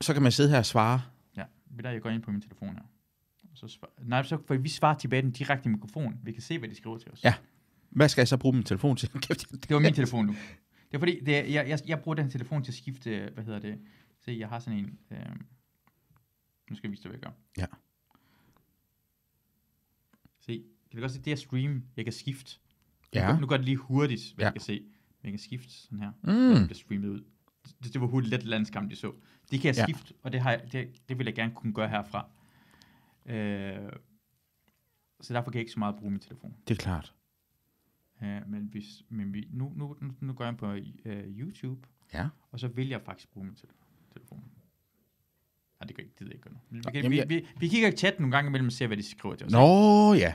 Speaker 3: Så kan man sidde her og svare.
Speaker 2: Ja, ved du, jeg går ind på min telefon her. Og Så svar, nej, så for vi svarer tilbage den direkte i mikrofonen. Vi kan se, hvad de skriver til os.
Speaker 3: Ja. Hvad skal jeg så bruge min telefon til? Kæft, jeg-
Speaker 2: Det var min telefon nu. Det er fordi, det er, jeg, jeg, jeg bruger den telefon til at skifte, hvad hedder det? Se, jeg har sådan en... Øh, nu skal jeg vise dig, hvad jeg gør.
Speaker 3: Ja.
Speaker 2: Se, kan du godt se, det er stream, jeg kan skifte.
Speaker 3: Ja.
Speaker 2: Nu, nu gør det lige hurtigt,
Speaker 3: Ja.
Speaker 2: hvad ja. jeg kan se. Men jeg kan skifte sådan her. Mm. Det
Speaker 3: Mm.
Speaker 2: bliver streamet ud. Det, det var hurtigt let landskamp, de så. Det kan jeg
Speaker 3: Ja.
Speaker 2: skifte, og det, har jeg, det, det vil jeg gerne kunne gøre herfra. Øh, så derfor kan jeg ikke så meget bruge min telefon.
Speaker 3: Det er klart.
Speaker 2: Øh, men hvis, men vi, nu, nu, nu, nu går jeg ind på øh, YouTube,
Speaker 3: Ja.
Speaker 2: og så vil jeg faktisk bruge min tele- telefon. Nej, det kan jeg ikke, det ikke gøre nu. Vi, kan,
Speaker 3: jamen,
Speaker 2: vi,
Speaker 3: jeg-
Speaker 2: vi, vi, kigger i chatten nogle gange imellem og ser, hvad de skriver til os.
Speaker 3: Nå, ja.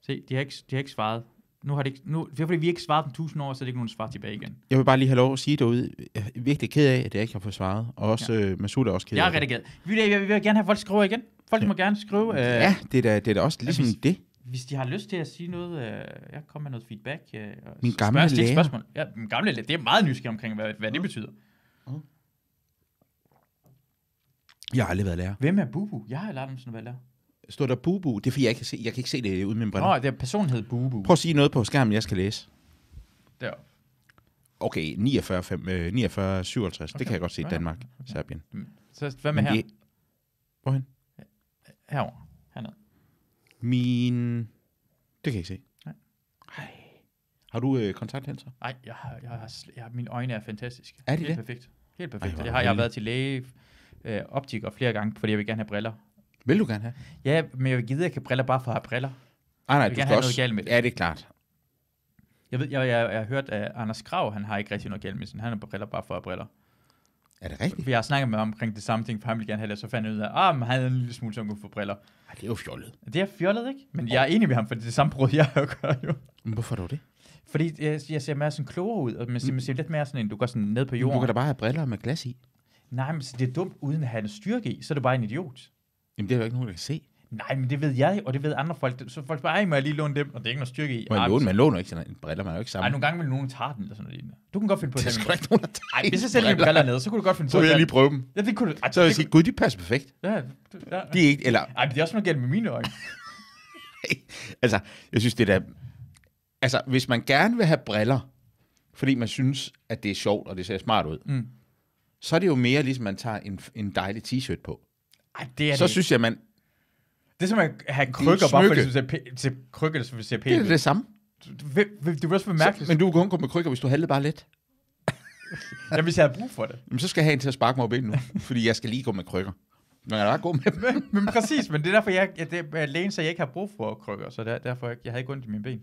Speaker 2: Se, de har ikke, de har ikke svaret. Nu har de ikke, nu, det er fordi, vi ikke svaret dem tusind år, så er det ikke nogen svar tilbage igen.
Speaker 3: Jeg vil bare lige have lov at sige derude, jeg er virkelig ked af, at jeg ikke har fået svaret. Og også, ja. øh, Masud er også ked
Speaker 2: Jeg
Speaker 3: af
Speaker 2: er rigtig glad. Vi vil, jeg vil gerne have, at folk skriver igen. Folk må gerne skrive, øh,
Speaker 3: det. Ja, det er da, det er da også ligesom
Speaker 2: hvis-
Speaker 3: det.
Speaker 2: hvis de har lyst til at sige noget. Øh, jeg kommer med noget feedback. Øh, og
Speaker 3: Min
Speaker 2: s-
Speaker 3: gamle
Speaker 2: spørg- stil
Speaker 3: lærer.
Speaker 2: Spørgsmål. Ja, min gamle lærer. Det er meget nysgerrig omkring, hvad, hvad det betyder.
Speaker 3: Jeg har aldrig været lærer.
Speaker 2: Hvem er Bubu? Jeg har aldrig sådan været lærer.
Speaker 3: Står der bubu? Det er fordi, jeg ikke kan se, jeg kan ikke se det uden min briller.
Speaker 2: Nå, det er personen hed Bubu.
Speaker 3: Prøv at sige noget på skærmen, jeg skal læse.
Speaker 2: Deroppe.
Speaker 3: Okay, 49, 5, øh, 49 57. Okay. Det kan jeg godt se i
Speaker 2: Ja,
Speaker 3: Danmark, Serbien.
Speaker 2: Så hvad med
Speaker 3: Men
Speaker 2: her?
Speaker 3: det- Hvorhen?
Speaker 2: Herover. Hernede.
Speaker 3: Min... Det kan jeg ikke se.
Speaker 2: Nej.
Speaker 3: Ej. Har du øh, kontaktlinser?
Speaker 2: Nej, jeg har, jeg har, sl- jeg har, mine øjne er fantastiske.
Speaker 3: Er de
Speaker 2: Helt
Speaker 3: det?
Speaker 2: perfekt. Helt
Speaker 3: Ej,
Speaker 2: perfekt.
Speaker 3: hvor
Speaker 2: Ej, jeg, har, jeg har
Speaker 3: heldig.
Speaker 2: været til læge, øh, optiker flere gange, fordi jeg vil gerne have briller.
Speaker 3: Vil du gerne have?
Speaker 2: Ja, men jeg vil gide, at jeg kan briller bare for at have briller.
Speaker 3: Ej, nej,
Speaker 2: Jeg vil
Speaker 3: du skal
Speaker 2: gerne have
Speaker 3: også...
Speaker 2: noget galt med det.
Speaker 3: Ja, det er klart.
Speaker 2: Jeg ved, jeg, jeg, jeg har hørt, at Anders Krav, han har ikke rigtig noget galt med sådan. Han har briller bare for at have briller.
Speaker 3: Er det rigtigt?
Speaker 2: For jeg har snakket med ham omkring det samme ting, for han ville gerne have det, så fandt jeg ud af, ah, men han havde en lille smule, som kunne få briller.
Speaker 3: Ej, det er jo fjollet.
Speaker 2: Det er fjollet, ikke? Men jeg er enig med ham, for det er det samme brud, jeg gør jo.
Speaker 3: Men hvorfor dog det?
Speaker 2: Fordi jeg, jeg ser mere sådan klogere ud, og man ser, man ser lidt mere sådan en, du går sådan ned på
Speaker 3: Jamen,
Speaker 2: jorden.
Speaker 3: Du kan da bare have briller med glas i.
Speaker 2: Nej, men så det er dumt uden at have en styrke i, så er du bare en idiot.
Speaker 3: Jamen, det er jo ikke nogen, der kan se.
Speaker 2: Nej, men det ved jeg, og det ved andre folk. Så folk bare, ej, må jeg lige låne dem, og det er ikke noget styrke i.
Speaker 3: Man,
Speaker 2: Ej,
Speaker 3: låner,
Speaker 2: men-
Speaker 3: man låner ikke sådan en briller, man er jo ikke
Speaker 2: Ej,
Speaker 3: sammen.
Speaker 2: nogle gange vil nogen tage den eller sådan noget lignende. Du kan godt finde på at
Speaker 3: det er
Speaker 2: tage
Speaker 3: sgu da ikke nogen,
Speaker 2: min briller.
Speaker 3: der tager
Speaker 2: Ej, hvis jeg
Speaker 3: ens
Speaker 2: selv mine
Speaker 3: briller.
Speaker 2: briller ned, så kunne du godt finde
Speaker 3: Så
Speaker 2: på
Speaker 3: vil
Speaker 2: at
Speaker 3: jeg
Speaker 2: tage
Speaker 3: lige prøve dem.
Speaker 2: den. Ja, det kunne du. Ej,
Speaker 3: Så vil
Speaker 2: det
Speaker 3: jeg sige, gud, de passer perfekt.
Speaker 2: kunne- Ja, det- ja.
Speaker 3: De er ikke, eller,
Speaker 2: Ej, men det er også noget galt med mine øjne.
Speaker 3: altså, jeg synes, det er da... Altså, hvis man gerne vil have briller, fordi man synes, at det er sjovt, og det ser smart ud,
Speaker 2: Mm.
Speaker 3: så er det jo mere ligesom, man tager en, en dejlig t-shirt på.
Speaker 2: Ej, det er
Speaker 3: så
Speaker 2: det.
Speaker 3: synes jeg, man...
Speaker 2: Det er som at have krykker, bare fordi
Speaker 3: smykke.
Speaker 2: du ser pæ- til krykker, som ser
Speaker 3: Det
Speaker 2: pænt
Speaker 3: er
Speaker 2: ud.
Speaker 3: da det samme.
Speaker 2: Du, vil- vil- du vil også være
Speaker 3: Så,
Speaker 2: mærkelig,
Speaker 3: men du kan kun gå med krykker, hvis du halvede bare lidt.
Speaker 2: ja, hvis jeg havde brug for det.
Speaker 3: Jamen, så skal jeg have en til at sparke mig op ind nu, fordi jeg skal lige gå med krykker. Man kan da bare gå med dem.
Speaker 2: Men, men præcis, men det er derfor, jeg, jeg det er lægen, så jeg ikke har brug for krykker, så der, derfor jeg, jeg havde ikke ondt i mine ben.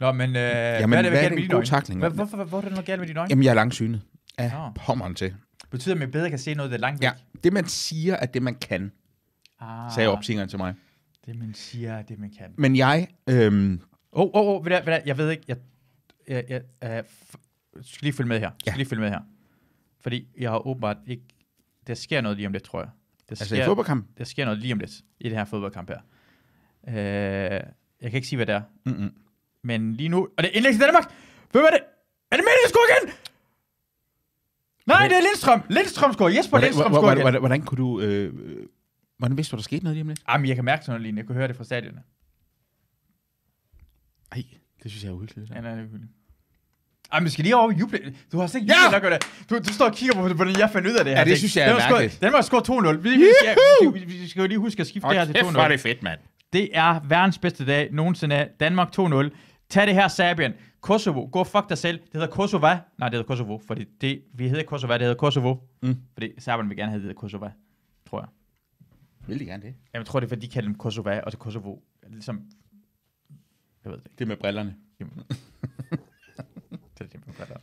Speaker 2: Nå, men øh, Jamen,
Speaker 3: hvad er
Speaker 2: der
Speaker 3: det
Speaker 2: galt med
Speaker 3: en
Speaker 2: dine
Speaker 3: god
Speaker 2: øjne?
Speaker 3: tackling?
Speaker 2: Hvad, hvorfor, hvor, hvor er der noget galt med dine øjne? Jamen.
Speaker 3: Jamen, jeg er langsynet. Ja,
Speaker 2: Nå.
Speaker 3: pommeren til.
Speaker 2: Betyder det, at man bedre kan se noget, der er langt væk?
Speaker 3: Ja, det man siger, er det man kan,
Speaker 2: Ah,
Speaker 3: sagde opsingeren til mig.
Speaker 2: Det, man siger, er det, man kan.
Speaker 3: Men jeg, øhm,
Speaker 2: Åh, åh, åh, ved du hvad, ved du hvad, jeg ved ikke, jeg, jeg, jeg, jeg f- skal lige følge med her. Ja.
Speaker 3: Ja.
Speaker 2: Skal lige følge med her. Fordi jeg har åbenbart ikke, der sker noget lige om lidt, tror jeg. Der
Speaker 3: altså i fodboldkamp,
Speaker 2: der sker noget lige om lidt i det her fodboldkamp her. Øh, jeg kan ikke sige, hvad det er.
Speaker 3: Mm-mm.
Speaker 2: Men lige nu... Og det er indlæg til Danmark! Hvem er det? Er det Mendes score igen? Nej, det er Lindstrøm! Lindstrøm scorer! Jesper
Speaker 3: hvordan,
Speaker 2: Lindstrøm
Speaker 3: hvordan,
Speaker 2: scorer
Speaker 3: hvordan,
Speaker 2: igen!
Speaker 3: hvordan, hvordan kunne du, øh, øh, hvordan vidste du, der skete noget lige om lidt?
Speaker 2: Jamen, jeg kan mærke sådan noget lignende. Jeg kunne høre det fra stadionet.
Speaker 3: Ej, det synes jeg er uhyggeligt.
Speaker 2: Ja, nej, det er hyggeligt. Ej, men vi skal lige over og juble. Du har slet ikke
Speaker 3: Ja!
Speaker 2: jublet nok over det. Du, du står og kigger på, hvordan jeg fandt ud af det her.
Speaker 3: det
Speaker 2: ting.
Speaker 3: synes jeg er
Speaker 2: Danmark scorede-
Speaker 3: mærkeligt.
Speaker 2: Danmark scorer 2-0. Vi, vi, skal, vi, vi, vi skal jo lige huske at skifte det her til 2-0.
Speaker 3: fedt, mand.
Speaker 2: Det er verdens bedste dag nogensinde. Danmark 2-0. Tag det her, Serbien. Kosovo, gå og fuck dig selv. Det hedder Kosova. Nej, det hedder Kosovo, fordi det, vi hedder Kosova, det hedder Kosovo.
Speaker 3: Mm.
Speaker 2: Fordi Serbien vil gerne have det hedder Kosova, tror jeg.
Speaker 3: Vil de gerne det?
Speaker 2: Jamen, Jeg tror, det er, fordi de kalder dem Kosova, og det er Kosovo. Ligesom, jeg ved det ikke.
Speaker 3: Det med brillerne.
Speaker 2: Det er det, man kalder det.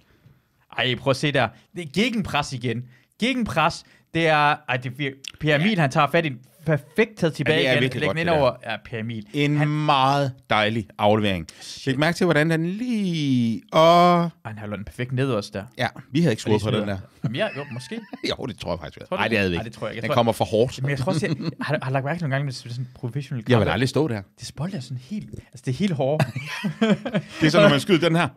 Speaker 2: Ej, prøv at se der. Det er gegenpres igen. Gegenpres, det er... Ej, det er vir- Pyramid, han tager fat i en perfekt taget tilbage
Speaker 3: Ja, det er
Speaker 2: ja, igen.
Speaker 3: virkelig
Speaker 2: Læg
Speaker 3: godt,
Speaker 2: den ind
Speaker 3: det der.
Speaker 2: over ja, Per Emil.
Speaker 3: En han... meget dejlig aflevering. Læg mærke til, hvordan den lige... Og...
Speaker 2: Ej, Han har lånt den perfekt ned også der.
Speaker 3: Ja, vi havde ikke
Speaker 2: Og lige
Speaker 3: skruet på den
Speaker 2: smider
Speaker 3: der.
Speaker 2: Jamen, ja, jo, måske.
Speaker 3: Jo, det tror jeg faktisk. vi havde.
Speaker 2: Tror du
Speaker 3: Nej, det
Speaker 2: det?
Speaker 3: havde vi
Speaker 2: Ej,
Speaker 3: ikke.
Speaker 2: det tror jeg ikke. Jeg
Speaker 3: Den
Speaker 2: tror-
Speaker 3: kommer for hårdt.
Speaker 2: Men jeg tror også, jeg, jeg har, har lagt mærke til nogle gange, med sådan en professionel
Speaker 3: Jeg vil
Speaker 2: kamp.
Speaker 3: aldrig stå der.
Speaker 2: Det spoiler sådan helt... Altså, det er helt hårdt.
Speaker 3: Det er sådan, når man skyder den her.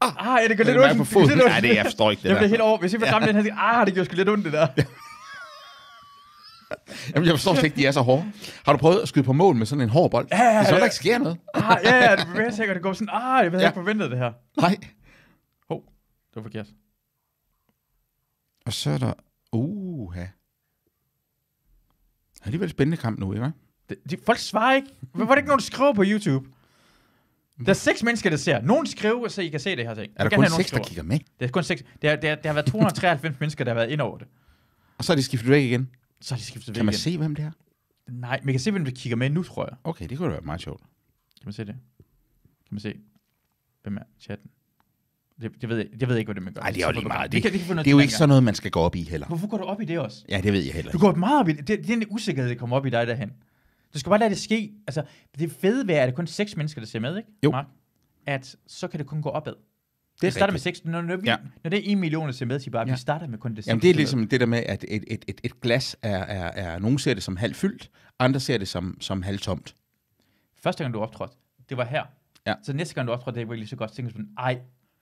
Speaker 2: ah, ja, det gør
Speaker 3: Den
Speaker 2: lidt ondt.
Speaker 3: er på foden.
Speaker 2: Det gør lidt
Speaker 3: Nej,
Speaker 2: ondt.
Speaker 3: det jeg forstår ikke det
Speaker 2: Jeg bliver
Speaker 3: der.
Speaker 2: helt over. Hvis jeg får ramt den her, ah, det gør sgu lidt ondt, det der.
Speaker 3: Jamen, jeg forstår slet ikke, de er så hårde. Har du prøvet at skyde på mål med sådan en hård bold? Ja,
Speaker 2: ja,
Speaker 3: Det er så,
Speaker 2: ja.
Speaker 3: der ikke sker noget.
Speaker 2: Ah, ja, ja, det bevæger sig, og det går sådan, ah, jeg havde
Speaker 3: Ja.
Speaker 2: ikke forventet det her.
Speaker 3: Nej.
Speaker 2: Hov, det var forkert.
Speaker 3: Og så er der... Uha. Det er alligevel en spændende kamp nu, ikke?
Speaker 2: Det, de, folk svarer ikke. Hvor var det ikke nogen, der skriver på YouTube? Der er seks mennesker, der ser. Nogen skriver, så I kan se det her ting.
Speaker 3: Er der kun seks, der kigger med?
Speaker 2: Det er kun seks. Det er, det er, det har været 293 mennesker, der har været ind over det.
Speaker 3: Og så er de skiftet væk igen.
Speaker 2: Så har de
Speaker 3: Kan
Speaker 2: skiftet væk
Speaker 3: man
Speaker 2: igen.
Speaker 3: se, hvem det er?
Speaker 2: Nej, men jeg kan se, hvem der kigger med nu, tror jeg.
Speaker 3: Okay, det kunne da være meget sjovt.
Speaker 2: Kan man se det? Kan man se, hvem er chatten? Det, det, ved jeg, jeg ved ikke, hvad det man gør.
Speaker 3: Nej, det er jo lige meget.
Speaker 2: Det, kan, det, kan få noget
Speaker 3: Det er jo ikke
Speaker 2: til
Speaker 3: sådan noget, man skal gå op i heller.
Speaker 2: dengang. Hvorfor går du op i det også?
Speaker 3: Ja, det ved jeg heller
Speaker 2: Du
Speaker 3: ikke.
Speaker 2: går meget op i det. Det, det er den usikkerhed, der kommer op i dig derhen. Du skal bare lade det ske. Altså, det fede ved, at det er kun seks mennesker, der ser med, ikke?
Speaker 3: Jo.
Speaker 2: Mark? At så kan det kun gå opad.
Speaker 3: Det
Speaker 2: Det starter med
Speaker 3: rigtigt.
Speaker 2: seks. Når, når, vi,
Speaker 3: Ja.
Speaker 2: ja. når det er en million, der ser med, siger bare, at
Speaker 3: Ja.
Speaker 2: vi starter med kun det
Speaker 3: Jamen,
Speaker 2: seks,
Speaker 3: det er
Speaker 2: der
Speaker 3: ligesom det der med, at et, et, et, et glas er, er, er... Nogen ser det som halvfyldt, andre ser det som, som halvtomt.
Speaker 2: med. Første gang, du optrådte, det var her.
Speaker 3: Ja.
Speaker 2: Så næste gang, du optrådte, det var ikke lige så godt. Så tænker du sådan, ej,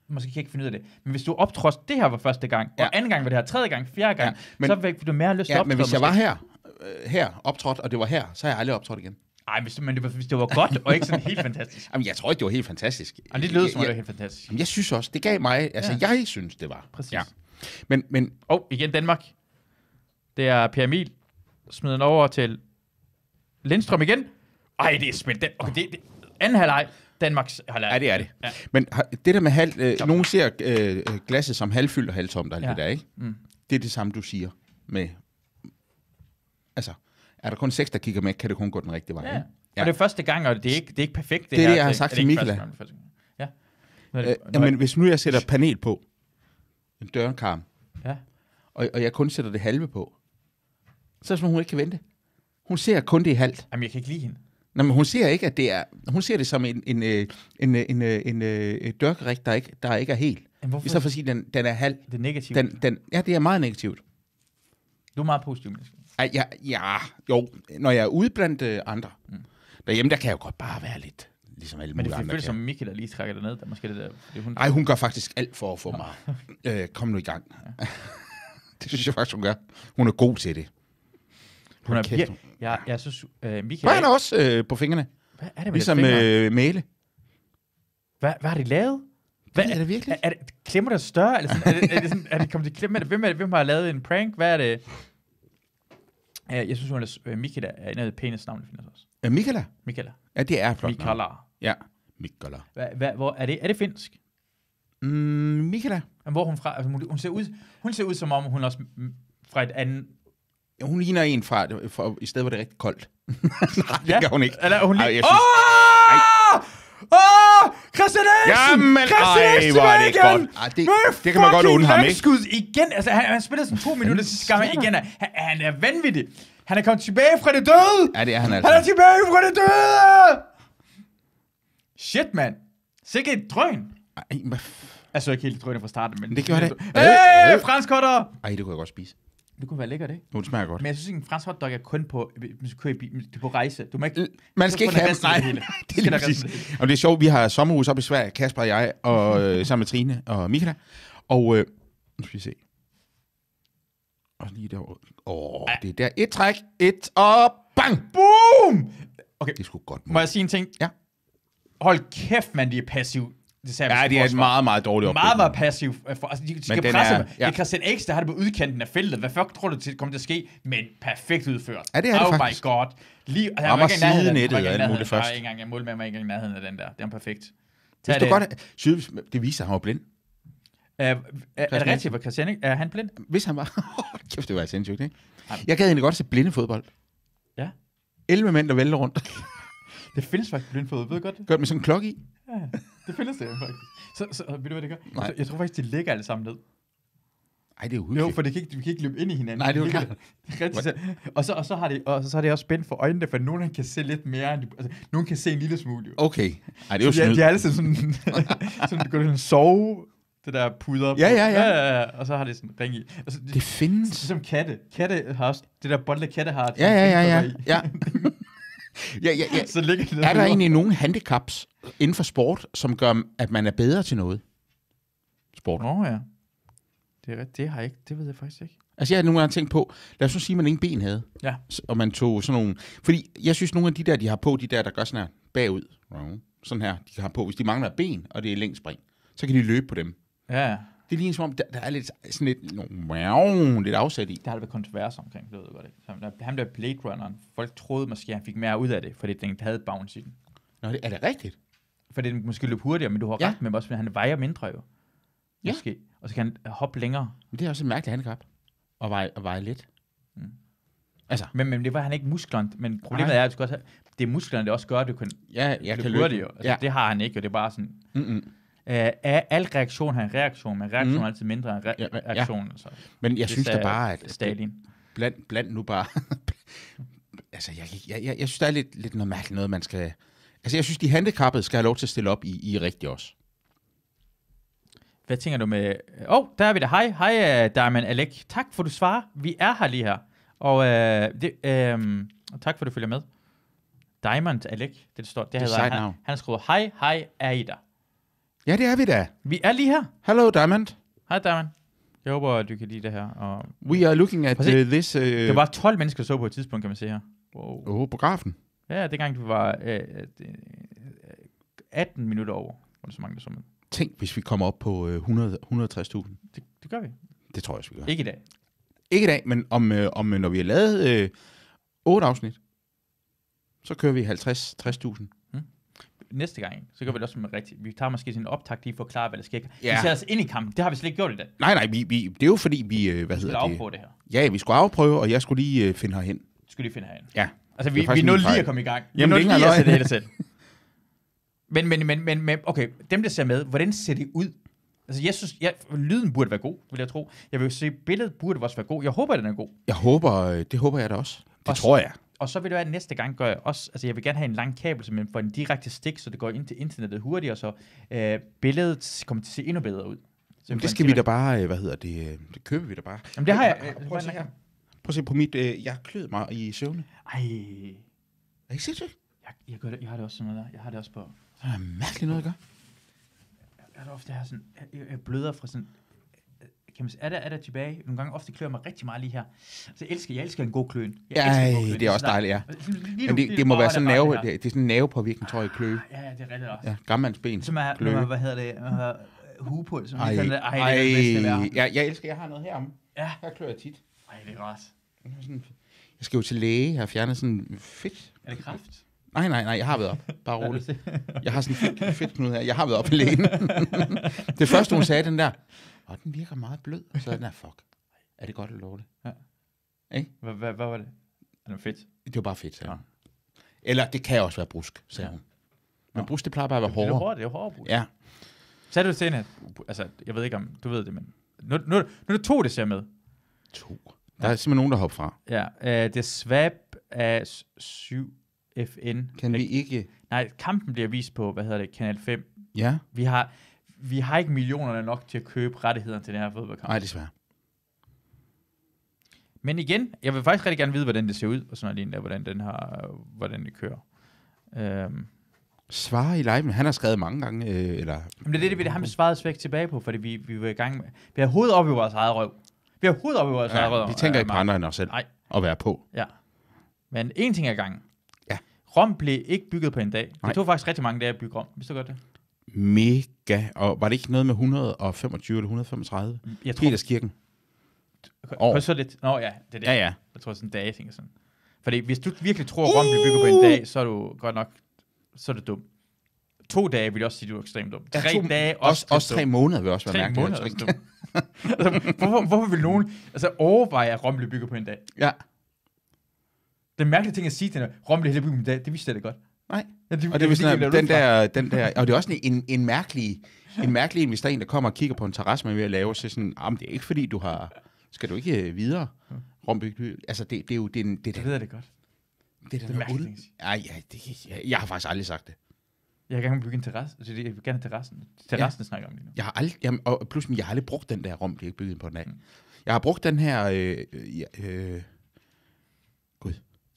Speaker 2: måske kan jeg ikke finde ud af det. Men hvis du optrådte, det her var første gang,
Speaker 3: Ja.
Speaker 2: og anden gang var det her, tredje gang, fjerde gang,
Speaker 3: Ja,
Speaker 2: ja.
Speaker 3: men-
Speaker 2: men, så fik du mere lyst til at
Speaker 3: Ja, men
Speaker 2: optræde.
Speaker 3: hvis jeg
Speaker 2: måske.
Speaker 3: var her, øh, her optrådt, og det var her, så har jeg aldrig optrådt igen.
Speaker 2: Ej, hvis, men det var, hvis det var godt, og ikke sådan helt fantastisk.
Speaker 3: Jamen, jeg tror ikke, det var helt fantastisk.
Speaker 2: Jamen, det lød som, at
Speaker 3: jeg,
Speaker 2: det var
Speaker 3: jeg,
Speaker 2: helt fantastisk.
Speaker 3: jeg, jeg synes også, det gav mig... Altså, ja.
Speaker 2: Ja.
Speaker 3: jeg synes, det var.
Speaker 2: Præcis.
Speaker 3: Men, men
Speaker 2: Og igen Danmark. Det er Per Emil. Smider den over til Lindstrøm igen. Ej, det er spændt. Den, okay, det, det, anden halvleg. Danmarks halvleg.
Speaker 3: Ja, det er det. Ja.
Speaker 2: Ja.
Speaker 3: Men har- det der med halv, øh, nogen ser øh, øh, glasset som halvfyldt og halvtomt og alt ja.
Speaker 2: Ja.
Speaker 3: det der, ikke? Mm. Det er det samme, du siger med... Altså, er der kun seks, der kigger med, kan det kun gå den rigtige vej.
Speaker 2: Ja.
Speaker 3: ikke?
Speaker 2: Ja. Og det er første gang, og det er ikke, det er ikke perfekt, det,
Speaker 3: Det er
Speaker 2: her.
Speaker 3: det, jeg har
Speaker 2: ikke-
Speaker 3: sagt
Speaker 2: er det
Speaker 3: til
Speaker 2: ikke
Speaker 3: Mikkel,
Speaker 2: første
Speaker 3: ja.
Speaker 2: gang, det er første gang? Ja. Nu er
Speaker 3: Øh,
Speaker 2: det- nu er
Speaker 3: ja,
Speaker 2: det-
Speaker 3: men hvis nu jeg sætter panel på, en dørkarm,
Speaker 2: ja.
Speaker 3: og, og jeg kun sætter det halve på, så er det som om, hun ikke kan vente. Hun ser kun det i halvt.
Speaker 2: Jamen, jeg kan ikke lide hende.
Speaker 3: Nå, men hun ser ikke, at det er... Hun ser det som en, en, øh, en, øh, en, øh, en, en dørkerik, der ikke, der ikke er helt.
Speaker 2: Men hvorfor
Speaker 3: I stedet for at sige, den, den er halv.
Speaker 2: det er negativt? Den...
Speaker 3: Den, den, ja, det er meget negativt.
Speaker 2: Du er meget positiv, Mikkel.
Speaker 3: Ej, ja, ja, jo. Når jeg er ude blandt øh, andre, mm. derhjemme, der kan jeg jo godt bare være lidt, ligesom alle
Speaker 2: Men
Speaker 3: mulige
Speaker 2: det
Speaker 3: andre
Speaker 2: føles som
Speaker 3: kan.
Speaker 2: Mikkel, der lige trækker det ned. Der er måske det der, det er hun.
Speaker 3: Nej, hun gør faktisk alt for at få mig. øh, kom nu i gang. det synes jeg faktisk, hun gør. Hun er god til det.
Speaker 2: hun er
Speaker 3: kæft,
Speaker 2: virkelig...
Speaker 3: hun-
Speaker 2: Jeg, jeg synes, øh, Mikkel...
Speaker 3: Hun
Speaker 2: er
Speaker 3: er
Speaker 2: ikke-
Speaker 3: også øh, på fingrene,
Speaker 2: Hvad er det med
Speaker 3: ligesom
Speaker 2: det fingre?
Speaker 3: øh, Mæle.
Speaker 2: Hvad, hvad har de lavet? Hvad,
Speaker 3: ved jeg da virkelig
Speaker 2: Er, er det, klemmer der større? Eller sådan, er, det, er, det sådan, er det kommet til klemme? Er det, hvem, er det, hvem har lavet en prank? Hvad er det? Ja, jeg synes, hun er, øh, Mikkel er en af de pæneste navne, der findes også.
Speaker 3: Øh, Mikala.
Speaker 2: Michaela.
Speaker 3: Ja, det er et flot navn.
Speaker 2: Michaela.
Speaker 3: Ja, Mikala.
Speaker 2: Hva, hva, hvor, er, det, er det finsk?
Speaker 3: Mm, Mikala.
Speaker 2: Jamen, Hvor er hun fra? Altså, hun, hun, ser ud, hun ser ud, som om hun også mm, fra et andet...
Speaker 3: Hun ligner en fra, fra i stedet, hvor det er rigtig koldt. Nej, det
Speaker 2: Ja,
Speaker 3: gør hun ikke.
Speaker 2: Eller er hun lige...
Speaker 3: Ej,
Speaker 2: Åh!
Speaker 3: jeg synes-
Speaker 2: Åh! Åh! Christian Eriksen!
Speaker 3: Jamen,
Speaker 2: Christian
Speaker 3: ej,
Speaker 2: Eriksen
Speaker 3: hvor er det
Speaker 2: med
Speaker 3: ikke
Speaker 2: igen!
Speaker 3: godt. Ej, det-
Speaker 2: Med
Speaker 3: det kan man godt
Speaker 2: fucking
Speaker 3: unde ham, ikke?
Speaker 2: langskud igen. Altså, han, han spiller sådan to minutter sidste gang
Speaker 3: sker der?
Speaker 2: igen. Han, han er vanvittig. Han er kommet tilbage fra det døde.
Speaker 3: Ja, det er han altså.
Speaker 2: Han er tilbage fra det døde! Shit, mand. Sikke et drøn.
Speaker 3: Ej, hvad f-
Speaker 2: Altså, ikke helt drøn fra starten, men...
Speaker 3: Men det gjorde det.
Speaker 2: Hey, fransk hotdog!
Speaker 3: Ej, det kunne jeg godt spise.
Speaker 2: Det kunne være lækkert, ikke?
Speaker 3: Hun smager godt.
Speaker 2: Men jeg synes ikke, en fransk hotdog er kun på, hvis du kører i bil, du er på rejse. Du må ikke...
Speaker 3: Man
Speaker 2: så
Speaker 3: skal ikke
Speaker 2: får den
Speaker 3: have
Speaker 2: resten af
Speaker 3: Nej,
Speaker 2: det hele.
Speaker 3: det er
Speaker 2: Skal
Speaker 3: lige
Speaker 2: der resten af det
Speaker 3: præcis. Og det er sjovt, vi har sommerhus op i Sverige, Kasper og jeg, og øh, sammen med Trine og Michaela. Og øh, nu skal vi se. Og lige derovre. Åh, det er der. Et træk, et, og bang!
Speaker 2: Boom!
Speaker 3: Det er sgu godt.
Speaker 2: Må
Speaker 3: Mål.
Speaker 2: jeg sige en ting?
Speaker 3: Ja.
Speaker 2: Hold kæft, mand, de er passiv. Det sagde
Speaker 3: Ja, det er et meget, meget dårligt opbygning.
Speaker 2: meget, meget passiv. øh, For, altså, de, de skal
Speaker 3: den
Speaker 2: presse
Speaker 3: er-
Speaker 2: er, ja. Det
Speaker 3: ja.
Speaker 2: er Christian X, der har det på udkanten af feltet. Hvad fuck tror du, til, kommer til at ske? Men perfekt udført.
Speaker 3: Ja, det er det
Speaker 2: oh
Speaker 3: faktisk.
Speaker 2: my god. Lige, og han
Speaker 3: Rammer
Speaker 2: var ikke engang i nærheden af den.
Speaker 3: sidenettet
Speaker 2: Han var
Speaker 3: og alt muligt
Speaker 2: ikke engang i nærheden.
Speaker 3: først.
Speaker 2: Der er ikke engang, jeg målmand var ikke engang i nærheden af den der. Det er perfekt. Tag
Speaker 3: Hvis du
Speaker 2: det.
Speaker 3: godt, synes, det viser, at han var blind.
Speaker 2: Øh, er, er det
Speaker 3: Christian
Speaker 2: rigtigt, hvor Christian X- er han blind?
Speaker 3: Hvis han var... Kæft, det var sindssygt, ikke?
Speaker 2: Ej.
Speaker 3: Jeg gad egentlig godt se blindefodbold.
Speaker 2: Ja.
Speaker 3: 11 mænd, der vælter rundt.
Speaker 2: Det findes faktisk blindfod, ved du godt det?
Speaker 3: Gør det med sådan en klokke i.
Speaker 2: Det findes det faktisk. Så, så ved du, hvad det gør?
Speaker 3: Nej.
Speaker 2: Så, jeg tror faktisk, de ligger alle sammen ned.
Speaker 3: Nej, det er
Speaker 2: Jo,
Speaker 3: uhyggeligt.
Speaker 2: for det kan ikke, vi kan ikke løbe ind i hinanden.
Speaker 3: Nej, det er jo
Speaker 2: Ligger-
Speaker 3: klart.
Speaker 2: Det er rigtigt. så- Og så, og så har det, og så er det også spændt for øjnene, for nogen kan se lidt mere, end de, altså, nogen kan se en lille smule. Jo.
Speaker 3: Okay. Ej, det er jo
Speaker 2: de, er-
Speaker 3: snyd.
Speaker 2: de er altid sådan, sådan begynder sådan at sove, det der puder. på.
Speaker 3: Ja, ja, ja.
Speaker 2: ja, ja. Og så har det sådan ring i. Altså, det,
Speaker 3: Det
Speaker 2: det er
Speaker 3: findes.
Speaker 2: ligesom katte. Katte har også, det der bolde katte har. et
Speaker 3: Ja, ja, ja, ja.
Speaker 2: fingre i.
Speaker 3: ja. ja, ja, ja.
Speaker 2: Så ligger det
Speaker 3: Er der
Speaker 2: derude.
Speaker 3: egentlig nogen handicaps inden for sport, som gør, at man er bedre til noget? Sport.
Speaker 2: Nå ja. Det, er, rigtigt. det har jeg ikke, det ved jeg faktisk ikke.
Speaker 3: Altså jeg har nogle gange tænkt på, lad os nu sige, at man ingen ben havde.
Speaker 2: Ja.
Speaker 3: S- Og man tog sådan nogle... Fordi jeg synes, nogle af de der, de har på, de der, der gør sådan her bagud. Sådan her, de har på. Hvis de mangler et ben, og det er længspring, så kan de løbe på dem.
Speaker 2: Ja, ja.
Speaker 3: Det er lige som om, der, der er lidt, sådan lidt, no, wow, lidt afsat i.
Speaker 2: Der har der været kontrovers omkring, det ved jeg godt ikke. Så, der, ham der Blade Runneren, folk troede måske, at han fik mere ud af det, fordi den havde bounce i den.
Speaker 3: Nå, det, er det rigtigt?
Speaker 2: Fordi den måske løb hurtigere, men du har
Speaker 3: Ja.
Speaker 2: ret med også, fordi han vejer mindre jo.
Speaker 3: Ja.
Speaker 2: Måske. Og så kan han hoppe længere.
Speaker 3: Men det er også et mærkeligt handicap. At veje, at veje lidt.
Speaker 2: Men, men det var han ikke musklerne. Men problemet
Speaker 3: Nej.
Speaker 2: er, at du skal også have, det er musklerne, der også gør, at du kan,
Speaker 3: Ja, jeg
Speaker 2: du
Speaker 3: kan
Speaker 2: kan
Speaker 3: løbe.
Speaker 2: hurtigt jo. Altså,
Speaker 3: Ja.
Speaker 2: ja. Det har han ikke, og det er bare sådan...
Speaker 3: Mm-mm.
Speaker 2: Øh, er al reaktion har en reaktion, men reaktion
Speaker 3: Mhm.
Speaker 2: er altid mindre end re-
Speaker 3: Ja,
Speaker 2: ja,
Speaker 3: ja.
Speaker 2: reaktion. Altså.
Speaker 3: Men jeg
Speaker 2: Det
Speaker 3: synes da
Speaker 2: sagde
Speaker 3: bare, at
Speaker 2: Stalin.
Speaker 3: bland, bland nu bare... altså, jeg, jeg, jeg, jeg synes, der er lidt, lidt noget mærkeligt noget, man skal... Altså, jeg synes, de handicappede skal have lov til at stille op i, i rigtigt også.
Speaker 2: Hvad tænker du med... Åh, oh, der er vi der. Hej, hej, uh, Diamond Alec. Tak for, du svarer. Vi er her lige her. Og uh, det, øhm, og tak for, du følger med. Diamond Alec, det, det står. Det, det hedder,
Speaker 3: sejt
Speaker 2: han,
Speaker 3: navn.
Speaker 2: han har skrevet, hej, hej, er I der?
Speaker 3: Ja, det er vi da.
Speaker 2: Vi er lige her.
Speaker 3: Hello, Diamond.
Speaker 2: Hej, Diamond. Jeg håber, at du kan lide det her. Og
Speaker 3: We are looking at uh,
Speaker 2: Prøv at se.
Speaker 3: this... Uh,
Speaker 2: det var 12 mennesker, der så på et tidspunkt, kan man se her. Wow.
Speaker 3: Oh, på grafen.
Speaker 2: Ja, dengang du var øh, øh, øh, 18 minutter over, var der så mange, der så med.
Speaker 3: Tænk, hvis vi kommer op på øh, 100 160.000.
Speaker 2: Det, det gør vi.
Speaker 3: Det tror jeg også, vi gør.
Speaker 2: Ikke i dag.
Speaker 3: Ikke i dag, men om, øh, om øh, når vi har lavet øh, 8 afsnit, så kører vi 50-60.000.
Speaker 2: Næste gang, så gør vi det også med rigtigt. Vi tager måske sådan en optakt lige for at forklare, hvad der sker.
Speaker 3: Ja.
Speaker 2: Vi sætter os ind i kampen. Det har vi slet ikke gjort i dag.
Speaker 3: Nej, nej, vi, vi, det er jo fordi, vi... Øh, hvad
Speaker 2: Vi
Speaker 3: hedder
Speaker 2: skal
Speaker 3: det?
Speaker 2: på det her.
Speaker 3: Ja, vi skulle afprøve, og jeg skulle lige øh, finde herhen.
Speaker 2: Det Skal lige finde herinde.
Speaker 3: Ja.
Speaker 2: Altså,
Speaker 3: Det
Speaker 2: vi,
Speaker 3: er faktisk
Speaker 2: vi nåede
Speaker 3: min fejl.
Speaker 2: lige at komme i gang.
Speaker 3: Jamen,
Speaker 2: vi
Speaker 3: det er
Speaker 2: nåede
Speaker 3: ikke
Speaker 2: lige at sætte
Speaker 3: engang
Speaker 2: hele selv. Men, men, men, men, men, okay, dem der ser med, hvordan ser det ud? Altså, jeg synes, jeg, lyden burde være god, vil jeg tro. Jeg vil se, billedet burde også være god. Jeg håber, den er god.
Speaker 3: Jeg håber, øh, det håber jeg da også. Det
Speaker 2: Også-
Speaker 3: tror jeg.
Speaker 2: Og så vil det være, at næste gang gør jeg også, altså jeg vil gerne have en lang kabel, så man får en direkte stik, så det går ind til internettet hurtigere, så øh, billedet kommer til at se endnu bedre ud. Så
Speaker 3: Jamen,
Speaker 2: får
Speaker 3: det
Speaker 2: en
Speaker 3: skal vi da
Speaker 2: direkte-
Speaker 3: bare, øh, hvad hedder det, øh, det køber vi da bare.
Speaker 2: Jamen det har jeg.
Speaker 3: Prøv,
Speaker 2: øh,
Speaker 3: prøv at se her. Prøv at se på mit, øh, jeg klød mig i søvne.
Speaker 2: Ej,
Speaker 3: Er I sindssygt?
Speaker 2: jeg, jeg, gør det, jeg har det også sådan noget der. Jeg har det også på,
Speaker 3: Det er mærkeligt noget, jeg gør.
Speaker 2: jeg har det ofte her sådan, jeg- jeg, jeg bløder fra sådan, øh, kan man, sige, er der, er der tilbage? Nogle gange ofte klør jeg mig rigtig meget lige her. Så jeg elsker, jeg elsker en god kløen. Jeg elsker en god
Speaker 3: Ej,
Speaker 2: kløen.
Speaker 3: det er også
Speaker 2: sådan
Speaker 3: dejligt, ja.
Speaker 2: der- Lige nu,
Speaker 3: Men det,
Speaker 2: lige
Speaker 3: det
Speaker 2: nu
Speaker 3: må være
Speaker 2: borger
Speaker 3: sådan
Speaker 2: bare
Speaker 3: nerve,
Speaker 2: det her.
Speaker 3: det, det er sådan en nervepåvirkning, tror jeg, i kløe.
Speaker 2: Ja, ja, det er rigtigt også.
Speaker 3: Ja, gammelmandsben.
Speaker 2: Ah. Som er,
Speaker 3: kløe.
Speaker 2: når man, hvad hedder det, man har øh, hue på, som
Speaker 3: Ej,
Speaker 2: lige sådan, der-
Speaker 3: ej,
Speaker 2: ej, det er det bedste i verden.
Speaker 3: jeg, jeg elsker, jeg har noget herom.
Speaker 2: Ja.
Speaker 3: Her klør jeg tit.
Speaker 2: Ej, det er rart.
Speaker 3: Jeg har sådan- Jeg skal jo til læge, jeg har fjernet sådan fedt.
Speaker 2: Er det kraft?
Speaker 3: Nej, nej, nej, jeg har været op. Bare
Speaker 2: Hvad er
Speaker 3: roligt.
Speaker 2: det, du siger?
Speaker 3: Jeg har sådan en fedt, fedt knude her. Jeg har været op alene. det første, hun sagde, den der, og den virker meget blød. Og så er den der, fuck, er det godt eller dårligt?
Speaker 2: Hvad, hvad, hvad var det? Er det fedt?
Speaker 3: Det var bare fedt, sagde hun. Eller det kan også være brusk, sagde hun. Men brusk, det plejer bare at være
Speaker 2: Det er
Speaker 3: hårdere.
Speaker 2: hårdt, det er hårdt. Ja.
Speaker 3: Ja,
Speaker 2: Så er det jo til, at, altså, jeg ved ikke om, du ved det, men nu, nu, nu er det to, det ser med.
Speaker 3: to. Der er simpelthen nogen, der hopper fra.
Speaker 2: Ja, øh, det er Swap af 7 FN.
Speaker 3: Kan vi ikke...
Speaker 2: Nej, kampen bliver vist på, hvad hedder det, Kanal 5.
Speaker 3: Ja,
Speaker 2: Vi har, vi har ikke millionerne nok til at købe rettighederne til den her fodboldkamp.
Speaker 3: nej, desværre.
Speaker 2: Men igen, jeg vil faktisk rigtig gerne vide, hvordan det ser ud, og sådan noget lignende, hvordan den har, hvordan det kører. Øhm,
Speaker 3: Svarer i live, men han har skrevet mange gange, øh, eller...
Speaker 2: Men det er det, det, vi- det, ham vi svarede svæk tilbage på, fordi vi, vi var i gang med... Vi har hovedet op i vores eget røv. Vi har hovedet op i vores eget røv.
Speaker 3: Ja, vi tænker
Speaker 2: øh,
Speaker 3: ikke på
Speaker 2: Mark.
Speaker 3: andre end os selv
Speaker 2: Nej.
Speaker 3: at være på.
Speaker 2: Ja. Men én ting ad gangen.
Speaker 3: Ja.
Speaker 2: Rom blev ikke bygget på en dag.
Speaker 3: Nej.
Speaker 2: Det tog faktisk rigtig mange dage at bygge Rom. Vidste du godt det?
Speaker 3: Mega. Og var det ikke noget med 125 eller 135?
Speaker 2: Jeg tror,
Speaker 3: Peterskirken. år.
Speaker 2: Peter, så lidt. Nå ja, det er det.
Speaker 3: Ja, ja.
Speaker 2: Jeg tror sådan en dag, jeg tænker sådan. Fordi hvis du virkelig tror, at Rom blev bygget
Speaker 3: Uh!
Speaker 2: på en dag, så er du godt nok... Så er du dum. To dage vil jeg også sige, at du er ekstremt dum. Tre dage
Speaker 3: Også,
Speaker 2: også.
Speaker 3: også, tre måneder vil også være
Speaker 2: tre
Speaker 3: mærkeligt.
Speaker 2: måneder. også dum. altså, hvorfor, hvorfor vil nogen altså, overveje, at Rom blev bygget på en dag?
Speaker 3: Ja.
Speaker 2: Den mærkelige ting at sige til hende, Rom blev heller bygget på en dag, det vidste jeg da godt.
Speaker 3: Nej.
Speaker 2: Ja, det,
Speaker 3: Og det er sådan,
Speaker 2: gik
Speaker 3: at
Speaker 2: jeg
Speaker 3: den
Speaker 2: da ud fra.
Speaker 3: der, den der, og det er også en, en mærkelig en mærkelig en, hvis der er en, der kommer og kigger på en terrasse, man er ved at lave, så er sådan, ah, men det er ikke fordi, du har... Skal du ikke øh, videre? Rombyg, du- altså det, det er jo det, er en- det,
Speaker 2: Jeg
Speaker 3: det,
Speaker 2: ved det godt.
Speaker 3: det, det,
Speaker 2: det er
Speaker 3: det,
Speaker 2: mærkeligt,
Speaker 3: det, Ej, ja, det, jeg, jeg har faktisk aldrig sagt det.
Speaker 2: Jeg kan gerne bygge en terrasse. Altså, det- jeg vil gerne have terrassen. Terrassen ja. snakker om lige nu.
Speaker 3: Jeg har aldrig, jamen, og pludselig, jeg har aldrig brugt den der rum, det er ikke bygget på den af. Jeg har brugt den her, øh, øh, ja, øh,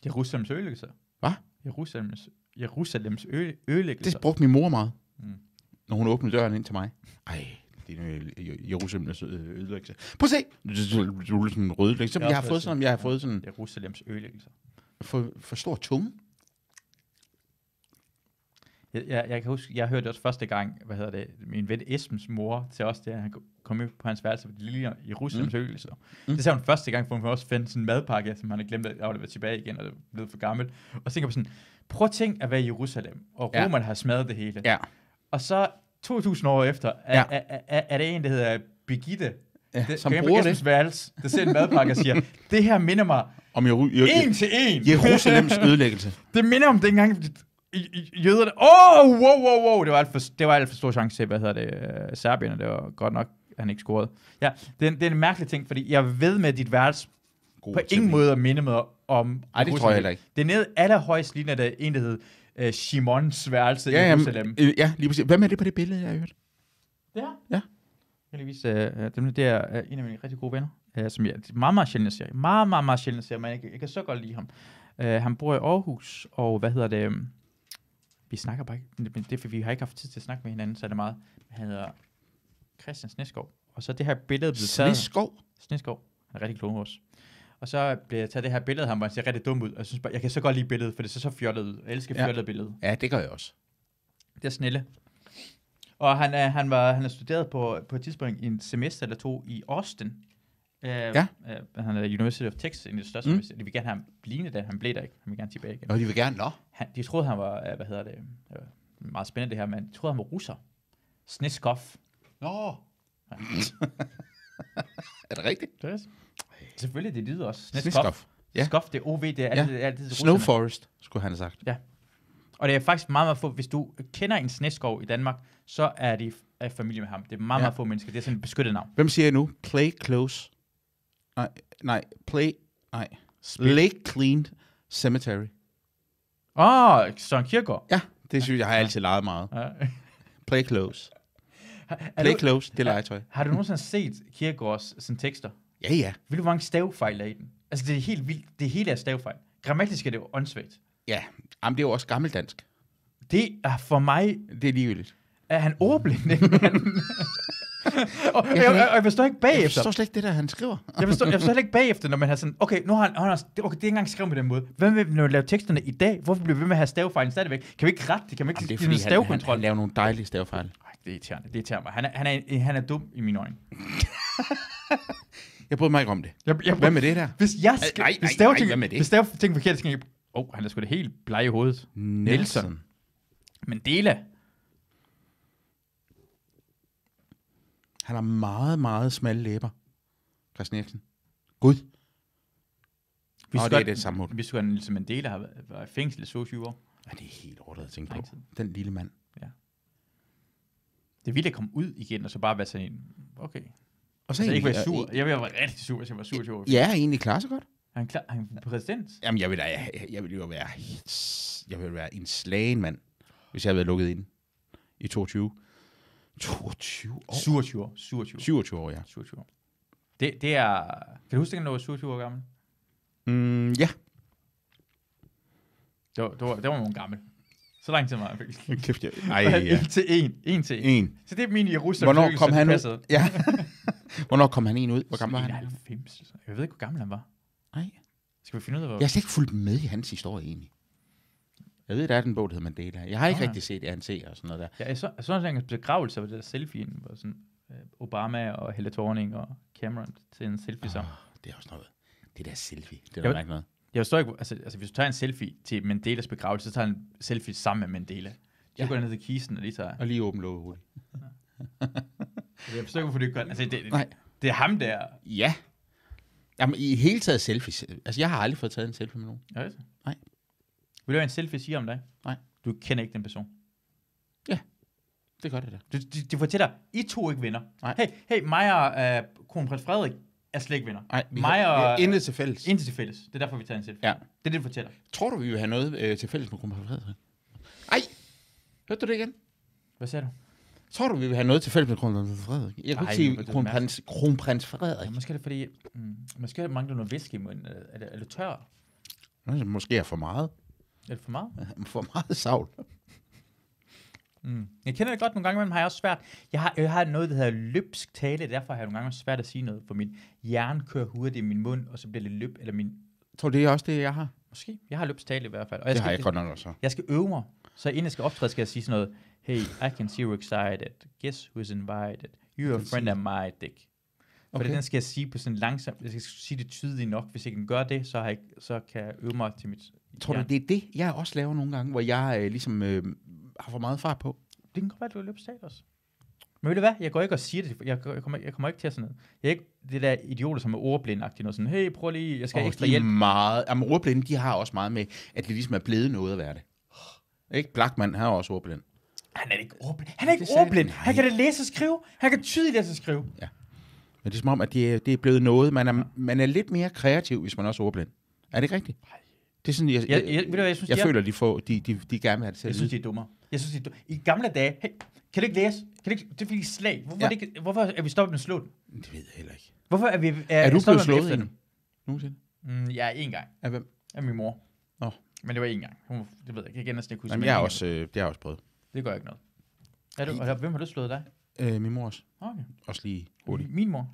Speaker 2: Jerusalems ødelæggelser.
Speaker 3: Hvad?
Speaker 2: Jerusalems, Jerusalems ø-
Speaker 3: det
Speaker 2: ødelæggelser.
Speaker 3: brugte min mor meget,
Speaker 2: Mm.
Speaker 3: når hun åbnede døren ind til mig. Ej, det er jo Jer- Jerusalems øh, ødelæggelse. Prøv at se! Jerusalems ødelæggelse. Så
Speaker 2: Jeg har
Speaker 3: Jeg har
Speaker 2: også
Speaker 3: fået
Speaker 2: fået
Speaker 3: sådan, jeg har fået sådan,
Speaker 2: Jerusalems ødelæggelser.
Speaker 3: for, for stor tunge.
Speaker 2: Jeg, jeg, jeg kan huske, jeg hørte det også første gang, hvad hedder det, min ven Esbens mor til os, der han kom ud på hans værelse på det lille Jerusalems mm. ødelæggelser. Mm. Det sagde hun første gang, for hun kunne også finde sådan en madpakke, som han havde glemt at aflevere tilbage igen, og det blev for gammelt. Og så tænker jeg på sådan, prøv at tænke at være i Jerusalem, og
Speaker 3: Ja.
Speaker 2: romerne har smadret det hele.
Speaker 3: Ja.
Speaker 2: Og så 2000 år efter, er,
Speaker 3: Ja.
Speaker 2: ja. er, er, er, er det en, der hedder Birgitte,
Speaker 3: Ja,
Speaker 2: det,
Speaker 3: som
Speaker 2: går hjem på
Speaker 3: bruger det.
Speaker 2: Esbens Værelse, der ser en madpakke og siger, det her minder mig
Speaker 3: Om Jeru-
Speaker 2: en
Speaker 3: Jer-
Speaker 2: til en.
Speaker 3: Øh, Jerusalems ødelæggelse.
Speaker 2: det minder om dengang, i- i- jøderne... Åh, oh, wow, wow, wow. Det var, alt for, det var alt for stor chance til, hvad hedder det, øh, Serbien, og det var godt nok, han ikke scorede. Ja, det, er en- det er en mærkelig ting, fordi jeg ved med at dit værelse
Speaker 3: God
Speaker 2: på ingen
Speaker 3: tæmning.
Speaker 2: måde at minde mig om...
Speaker 3: Ej, det tror jeg
Speaker 2: Jerusalem.
Speaker 3: heller ikke.
Speaker 2: Det er nede allerhøjst lige, når der er en, der hed øh, Shimons værelse
Speaker 3: Ja,
Speaker 2: i
Speaker 3: ja,
Speaker 2: Jerusalem.
Speaker 3: øh, ja, lige præcis. Hvad med det på det billede, jeg har hørt?
Speaker 2: Det her?
Speaker 3: Ja.
Speaker 2: Heldigvis, øh, øh, dem der, det er øh, en af mine rigtig gode venner, øh, som jeg meget, meget sjældent ser. Meget, meget, meget sjældent ser, men jeg, kan- jeg kan så godt lide ham. Øh, han bor i Aarhus, og hvad hedder det? øhm, Vi snakker bare ikke, men det er, fordi vi har ikke haft tid til at snakke med hinanden, så er det meget. Han hedder Christian Sneskov. Og så er det her billede blev taget.
Speaker 3: Sliskov.
Speaker 2: Sneskov. Han er rigtig klog også. Og så bliver jeg taget det her billede af ham, hvor han ser rigtig dum ud. Og jeg, synes bare, jeg kan så godt lide billedet, for det ser så fjollet ud. Jeg elsker
Speaker 3: Ja.
Speaker 2: fjollet billede.
Speaker 3: Ja, det gør jeg også.
Speaker 2: Det er snille. Og han er, han var, han er studeret på, på et tidspunkt i en semester eller to i Austin. Uh,
Speaker 3: Ja.
Speaker 2: Uh, han er University of Texas, en af de største
Speaker 3: Mm.
Speaker 2: mm. universiteter. De vil gerne have ham lignende der. Han blev der ikke. Han vil gerne tilbage igen.
Speaker 3: Nå, de vil gerne. Nå.
Speaker 2: Han, de troede, han var, uh, hvad hedder det, uh, meget spændende det her, men de troede, han var russer. Sneskov.
Speaker 3: Nå. er det rigtigt?
Speaker 2: Det er det. Selvfølgelig, det lyder også. Sneskov.
Speaker 3: Sliskov. Ja.
Speaker 2: Ja. Skof, det er OV, det er altid, det er altid
Speaker 3: Snow
Speaker 2: russerne.
Speaker 3: Forest, skulle han have sagt.
Speaker 2: Og det er faktisk meget, meget få. Hvis du kender en sneskov i Danmark, så er de er familie med ham. Det er meget,
Speaker 3: Ja.
Speaker 2: ja. meget få mennesker. Det er sådan et beskyttet navn.
Speaker 3: Hvem siger jeg nu? Play close. Nej, nej. Play, nej. Lake Clean Cemetery.
Speaker 2: Åh, oh, Søren Kierkegaard.
Speaker 3: Ja, det synes jeg, har jeg altid leget meget.
Speaker 2: Ja.
Speaker 3: Play close.
Speaker 2: Er
Speaker 3: Play
Speaker 2: du-
Speaker 3: close, det er legetøj.
Speaker 2: Har du nogensinde set Kierkegaards sådan, tekster?
Speaker 3: Ja, ja.
Speaker 2: Vil du hvor mange stavefejl der er i den? Altså, det er helt vildt. Det hele er stavefejl. Grammatisk er det jo åndssvagt.
Speaker 3: Ja, Jamen, det er jo også gammeldansk.
Speaker 2: Det er for mig,
Speaker 3: Det er ligegyldigt.
Speaker 2: er han ordblind, ikke? og, og, jeg, og, jeg forstår ikke bagefter.
Speaker 3: Jeg forstår slet ikke det der, han skriver.
Speaker 2: Jeg forstår, jeg forstår heller ikke bagefter, når man har sådan, okay, nu har han, han har, det- okay, det er ikke engang skrevet på den måde. Hvad med, når vi laver teksterne i dag? Hvorfor bliver vi ved med at have stavefejlen stadigvæk? Kan vi ikke rette det? Kan vi
Speaker 3: Jamen,
Speaker 2: ikke
Speaker 3: det er
Speaker 2: give
Speaker 3: fordi,
Speaker 2: noget
Speaker 3: han, han,
Speaker 2: stavekontrol?
Speaker 3: han laver nogle dejlige stavefejl.
Speaker 2: Ej, det er irriterende. Det irriterer mig. Han er, han, er, han er dum i mine øjne.
Speaker 3: Jeg bryder mig ikke om det.
Speaker 2: Jeg, jeg,
Speaker 3: Hvad med det der?
Speaker 2: Hvis jeg skal,
Speaker 3: Ej, ej,
Speaker 2: hvis staver
Speaker 3: ej,
Speaker 2: ting,
Speaker 3: hvad med det?
Speaker 2: Hvis staver ting forkert, så skal jeg... Åh, oh, han er sgu da helt bleg i hovedet. Nelson. Mandela.
Speaker 3: Han har meget, meget smalle læber. Christian Eriksen. Gud.
Speaker 2: Vi
Speaker 3: Nå,
Speaker 2: skal
Speaker 3: det er
Speaker 2: godt-
Speaker 3: det samme hund.
Speaker 2: Vi skulle have Nelson Mandela har været- været i fængsel i 27 år.
Speaker 3: Ja, det er helt ordentligt at tænke
Speaker 2: Lang
Speaker 3: på.
Speaker 2: tid.
Speaker 3: Den lille mand.
Speaker 2: Det ville at komme ud igen, og så bare være sådan en... Okay.
Speaker 3: Og
Speaker 2: Så jeg Altså, ikke
Speaker 3: egentlig-
Speaker 2: være sur. Jeg ville være rigtig sur, hvis jeg var 27 år.
Speaker 3: Ja, egentlig klarer sig godt.
Speaker 2: Er han klar? Er han præsident?
Speaker 3: Jamen, jeg vil, da- jeg, jeg vil jo være, jeg vil være en slagen mand, hvis jeg havde været lukket ind i 22. 22 år?
Speaker 2: 27 år. 27 år.
Speaker 3: 27 år, ja.
Speaker 2: 27 år. Det, det er... Kan du huske, at du var 27 år gammel?
Speaker 3: Mm, ja.
Speaker 2: Det var, det var, det var nogen gammel. Så lang tid var jeg faktisk.
Speaker 3: Kæft, jeg. Ej, ja.
Speaker 2: En til en. En til en.
Speaker 3: En.
Speaker 2: Så det er min Jerusalem.
Speaker 3: Hvornår
Speaker 2: Cirkus,
Speaker 3: kom
Speaker 2: så det
Speaker 3: han ud?
Speaker 2: passede.
Speaker 3: Ja. Hvornår kom han en ud? Hvor gammel var han?
Speaker 2: 91. Jeg ved ikke, hvor gammel han var.
Speaker 3: Nej.
Speaker 2: Skal vi finde ud af, hvor...
Speaker 3: Jeg har slet ikke fulgt med i hans historie, egentlig. Jeg ved, der er den bog, der hedder Mandela. Jeg har ikke
Speaker 2: Nå, ja.
Speaker 3: rigtig set ANC og sådan noget der.
Speaker 2: Ja, jeg så, jeg så sådan en begravelse, hvor det der selfie, hvor sådan øh, Obama og Helle Thorning og Cameron til en selfie sammen.
Speaker 3: Åh, Ah, det er også noget. Det der selfie, det er
Speaker 2: Jeg
Speaker 3: der
Speaker 2: ved-
Speaker 3: ikke noget.
Speaker 2: Jeg forstår ikke, hvor- altså, altså hvis du tager en selfie til Mandelas begravelse, så tager han en selfie sammen med Mandela. Så
Speaker 3: Ja.
Speaker 2: ja. går han ned til kisten og lige tager...
Speaker 3: Og lige åben låget hurtigt.
Speaker 2: Jeg forstår ikke, hvorfor det ikke gør... Altså, det, det,
Speaker 3: Nej.
Speaker 2: det er ham der...
Speaker 3: Ja. Jamen, i hele taget selfies. Altså, jeg har aldrig fået taget en selfie med nogen.
Speaker 2: Ja, altså.
Speaker 3: Nej.
Speaker 2: Vil du have en selfie sige om dig?
Speaker 3: Nej.
Speaker 2: Du kender ikke den person?
Speaker 3: Ja. Det gør det da.
Speaker 2: De, de, de fortæller, I to ikke vinder.
Speaker 3: Nej.
Speaker 2: Hey, hey, mig og øh, kronprins Frederik er slet ikke vinder.
Speaker 3: Nej, vi
Speaker 2: mig
Speaker 3: har, vi har
Speaker 2: og...
Speaker 3: intet til fælles.
Speaker 2: Intet til fælles. Det er derfor, vi tager en selv.
Speaker 3: Ja.
Speaker 2: Det er det, du fortæller.
Speaker 3: Tror du, vi vil have noget øh, til fælles med kronprins Frederik? Ej! Hørte du det igen?
Speaker 2: Hvad sagde du?
Speaker 3: Tror du, vi vil have noget til fælles med kronprins Frederik? Jeg kunne
Speaker 2: Ej,
Speaker 3: ikke sige
Speaker 2: hvor er det
Speaker 3: kronprins, kronprins
Speaker 2: Ja,
Speaker 3: Frederik.
Speaker 2: måske er det fordi... Mm, måske er det mangler noget væske i munden. Er er det, er det tør?
Speaker 3: Nå, så Måske er for meget.
Speaker 2: Er det for meget?
Speaker 3: For meget savl.
Speaker 2: Mm. Jeg kender det godt. Nogle gange imellem har jeg også svært. Jeg har, jeg har noget, der hedder løbsk tale. Derfor har jeg nogle gange også svært at sige noget. For min hjerne kører hurtigt i min mund, og så bliver det løb... Eller min...
Speaker 3: Tror du, det er også det, jeg har?
Speaker 2: Måske. Jeg har løbsk tale i hvert fald. Og
Speaker 3: Det
Speaker 2: jeg
Speaker 3: har jeg godt nok også.
Speaker 2: Jeg skal øve mig. Så inden jeg skal optræde, skal jeg sige sådan noget. Hey, I can see you're excited. Guess who's invited? You're a friend of mine, Dick. For
Speaker 3: Okay.
Speaker 2: okay. den skal jeg sige på sådan langsomt. Jeg skal sige det tydeligt nok. Hvis jeg kan gøre det, så, har jeg, ikke- så kan jeg øve mig til mit...
Speaker 3: Tror du,
Speaker 2: Ja.
Speaker 3: det er det, jeg også laver nogle gange, hvor jeg øh, ligesom øh, har for meget fart på?
Speaker 2: Det kan godt være, at du løber stat også. Men ved du hvad? Jeg går ikke og siger det. Jeg, jeg, kommer, jeg kommer ikke til at sådan noget. Jeg er ikke det der idioter, som er ordblindagtigt. Noget sådan, hey, prøv lige, jeg skal oh,
Speaker 3: Og
Speaker 2: ekstra
Speaker 3: de er
Speaker 2: hjælp.
Speaker 3: Meget, jamen, ordblinde, de har også meget med, at det ligesom er blevet noget at være det. Ikke? Blackman, han er også ordblind.
Speaker 2: Han er ikke ordblind. Han er ikke
Speaker 3: Det sagde-
Speaker 2: ordblind. Han
Speaker 3: Nej.
Speaker 2: kan da læse og skrive. Han kan tydeligt læse og skrive.
Speaker 3: Men det er som om, at det er, det er blevet noget. Man er, man er lidt mere kreativ, hvis man også er ordblind. Er det ikke rigtigt? Det er sådan, jeg,
Speaker 2: Jeg- jeg- ved du hvad, jeg synes,
Speaker 3: jeg
Speaker 2: de er-
Speaker 3: føler, de, får, de, de, de gerne vil have det til
Speaker 2: Jeg
Speaker 3: at
Speaker 2: synes,
Speaker 3: lyde.
Speaker 2: de er dummere. Jeg synes, de er dumme. I gamle dage, hey, kan du ikke læse? Kan du ikke, det er fordi I er slag. Hvorfor, ja.
Speaker 3: Ja.
Speaker 2: er det ikke, hvorfor er vi stoppet med at slå dem?
Speaker 3: Det ved jeg heller ikke.
Speaker 2: Hvorfor er vi...
Speaker 3: Er, er du
Speaker 2: stoppet
Speaker 3: blevet
Speaker 2: med
Speaker 3: slået
Speaker 2: at efter
Speaker 3: endnu? Nogensinde?
Speaker 2: dem? Mm, ja, én gang.
Speaker 3: Af hvem?
Speaker 2: Af min mor.
Speaker 3: Nå.
Speaker 2: Men det var én gang. Hun, var- det ved jeg ikke. Jeg kan næsten ikke huske.
Speaker 3: Jamen,
Speaker 2: men
Speaker 3: jeg
Speaker 2: én
Speaker 3: har
Speaker 2: gang.
Speaker 3: også, øh, det har jeg også prøvet.
Speaker 2: Det gør ikke noget. Er du, og hvem har du slået dig?
Speaker 3: Øh, min mor også.
Speaker 2: Okay.
Speaker 3: Også lige hurtigt.
Speaker 2: Hurtigt. Min mor?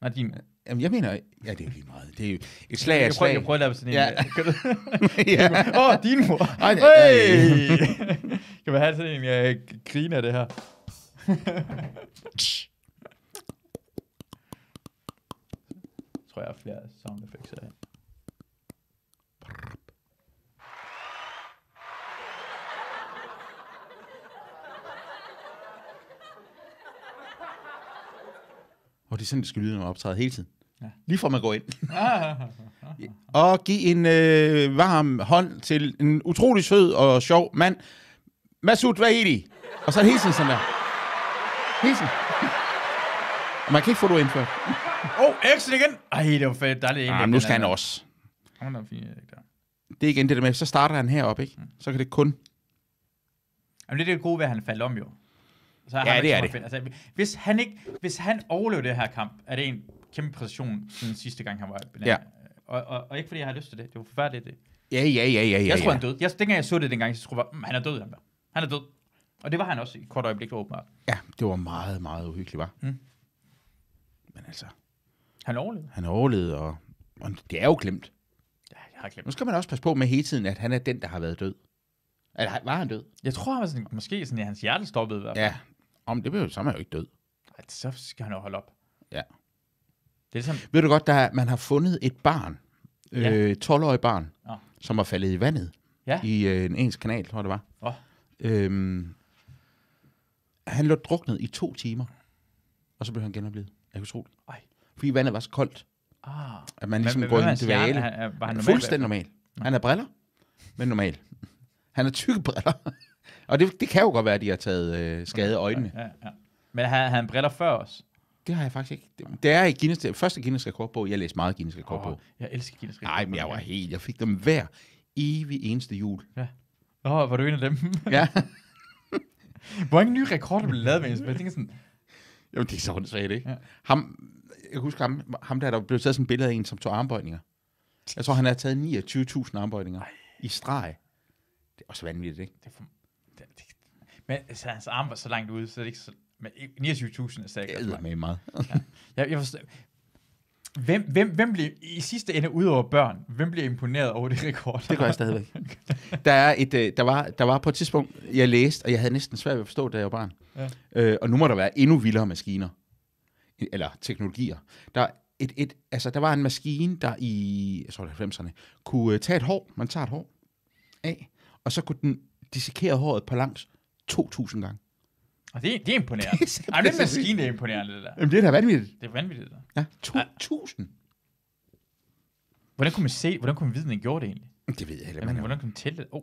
Speaker 2: Nej, din mor.
Speaker 3: Mm. Jamen, jeg mener, ja, det er jo lige meget. Det er jo et slag af
Speaker 2: Jeg
Speaker 3: et
Speaker 2: prøver,
Speaker 3: slag.
Speaker 2: jeg prøver at lave sådan en...
Speaker 3: Ja. ja.
Speaker 2: Åh, oh, din mor.
Speaker 3: Ej, nej,
Speaker 2: Hey!
Speaker 3: nej.
Speaker 2: kan man have sådan en jeg griner af det her? Jeg tror, jeg har flere sound effects af.
Speaker 3: Og det er sådan, det skal lyde, når man optræder hele tiden.
Speaker 2: Ja.
Speaker 3: Ja. Lige fra man går ind.
Speaker 2: Ah,
Speaker 3: Og giv en øh, varm hånd til en utrolig sød og sjov mand. Masud Vahedi. Og så er det hele tiden sådan der. Hele tiden. Og man kan ikke få det indført.
Speaker 2: oh, Eriksen igen! Ej, det var fedt. Dejligt.
Speaker 3: Ah, men nu skal han også.
Speaker 2: Han er fint, ikke der.
Speaker 3: Det er igen det der med, så starter han heroppe, ikke?
Speaker 2: Mm.
Speaker 3: Så kan det kun...
Speaker 2: Jamen, det er det gode ved, at han faldt om jo. Så er
Speaker 3: Ja,
Speaker 2: ham
Speaker 3: det
Speaker 2: ikke
Speaker 3: er
Speaker 2: så meget fedt. Altså, hvis, han ikke, hvis han overlever det her kamp, er det en kæmpe præcision siden sidste gang, han var
Speaker 3: Ja.
Speaker 2: Og, og, og, ikke fordi jeg har lyst til det. Det var forfærdeligt det.
Speaker 3: Ja, ja, ja, ja, ja.
Speaker 2: Jeg tror,
Speaker 3: ja.
Speaker 2: han døde. Jeg, dengang jeg så det dengang, så troede jeg, "Mm, han er død, han der. Han er død. Og det var han også i et kort øjeblik, åbenbart.
Speaker 3: Ja, det var meget, meget uhyggeligt, var.
Speaker 2: Mm.
Speaker 3: Men altså,
Speaker 2: Han overlevede.
Speaker 3: han overlevede, og, og det er jo glemt.
Speaker 2: Ja, jeg har glemt.
Speaker 3: Nu skal man også passe på med hele tiden, at han er den, der har været død. Eller var han død?
Speaker 2: Jeg tror, han var sådan, måske sådan, at hans hjerte stoppede i hvert fald.
Speaker 3: Ja. Om det blev så er man jo ikke død.
Speaker 2: Ej, så skal han jo holde op.
Speaker 3: Ja.
Speaker 2: Det er som,
Speaker 3: Ved du godt, der er, man har fundet et barn,
Speaker 2: Ja.
Speaker 3: øh, 12-årig barn,
Speaker 2: Nå.
Speaker 3: som var faldet i vandet
Speaker 2: Ja.
Speaker 3: i øh, en engelsk kanal, tror jeg det var.
Speaker 2: Åh.
Speaker 3: Øhm, han lå druknet i to timer, og så blev han genoplevet. Jeg kan tro det.
Speaker 2: Ej.
Speaker 3: Fordi vandet var så koldt,
Speaker 2: ah,
Speaker 3: at man
Speaker 2: Hvad-
Speaker 3: ligesom
Speaker 2: hvad-
Speaker 3: går
Speaker 2: hvad
Speaker 3: i
Speaker 2: var
Speaker 3: en
Speaker 2: hans hjerne?
Speaker 3: dvale.
Speaker 2: Han- er- var han normal?
Speaker 3: Fuldstændig normal. Han har briller, men normal. Han har tykke briller. og det, det kan jo godt være, at de har taget øh, skade af øjnene.
Speaker 2: ja, ja. Men havde havde han briller før os?
Speaker 3: Det har jeg faktisk ikke. Det, det er i Guinness, det første Guinness rekordbog. Jeg læste meget Guinness rekordbog.
Speaker 2: jeg elsker Guinness
Speaker 3: Nej, men jeg var helt... Jeg fik dem hver evig eneste jul.
Speaker 2: Nå, var du en af dem?
Speaker 3: Ja.
Speaker 2: Hvor mange nye rekorder blev lavet med en Jeg tænker sådan,
Speaker 3: Jamen, det er så åndssvagt, ikke?
Speaker 2: Ja.
Speaker 3: Ja. Ham, jeg kan huske ham, ham der, der blev taget sådan et billede af en, som tog armbøjninger. Jeg tror, han har taget 29.000 armbøjninger i streg. Det er også vanvittigt, ikke?
Speaker 2: det er for... Det, det, men altså, hans arm var så langt ude, så det er ikke så... Men 29.000 er sikkert.
Speaker 3: Det er med meget.
Speaker 2: Jeg, jeg forstår. Hvem, hvem, hvem bliver i sidste ende, udover børn, hvem bliver imponeret over det rekord?
Speaker 3: Det gør jeg stadigvæk. Der, er et, øh, der, var, der var på et tidspunkt, jeg læste, og jeg havde næsten svært ved at forstå, da jeg var barn.
Speaker 2: Ja.
Speaker 3: Ja. Øh, og nu må der være endnu vildere maskiner. Eller teknologier. Der, er et, et, altså, der var en maskine, der i jeg tror, det var 90'erne kunne øh, tage et hår, man tager et hår af, og så kunne den dissekere håret på langs 2.000 gange.
Speaker 2: Og det, er- det er imponerende.
Speaker 3: Det er simpelthen
Speaker 2: Ej, men den
Speaker 3: så vildt.
Speaker 2: maskine det er imponerende, det der.
Speaker 3: Jamen, det er da vanvittigt.
Speaker 2: Det er vanvittigt, det der.
Speaker 3: Ja, 2.000.
Speaker 2: Hvordan kunne man se, hvordan kunne man vide, den gjorde det egentlig?
Speaker 3: Det ved jeg heller
Speaker 2: Jamen,
Speaker 3: ikke.
Speaker 2: hvordan kunne man tælle det? Oh,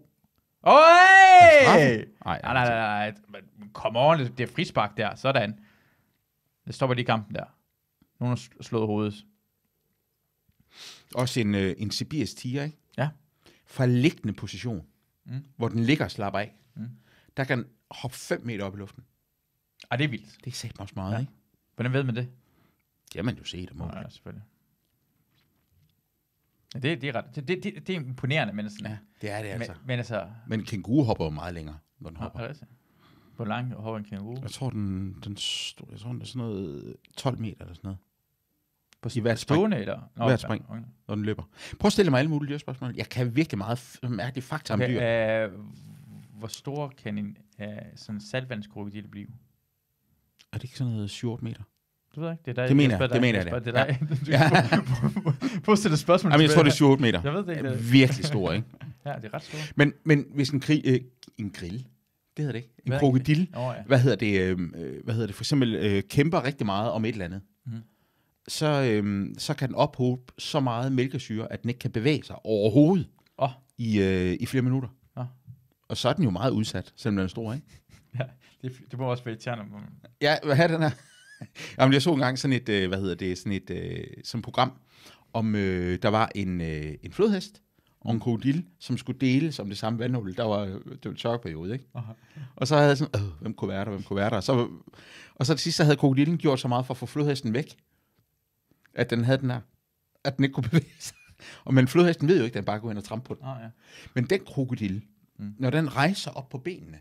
Speaker 2: Oj!
Speaker 3: Nej,
Speaker 2: Nej, nej, nej, nej. Men Kom on, det er frispark der. Sådan. Det stopper lige kampen der. Nogen har sl- slået hovedet.
Speaker 3: Også en, øh, en sibirisk tiger, ikke?
Speaker 2: Ja.
Speaker 3: Fra liggende position,
Speaker 2: Mm.
Speaker 3: mm. hvor den ligger og slapper af,
Speaker 2: Mm.
Speaker 3: mm. der kan den hoppe 5 meter op i luften.
Speaker 2: Ej, det er vildt.
Speaker 3: Det er satme også meget,
Speaker 2: Ja.
Speaker 3: ja. ikke?
Speaker 2: Hvordan ved man det?
Speaker 3: Det har man jo set om
Speaker 2: Ja, selvfølgelig. Ja, det, det, er ret, det, det, det, det er imponerende, men sådan...
Speaker 3: Ja, det er det altså.
Speaker 2: Men, men altså...
Speaker 3: Men, men kænguru hopper jo meget længere, når den hopper.
Speaker 2: Hopper. Hvor langt hopper en kænguru?
Speaker 3: Jeg tror, den, den, stod, jeg tror, den er sådan noget 12 meter eller sådan noget,
Speaker 2: På
Speaker 3: i hvert spring.
Speaker 2: stående, eller? Nå,
Speaker 3: Hvert spring.
Speaker 2: Okay.
Speaker 3: når den løber. Prøv at stille mig alle mulige dyrspørgsmål. Jeg kan virkelig meget f- mærkelige fakta om dyr.
Speaker 2: Okay, øh, hvor stor kan en øh, sådan saltvandskrokodil blive?
Speaker 3: Er det ikke sådan noget 7-8 meter?
Speaker 2: Det ved jeg ikke. Det, er dig,
Speaker 3: Det mener
Speaker 2: jeg. spørger
Speaker 3: jeg, det
Speaker 2: dig.
Speaker 3: mener jeg,
Speaker 2: spørger dig. er dig. Prøv at stille spørgsmål.
Speaker 3: Jamen, jeg tror, det
Speaker 2: tilbage.
Speaker 3: er 7-8 meter.
Speaker 2: Jeg ved det ikke. det-
Speaker 3: Virkelig stor, ikke?
Speaker 2: Ja, det er ret stort.
Speaker 3: Men, men hvis en, krig, øh, en grill, det hedder det ikke, en
Speaker 2: Hvad er en
Speaker 3: krokodil,
Speaker 2: Åh, oh, ja.
Speaker 3: hvad hedder det, øhm, øh, hvad hedder det, for eksempel øh, kæmper rigtig meget om et eller andet,
Speaker 2: Mhm.
Speaker 3: mm. så, øh, så kan den ophobe så meget mælkesyre, at den ikke kan bevæge sig overhovedet
Speaker 2: Åh.
Speaker 3: i, øh, i flere minutter.
Speaker 2: Nå.
Speaker 3: Og så er den jo meget udsat, selvom den er stor, ikke?
Speaker 2: Det, det må også være et tjerner.
Speaker 3: Ja, hvad er den her? Jamen, jeg så engang sådan et, øh, hvad hedder det, sådan et øh, sådan et program, om øh, der var en, øh, en flodhest og en krokodil, som skulle deles om det samme vandhul. Der var, øh, det var en tørkeperiode, ikke?
Speaker 2: Aha.
Speaker 3: Og så havde jeg sådan, øh, hvem kunne være der, hvem kunne være der? Og så, og så til sidst, så havde krokodilen gjort så meget for at få flodhesten væk, at den havde den her, at den ikke kunne bevæge sig. Og men flodhesten ved jo ikke, at den bare går hen og trampe på den.
Speaker 2: Åh, ja.
Speaker 3: Men den krokodil,
Speaker 2: Mm.
Speaker 3: mm. når den rejser op på benene,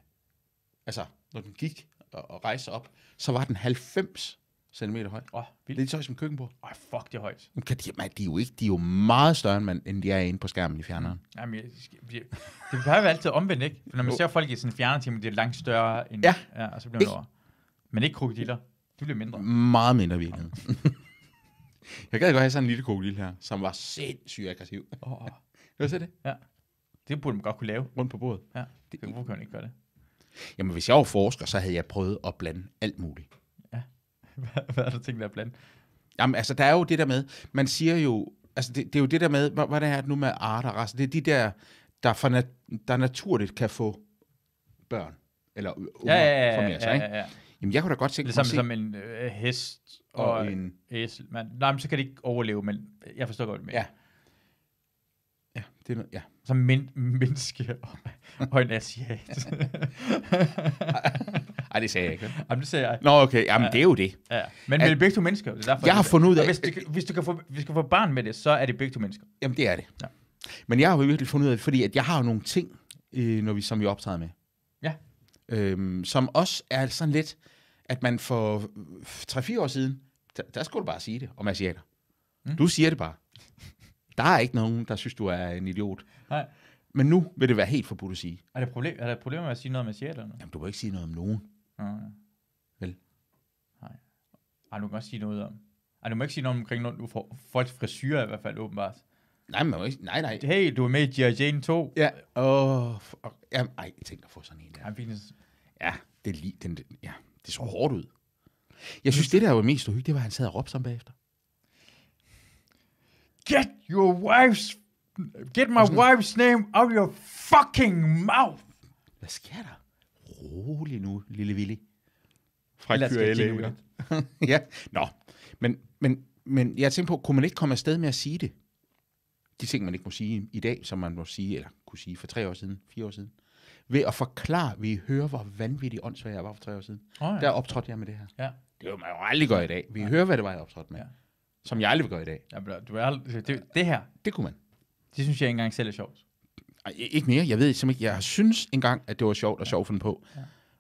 Speaker 3: altså når den gik og, og rejser op, så var den 90 cm høj.
Speaker 2: Åh, oh, vildt.
Speaker 3: Lidt høj som køkkenbord.
Speaker 2: Åh, fuck, det er højt.
Speaker 3: Men Kan de, man, de, er jo ikke, de er jo meget større, end, man, end de er inde på skærmen i fjerneren.
Speaker 2: Jamen, jeg, jeg, det plejer jo altid omvendt, ikke? For når man
Speaker 3: Jo.
Speaker 2: ser folk i sådan en fjernertime, det er langt større end...
Speaker 3: Ja.
Speaker 2: ja og så bliver man
Speaker 3: Ikke-
Speaker 2: over. Men ikke krokodiller. De bliver mindre.
Speaker 3: Meget mindre virkelighed. jeg gad godt have sådan en lille krokodil her, som var sindssygt aggressiv.
Speaker 2: Oh,
Speaker 3: Kan du se det?
Speaker 2: det burde man godt kunne lave.
Speaker 3: Rundt på bordet.
Speaker 2: Ja.
Speaker 3: Det,
Speaker 2: Hvorfor kan man ikke gøre det?
Speaker 3: jamen, hvis jeg var forsker, så havde jeg prøvet at blande alt muligt.
Speaker 2: Hvad- Hvad er der ting, der er blandt?
Speaker 3: Jamen, altså, der er jo det der med, man siger jo, altså, det, det er jo det der med, hvad, hvad det er det nu med arter og racer? Det er de der, der, for nat- der naturligt kan få børn, eller unger
Speaker 2: Ja, ja, ja. ja,
Speaker 3: fra mere sig,
Speaker 2: ja,
Speaker 3: ikke?
Speaker 2: ja, ja.
Speaker 3: Jamen, jeg kunne da godt tænke mig
Speaker 2: Ligesom
Speaker 3: at se,
Speaker 2: som en øh, hest og,
Speaker 3: og
Speaker 2: en
Speaker 3: en,
Speaker 2: æsel. Man, nej, men så kan det ikke overleve, men jeg forstår godt, hvad du mener.
Speaker 3: Ja. ja, det er noget, ja.
Speaker 2: Som men, menneske og, og en asiat.
Speaker 3: Ej, det sagde jeg ikke. vel?
Speaker 2: Jamen, det siger jeg.
Speaker 3: Nå, okay, jamen,
Speaker 2: Ja.
Speaker 3: det er jo det.
Speaker 2: Ja, ja. men
Speaker 3: At-
Speaker 2: vi er begge to mennesker. Det er derfor,
Speaker 3: Jeg har
Speaker 2: det-
Speaker 3: fundet ud af-
Speaker 2: Og Hvis du, kan- hvis du kan få, hvis du kan få barn med det, så er det begge to mennesker.
Speaker 3: Jamen, det er det.
Speaker 2: Ja.
Speaker 3: Men jeg har jo virkelig fundet ud af, fordi at jeg har jo nogle ting, øh, når vi, som vi optræder med.
Speaker 2: Ja.
Speaker 3: Øhm, som også er sådan lidt, at man for øh, 3-4 år siden, der, der skulle du bare sige det om asiater.
Speaker 2: Mm.
Speaker 3: Mm. Du siger det bare. Der er ikke nogen, der synes, du er en idiot.
Speaker 2: Nej.
Speaker 3: Men nu vil det være helt forbudt at sige,
Speaker 2: Er der, problem, er der et problem med at sige noget med asiater? Eller? noget?
Speaker 3: jamen du må ikke sige noget om nogen.
Speaker 2: Nå, ja.
Speaker 3: Vel.
Speaker 2: Nej. Ej, du kan også sige noget om... Ej, du må ikke sige noget omkring noget, du får folks frisyrer i hvert fald åbenbart.
Speaker 3: Nej, man må ikke, nej, nej.
Speaker 2: Hey, du er med i G.I. Jane 2.
Speaker 3: Ja, åh, fuck. Jamen, ej, tænk at få sådan en der.
Speaker 2: Han fik en s-
Speaker 3: Ja, det, er lige, den, ja, det så hårdt ud. Jeg synes, det der var mest uhyggeligt, det var, at han sad og råbte sammen bagefter.
Speaker 2: Get your wife's... Get my wife's name out of your fucking mouth!
Speaker 3: Hvad sker der? Rolig nu, lille Willy. Fra
Speaker 2: Ellers skal jeg jingle lidt.
Speaker 3: ja, nå. Men, men, men jeg tænker på, kunne man ikke komme afsted med at sige det? De ting, man ikke må sige i dag, som man må sige, eller kunne sige for tre år siden, fire år siden. Ved at forklare, vi hører, hvor vanvittig åndssvag jeg var for tre år siden.
Speaker 2: Åh, ja.
Speaker 3: Der optrådte jeg med det her.
Speaker 2: Ja.
Speaker 3: Det vil man jo aldrig gøre i dag. Vi hører, hvad det var, jeg optrådte med.
Speaker 2: Ja.
Speaker 3: Som jeg aldrig vil gøre i dag.
Speaker 2: Ja, men du er, aldrig- det, det her,
Speaker 3: Det kunne man.
Speaker 2: det synes jeg ikke engang selv er sjovt.
Speaker 3: Ej, ikke mere. Jeg ved simpelthen ikke. Jeg har synes engang, at det var sjovt og sjovt fundet på.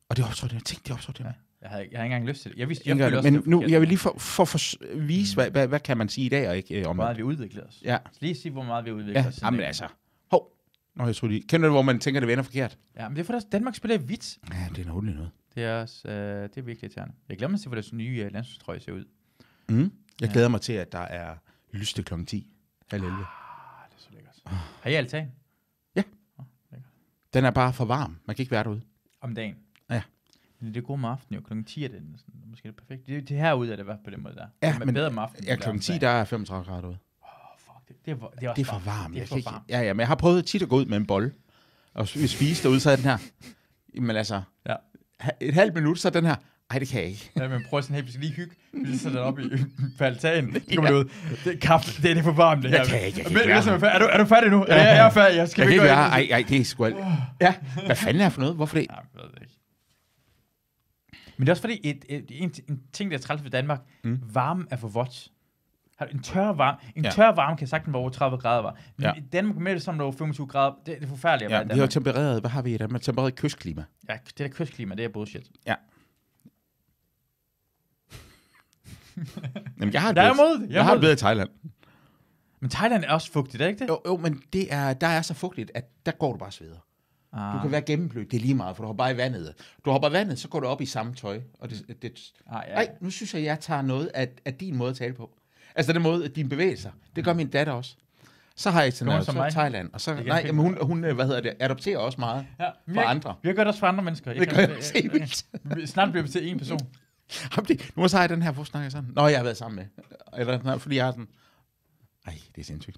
Speaker 3: Og det optrådte jeg. Tænk, det optrådte jeg med.
Speaker 2: Jeg havde, jeg havde ikke engang lyst til det. Jeg vidste, jeg
Speaker 3: Ikke
Speaker 2: følte
Speaker 3: gør
Speaker 2: også,
Speaker 3: det.
Speaker 2: det
Speaker 3: Men
Speaker 2: var
Speaker 3: nu,
Speaker 2: forkert.
Speaker 3: jeg vil lige for, for, for vise, hvad, hvad, hvad kan man sige i dag og ikke øh, om
Speaker 2: Hvor meget vi udviklede os.
Speaker 3: Ja,
Speaker 2: Lige sige, hvor meget vi udvikler
Speaker 3: ja.
Speaker 2: os. siden
Speaker 3: Jamen
Speaker 2: dengang.
Speaker 3: altså. Hov. Nå, jeg tror lige. Kender du, hvor man tænker, det vender forkert?
Speaker 2: Ja, men det er for også, Danmark spiller i hvidt.
Speaker 3: Ja, det er noget noget.
Speaker 2: Det er, også, øh, det er virkelig irriterende. Jeg glemmer at se, hvordan deres nye øh, landsholdstrøje ser ud.
Speaker 3: Mm. Jeg
Speaker 2: Ja.
Speaker 3: glæder mig til, at der er lyste kl. 10. Halv 11.
Speaker 2: Ah, det er så lækkert. Har I altan?
Speaker 3: Den er bare for varm. Man kan ikke være derude.
Speaker 2: Om dagen?
Speaker 3: Ja.
Speaker 2: Men det er godt om aftenen jo. Klokken 10 er det næsten. Måske er det perfekt. Det, det herude er det i hvert fald på den måde der.
Speaker 3: Ja,
Speaker 2: det er
Speaker 3: men-
Speaker 2: bedre om aftenen.
Speaker 3: Ja,
Speaker 2: end
Speaker 3: kl.
Speaker 2: om
Speaker 3: 10,
Speaker 2: dagen.
Speaker 3: der er 35 grader ude.
Speaker 2: Åh, fuck, det, det, er, det, er, også
Speaker 3: Ah, Det er for varmt.
Speaker 2: Det er
Speaker 3: Jeg
Speaker 2: for
Speaker 3: kan ikke,
Speaker 2: varmt.
Speaker 3: ja, ja, men jeg har prøvet tit at gå ud med en bold. og vi spiste derude, så havde den her, men altså,
Speaker 2: Ja.
Speaker 3: ha- et halvt minut, så den her, ej, det kan jeg ikke.
Speaker 2: Ja, men prøv sådan helt, vi skal lige hygge. Vi sætter den op i på altanen. Så kommer det ud. Det er kaffe, det er det er for varmt, det her.
Speaker 3: Jeg kan ikke, jeg kan
Speaker 2: Men-
Speaker 3: ikke være
Speaker 2: ligesom, Er du, er du færdig nu? Ja, jeg er færdig. Jeg skal
Speaker 3: Jeg kan
Speaker 2: vi
Speaker 3: ikke
Speaker 2: gå
Speaker 3: være
Speaker 2: ind?
Speaker 3: her. Ej, ej, det er sgu alt. Ja, hvad fanden er det for noget? Hvorfor det?
Speaker 2: Nej, jeg ved det ikke. Men det er også fordi, et, et, en, en ting, der er træls ved Danmark, mm. varmen er for vådt. Har du En tør varme, en
Speaker 3: Ja.
Speaker 2: ja. tør varme kan sagtens være over 30 grader var. Men
Speaker 3: Ja.
Speaker 2: ja. i Danmark med det som der var 25 grader, det, det er forfærdeligt at
Speaker 3: Ja,
Speaker 2: være i
Speaker 3: vi har jo
Speaker 2: Danmark.
Speaker 3: tempereret, hvad har vi i Danmark? Tempereret kystklima.
Speaker 2: Ja, det der kystklima, det er bullshit.
Speaker 3: Jamen, jeg har det
Speaker 2: Der er
Speaker 3: bedre,
Speaker 2: imod det, jeg
Speaker 3: jeg,
Speaker 2: er
Speaker 3: har det
Speaker 2: imod
Speaker 3: bedre i Thailand.
Speaker 2: Men Thailand er også fugtigt, er det ikke det?
Speaker 3: Jo, jo, men det er, der er så fugtigt, at der går du bare og sveder.
Speaker 2: Ah,
Speaker 3: Du kan være gennemblødt, det er lige meget, for du hopper bare i vandet. Du hopper i vandet, så går du op i samme tøj. Og det, det,
Speaker 2: ah, ja.
Speaker 3: Nej, nu synes jeg, jeg tager noget af, af din måde at tale på. Altså den måde, at dine bevægelser. Det gør min datter også. Så har jeg sådan
Speaker 2: Mm. Gør hun
Speaker 3: noget,
Speaker 2: som
Speaker 3: så
Speaker 2: mig?
Speaker 3: Thailand. Og så,
Speaker 2: kan
Speaker 3: nej,
Speaker 2: jeg
Speaker 3: jamen, hun, hun, øh, hvad hedder det, adopterer også meget
Speaker 2: Ja, men
Speaker 3: fra
Speaker 2: jeg-
Speaker 3: andre.
Speaker 2: Vi har gjort også for andre mennesker. Jeg
Speaker 3: Det
Speaker 2: kan-
Speaker 3: gør jeg
Speaker 2: jeg-
Speaker 3: også
Speaker 2: jeg-
Speaker 3: helt.
Speaker 2: jeg- Snart bliver vi til
Speaker 3: Mm.
Speaker 2: én person.
Speaker 3: Jamen, det- Nu så jeg den her, hvor snakker jeg sådan? Nå, jeg har været sammen med. Eller, nej, fordi jeg har sådan... Ej, det er sindssygt.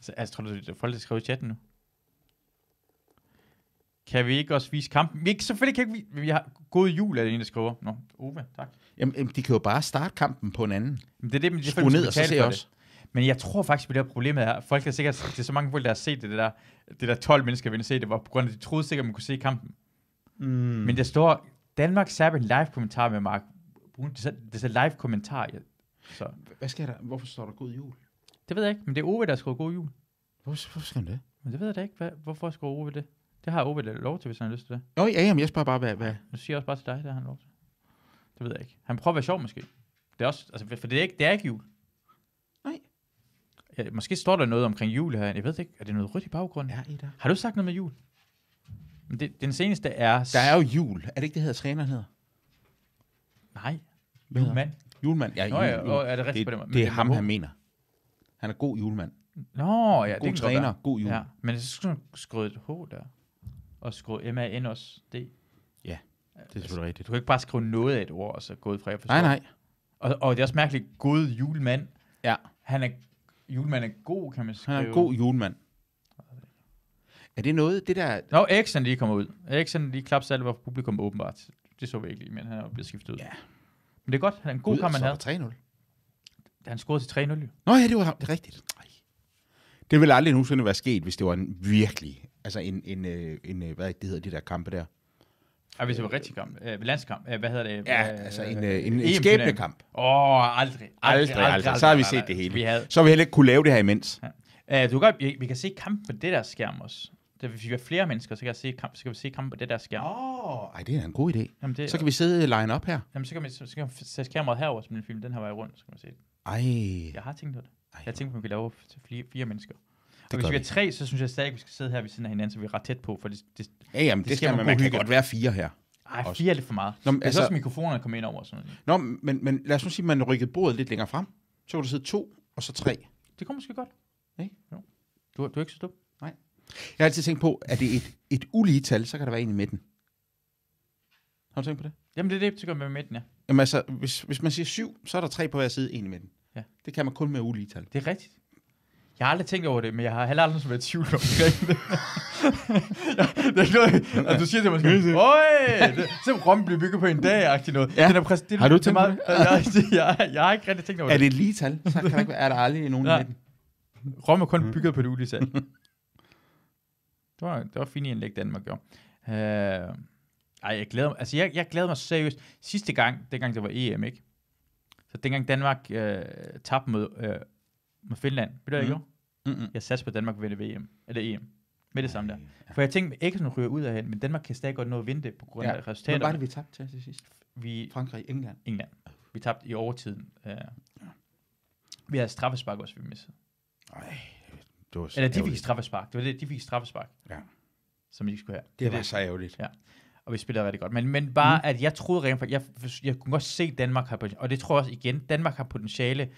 Speaker 2: Så, altså, tror du, det er folk, der skriver i chatten nu? Kan vi ikke også vise kampen? Vi ikke, selvfølgelig kan vi ikke vi, vi har god jul, er det en, der skriver. Nå, Ove, tak.
Speaker 3: Jamen, øhm, de kan jo bare starte kampen på en anden.
Speaker 2: Men det er det, men det er
Speaker 3: Skru ned, og så ser jeg også.
Speaker 2: Men jeg tror faktisk, at det her problemet er, folk har sikkert, det er så mange folk, der har set det, det der, det der 12 mennesker, ville se det, var på grund af, at de troede sikkert, man kunne se kampen.
Speaker 3: Mm.
Speaker 2: Mm. Men der står, Danmark særlig en live kommentar med Mark. Brun. Det er, så- det er så live kommentar. Ja. Så,
Speaker 3: Hvad sker der? Hvorfor står der god jul?
Speaker 2: det ved jeg ikke, men det er Ove, der har skrevet god jul.
Speaker 3: Hvorfor, hvorfor skal den det?
Speaker 2: Men det ved jeg da ikke, hvad, hvorfor skriver Ove det? Det har Ove da lov til, hvis han har lyst til det.
Speaker 3: Nå, ja, jamen, jeg spørger bare, hvad... hvad?
Speaker 2: Nu siger jeg også bare til dig, det har han lov til. Det ved jeg ikke. Han prøver at være sjov måske. Det er også, altså, for det er ikke, det er ikke jul.
Speaker 3: Nej.
Speaker 2: Ja, måske står der noget omkring jul her. Jeg ved det ikke, er det noget rødt i baggrunden?
Speaker 3: Ja, i der.
Speaker 2: Har du sagt noget med jul? Men det, den seneste er...
Speaker 3: Der er jo jul. Er det ikke det, hedder træneren hedder?
Speaker 2: Nej,
Speaker 3: Hvad hedder
Speaker 2: julemand.
Speaker 3: han? Julemand. Ja,
Speaker 2: Nå ja,
Speaker 3: jul, jul.
Speaker 2: og er det
Speaker 3: Det,
Speaker 2: rigtigt på den
Speaker 3: det,
Speaker 2: måde?
Speaker 3: det er
Speaker 2: Men
Speaker 3: ham,
Speaker 2: må-
Speaker 3: han mener. Han er god julemand.
Speaker 2: Nå, ja,
Speaker 3: God
Speaker 2: det kan
Speaker 3: træner,
Speaker 2: godt være.
Speaker 3: god jul.
Speaker 2: Ja, men så skulle man skrive et H der. Og skrive M-A-N også D. Altså,
Speaker 3: Det er selvfølgelig
Speaker 2: Du
Speaker 3: rigtigt.
Speaker 2: kan ikke bare skrive noget af et ord, og så gå ud fra, jeg forstår.
Speaker 3: Nej, nej.
Speaker 2: Og, og det er også mærkeligt, god julemand.
Speaker 3: Ja.
Speaker 2: Han er, julemanden er god, kan man
Speaker 3: Han
Speaker 2: skrive.
Speaker 3: er en god julemand. Er det noget, det der...
Speaker 2: Nå, Eriksen er lige kommet ud. Eriksen er lige klapsalver for publikum åbenbart. Det så vi ikke lige, men han er jo blevet skiftet ud.
Speaker 3: Ja.
Speaker 2: Men det er godt, han er en god
Speaker 3: Gud,
Speaker 2: kamp, han
Speaker 3: så
Speaker 2: havde.
Speaker 3: var 3-0.
Speaker 2: Han scorede til 3-0. jo.
Speaker 3: Nå ja, det var ham. Det er rigtigt. Ej. Det ville aldrig nogensinde være sket, hvis det var en virkelig... Altså en, en, øh, en øh, hvad er det, det hedder de der kampe der?
Speaker 2: Ej, hvis det var rigtig kamp. Øh, landskamp. Øh, hvad hedder det?
Speaker 3: Ja,
Speaker 2: Øh,
Speaker 3: altså en,
Speaker 2: Åh,
Speaker 3: øh, en, en
Speaker 2: EM-finalen.
Speaker 3: skæbnekamp.
Speaker 2: aldrig. Aldrig,
Speaker 3: Aldrig, aldrig. Så har vi set det
Speaker 2: Vi
Speaker 3: hele.
Speaker 2: havde.
Speaker 3: Så har vi heller ikke kunne lave det her imens.
Speaker 2: Øh, du kan, godt- vi, vi kan se kampen på det der skærm også. Det, hvis vi er flere mennesker, så kan, jeg se kamp, så kan vi se kampen på det der skærm.
Speaker 3: Åh, ej, det er en god idé.
Speaker 2: Jamen, det,
Speaker 3: Så kan vi sidde og line op her.
Speaker 2: jamen, så kan, vi, så, så kan vi f- sætte kameraet herover, som en film, den her vej rundt, så kan man se det.
Speaker 3: Ej,
Speaker 2: Jeg har tænkt på det.
Speaker 3: Ej.
Speaker 2: Jeg tænkte, at vi kunne lave til fire, fire mennesker.
Speaker 3: gør
Speaker 2: og hvis vi
Speaker 3: vi.
Speaker 2: er tre, så synes jeg stadig, at vi skal sidde her ved siden af hinanden, så vi er ret tæt på, for det, det,
Speaker 3: ja, jamen, det,
Speaker 2: Det
Speaker 3: det
Speaker 2: skal
Speaker 3: skal
Speaker 2: man
Speaker 3: man,
Speaker 2: kunne
Speaker 3: man kan
Speaker 2: hygge.
Speaker 3: godt være fire her.
Speaker 2: ej,
Speaker 3: Også.
Speaker 2: fire er lidt for meget.
Speaker 3: Nå, men
Speaker 2: Nå,
Speaker 3: altså-
Speaker 2: altså, så skal mikrofonerne komme ind over og sådan noget.
Speaker 3: Nå, men, men lad os nu sige, at man rykkede bordet lidt længere frem. Så kunne der sidde to, og så tre.
Speaker 2: Det kommer måske godt.
Speaker 3: Ikke?
Speaker 2: Jo. Du, du er ikke så dum.
Speaker 3: Jeg har altid tænkt på, at det er et, et ulige tal, så kan der være en i midten. Har du tænkt på det?
Speaker 2: Jamen, det er det, du gør med midten, ja.
Speaker 3: Jamen altså, hvis, hvis man siger syv, så er der tre på hver side, en i midten.
Speaker 2: Ja.
Speaker 3: Det kan man kun med ulige tal.
Speaker 2: Det er rigtigt. Jeg har aldrig tænkt over det, men jeg har heller aldrig været i tvivl omkring det. det er ikke noget, at du siger det måske, Øj, det, så Rom blev bygget på en dag, agtigt noget.
Speaker 3: Ja.
Speaker 2: Den er præcis, det, er-
Speaker 3: Har du
Speaker 2: det er
Speaker 3: tænkt på
Speaker 2: meget, det? Jeg, jeg, jeg, har ikke rigtig tænkt over
Speaker 3: Er
Speaker 2: det.
Speaker 3: det et lige tal, så kan der ikke være, er der aldrig nogen i
Speaker 2: Nej.
Speaker 3: midten.
Speaker 2: Rom er
Speaker 3: Mm.
Speaker 2: kun bygget på det ulige sand. det, var, det var fint i indlæg, Danmark gjorde. Øh, ej, jeg glæder mig, altså jeg, jeg glæder mig seriøst. Sidste gang, dengang det var EM, ikke? Så dengang Danmark øh, tabte mod, øh, mod Finland, ved du, hvad jeg
Speaker 3: Mhm.
Speaker 2: gjorde?
Speaker 3: Mm-mm.
Speaker 2: Jeg satser på, at Danmark vinder VM. Eller EM. Med det samme der. For jeg tænkte, at Eriksen ryger ud af hen, men Danmark kan stadig godt nå at vinde det på grund af
Speaker 3: Ja,
Speaker 2: ja.
Speaker 3: Hvad var det,
Speaker 2: resultaterne.
Speaker 3: vi tabte til til sidst?
Speaker 2: Vi,
Speaker 3: Frankrig, England.
Speaker 2: England. Vi tabte i overtiden. Uh, vi havde straffespark også, vi missede.
Speaker 3: Nej, det var så
Speaker 2: Eller de fik
Speaker 3: ærgerligt.
Speaker 2: straffespark. Det var det, de fik straffespark.
Speaker 3: Ja.
Speaker 2: Som de ikke skulle have.
Speaker 3: Det var så ærgerligt.
Speaker 2: Og vi spillede rigtig godt. Men, men bare, mm. at jeg troede rent faktisk, jeg, jeg kunne godt se, at Danmark har potentiale. Og det tror jeg også igen, Danmark har potentiale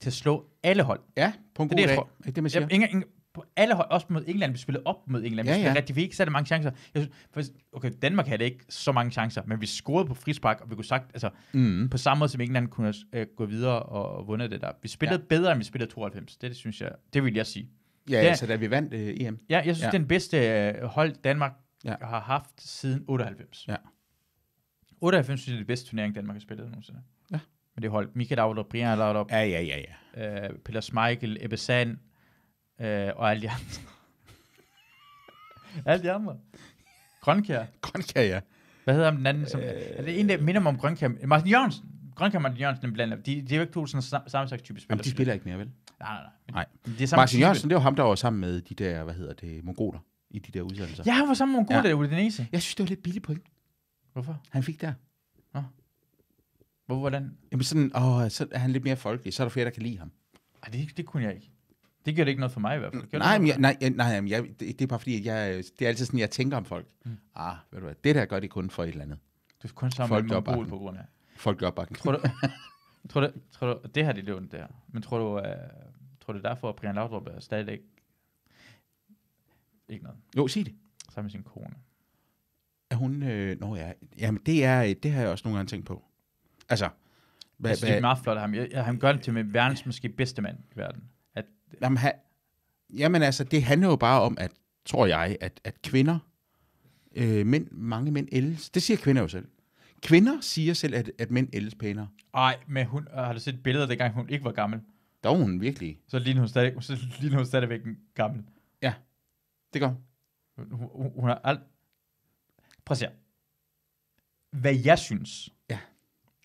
Speaker 2: til at slå alle hold.
Speaker 3: Ja, på en
Speaker 2: er
Speaker 3: god
Speaker 2: det, jeg
Speaker 3: dag.
Speaker 2: tror.
Speaker 3: Er det det, man siger?
Speaker 2: Jamen, ingen, ingen, på alle hold, også mod England, vi spillede op mod England.
Speaker 3: Ja,
Speaker 2: Ja, vi spillede
Speaker 3: ja.
Speaker 2: ja. rigtig fik, så er der mange chancer. Jeg synes, faktisk, okay, Danmark havde ikke så mange chancer, men vi scorede på frispark, og vi kunne sagt, altså
Speaker 3: Mm.
Speaker 2: på samme måde som England kunne have, øh, gå videre og vundet det der. Vi spillede ja. bedre, end vi spillede 92. Det, det synes jeg, det vil jeg sige.
Speaker 3: Ja,
Speaker 2: Ja.
Speaker 3: ja. altså da vi vandt øh, EM.
Speaker 2: Ja, jeg synes, ja.
Speaker 3: Ja.
Speaker 2: det er den bedste øh, hold, Danmark ja.
Speaker 3: Ja.
Speaker 2: har haft siden 98.
Speaker 3: Ja.
Speaker 2: 98 synes jeg, er det bedste turnering, Danmark har spillet nogensinde.
Speaker 3: Ja.
Speaker 2: Men det hold. Michael Laudrup, Brian Laudrup,
Speaker 3: Ja, ja, ja, ja.
Speaker 2: ja. øh, Peter Schmeichel, Ebbe Sand øh, og alle de andre. alle de andre. Grønkær.
Speaker 3: Godt kan jeg.
Speaker 2: Hvad hedder ham den anden? Som, øh, er det en, der minder mig om Grønkær? Martin Jørgensen. Grønkær og Martin Jørgensen er blandt De, de er jo ikke to sådan sam- samme slags type spillere.
Speaker 3: Jamen, de spiller ikke mere, vel?
Speaker 2: Nej, nej, nej. Men
Speaker 3: Nej.
Speaker 2: Det er samme
Speaker 3: Martin
Speaker 2: type.
Speaker 3: Jørgensen, det var ham, der var sammen med de der, hvad hedder det, mongoler i de der udsendelser.
Speaker 2: Ja, han var sammen med nogle gode,
Speaker 3: Ja.
Speaker 2: ja. der Udinese.
Speaker 3: Jeg synes, det var lidt billigt point,
Speaker 2: Hvorfor?
Speaker 3: han fik der.
Speaker 2: Hvor, hvordan?
Speaker 3: Jamen sådan, åh, så er han lidt mere folkelig, så er der flere, der kan lide ham.
Speaker 2: Ej, det, det kunne jeg ikke. Det gør det ikke noget for mig i hvert fald. Gør
Speaker 3: Nej,
Speaker 2: det
Speaker 3: men jeg, nej, jeg- nej men jeg, det, det er bare fordi, at jeg, øh, det er altid sådan, jeg tænker om folk.
Speaker 2: Mm.
Speaker 3: Mm. Ah, ved du hvad, det der gør det kun for et eller andet.
Speaker 2: Du er kun sammen
Speaker 3: Folk
Speaker 2: med en mongol
Speaker 3: opbakning.
Speaker 2: på grund af.
Speaker 3: Folk gør bare
Speaker 2: Tror du, tror du, tror du, det her det er det ondt, det her. Men tror du, uh, tror du det er derfor, at Brian Laudrup er stadigvæk ikke noget
Speaker 3: Jo, sig det.
Speaker 2: sammen med sin kone?
Speaker 3: Er hun, øh, nå ja, jamen det, er, øh, det har jeg også nogle gange tænkt på. Altså,
Speaker 2: Hva,
Speaker 3: hvad,
Speaker 2: jeg synes, det er meget flot af ham. Jeg, jeg, han gør det til med verdens måske bedste mand i verden. At,
Speaker 3: Jamen, ha, jamen altså, det handler jo bare om, at, tror jeg, at, at kvinder, øh, mænd, mange mænd ældes. Det siger kvinder jo selv. Kvinder siger selv, at, at mænd ældes pænere.
Speaker 2: ej, men hun, øh, har du set billeder, dengang hun ikke var gammel?
Speaker 3: Der er hun virkelig.
Speaker 2: Så ligner hun, stadig, så ligner hun stadigvæk en gammel.
Speaker 3: Det gør hun.
Speaker 2: Hun, hun, hun har alt... Prøv at se her. Hvad jeg synes,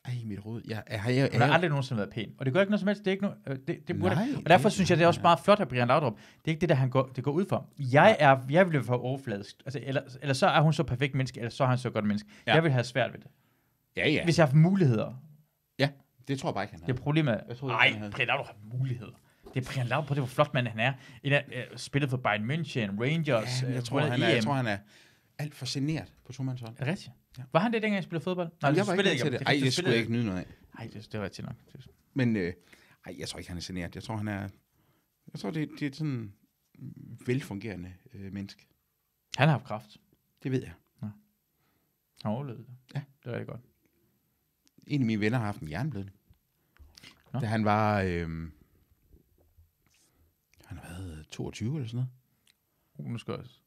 Speaker 3: Ej, mit råd. Jeg, jeg, jeg, jeg,
Speaker 2: Hun har aldrig nogensinde været pæn. Og det gør ikke noget som helst. Det er ikke no, øh, det, det burde,
Speaker 3: Nej,
Speaker 2: og derfor
Speaker 3: det-
Speaker 2: synes jeg, det er også
Speaker 3: nej.
Speaker 2: meget flot af Brian Laudrup. Det er ikke det, der han går, det går ud for. Jeg, er, jeg ville være overfladisk. Altså, eller, eller så er hun så perfekt menneske, eller så er han så godt menneske. Ja.
Speaker 3: Ja.
Speaker 2: Jeg vil have svært ved det.
Speaker 3: ja, ja.
Speaker 2: Hvis jeg har haft muligheder.
Speaker 3: ja. Det tror jeg bare ikke, han har.
Speaker 2: Det er problemet.
Speaker 3: Jeg troede, han
Speaker 2: Nej,
Speaker 3: havde-
Speaker 2: Brian Laudrup har muligheder. Det er Brian Laudrup, det er, hvor flot mand han er. En af, øh, spillet for Bayern München, Rangers, øh,
Speaker 3: Ja, men
Speaker 2: ja,
Speaker 3: jeg, tror, han er, jeg tror, han er alt for generet på tomandshånd.
Speaker 2: Er E det rigtigt? Var han det, dengang jeg spillede fodbold? Nej, du
Speaker 3: jeg var
Speaker 2: spillede
Speaker 3: ikke til det.
Speaker 2: om
Speaker 3: Ej,
Speaker 2: rigtigt, du
Speaker 3: det skulle jeg
Speaker 2: spillede
Speaker 3: ikke nyde noget af.
Speaker 2: ikke. Ej, det, det er rigtigt nok. Det-
Speaker 3: Men øh, ej, jeg tror ikke, han er generet. Jeg tror, han er... Jeg tror, det, det er sådan en velfungerende øh, menneske.
Speaker 2: Han har haft kraft.
Speaker 3: Det ved jeg.
Speaker 2: Han overlevede det.
Speaker 3: Ja.
Speaker 2: Det er rigtig godt.
Speaker 3: En af mine venner har haft en jernblødning.
Speaker 2: Nå.
Speaker 3: Da han var... Øh, han har været 22 eller sådan noget.
Speaker 2: Uh, nu skal jeg også.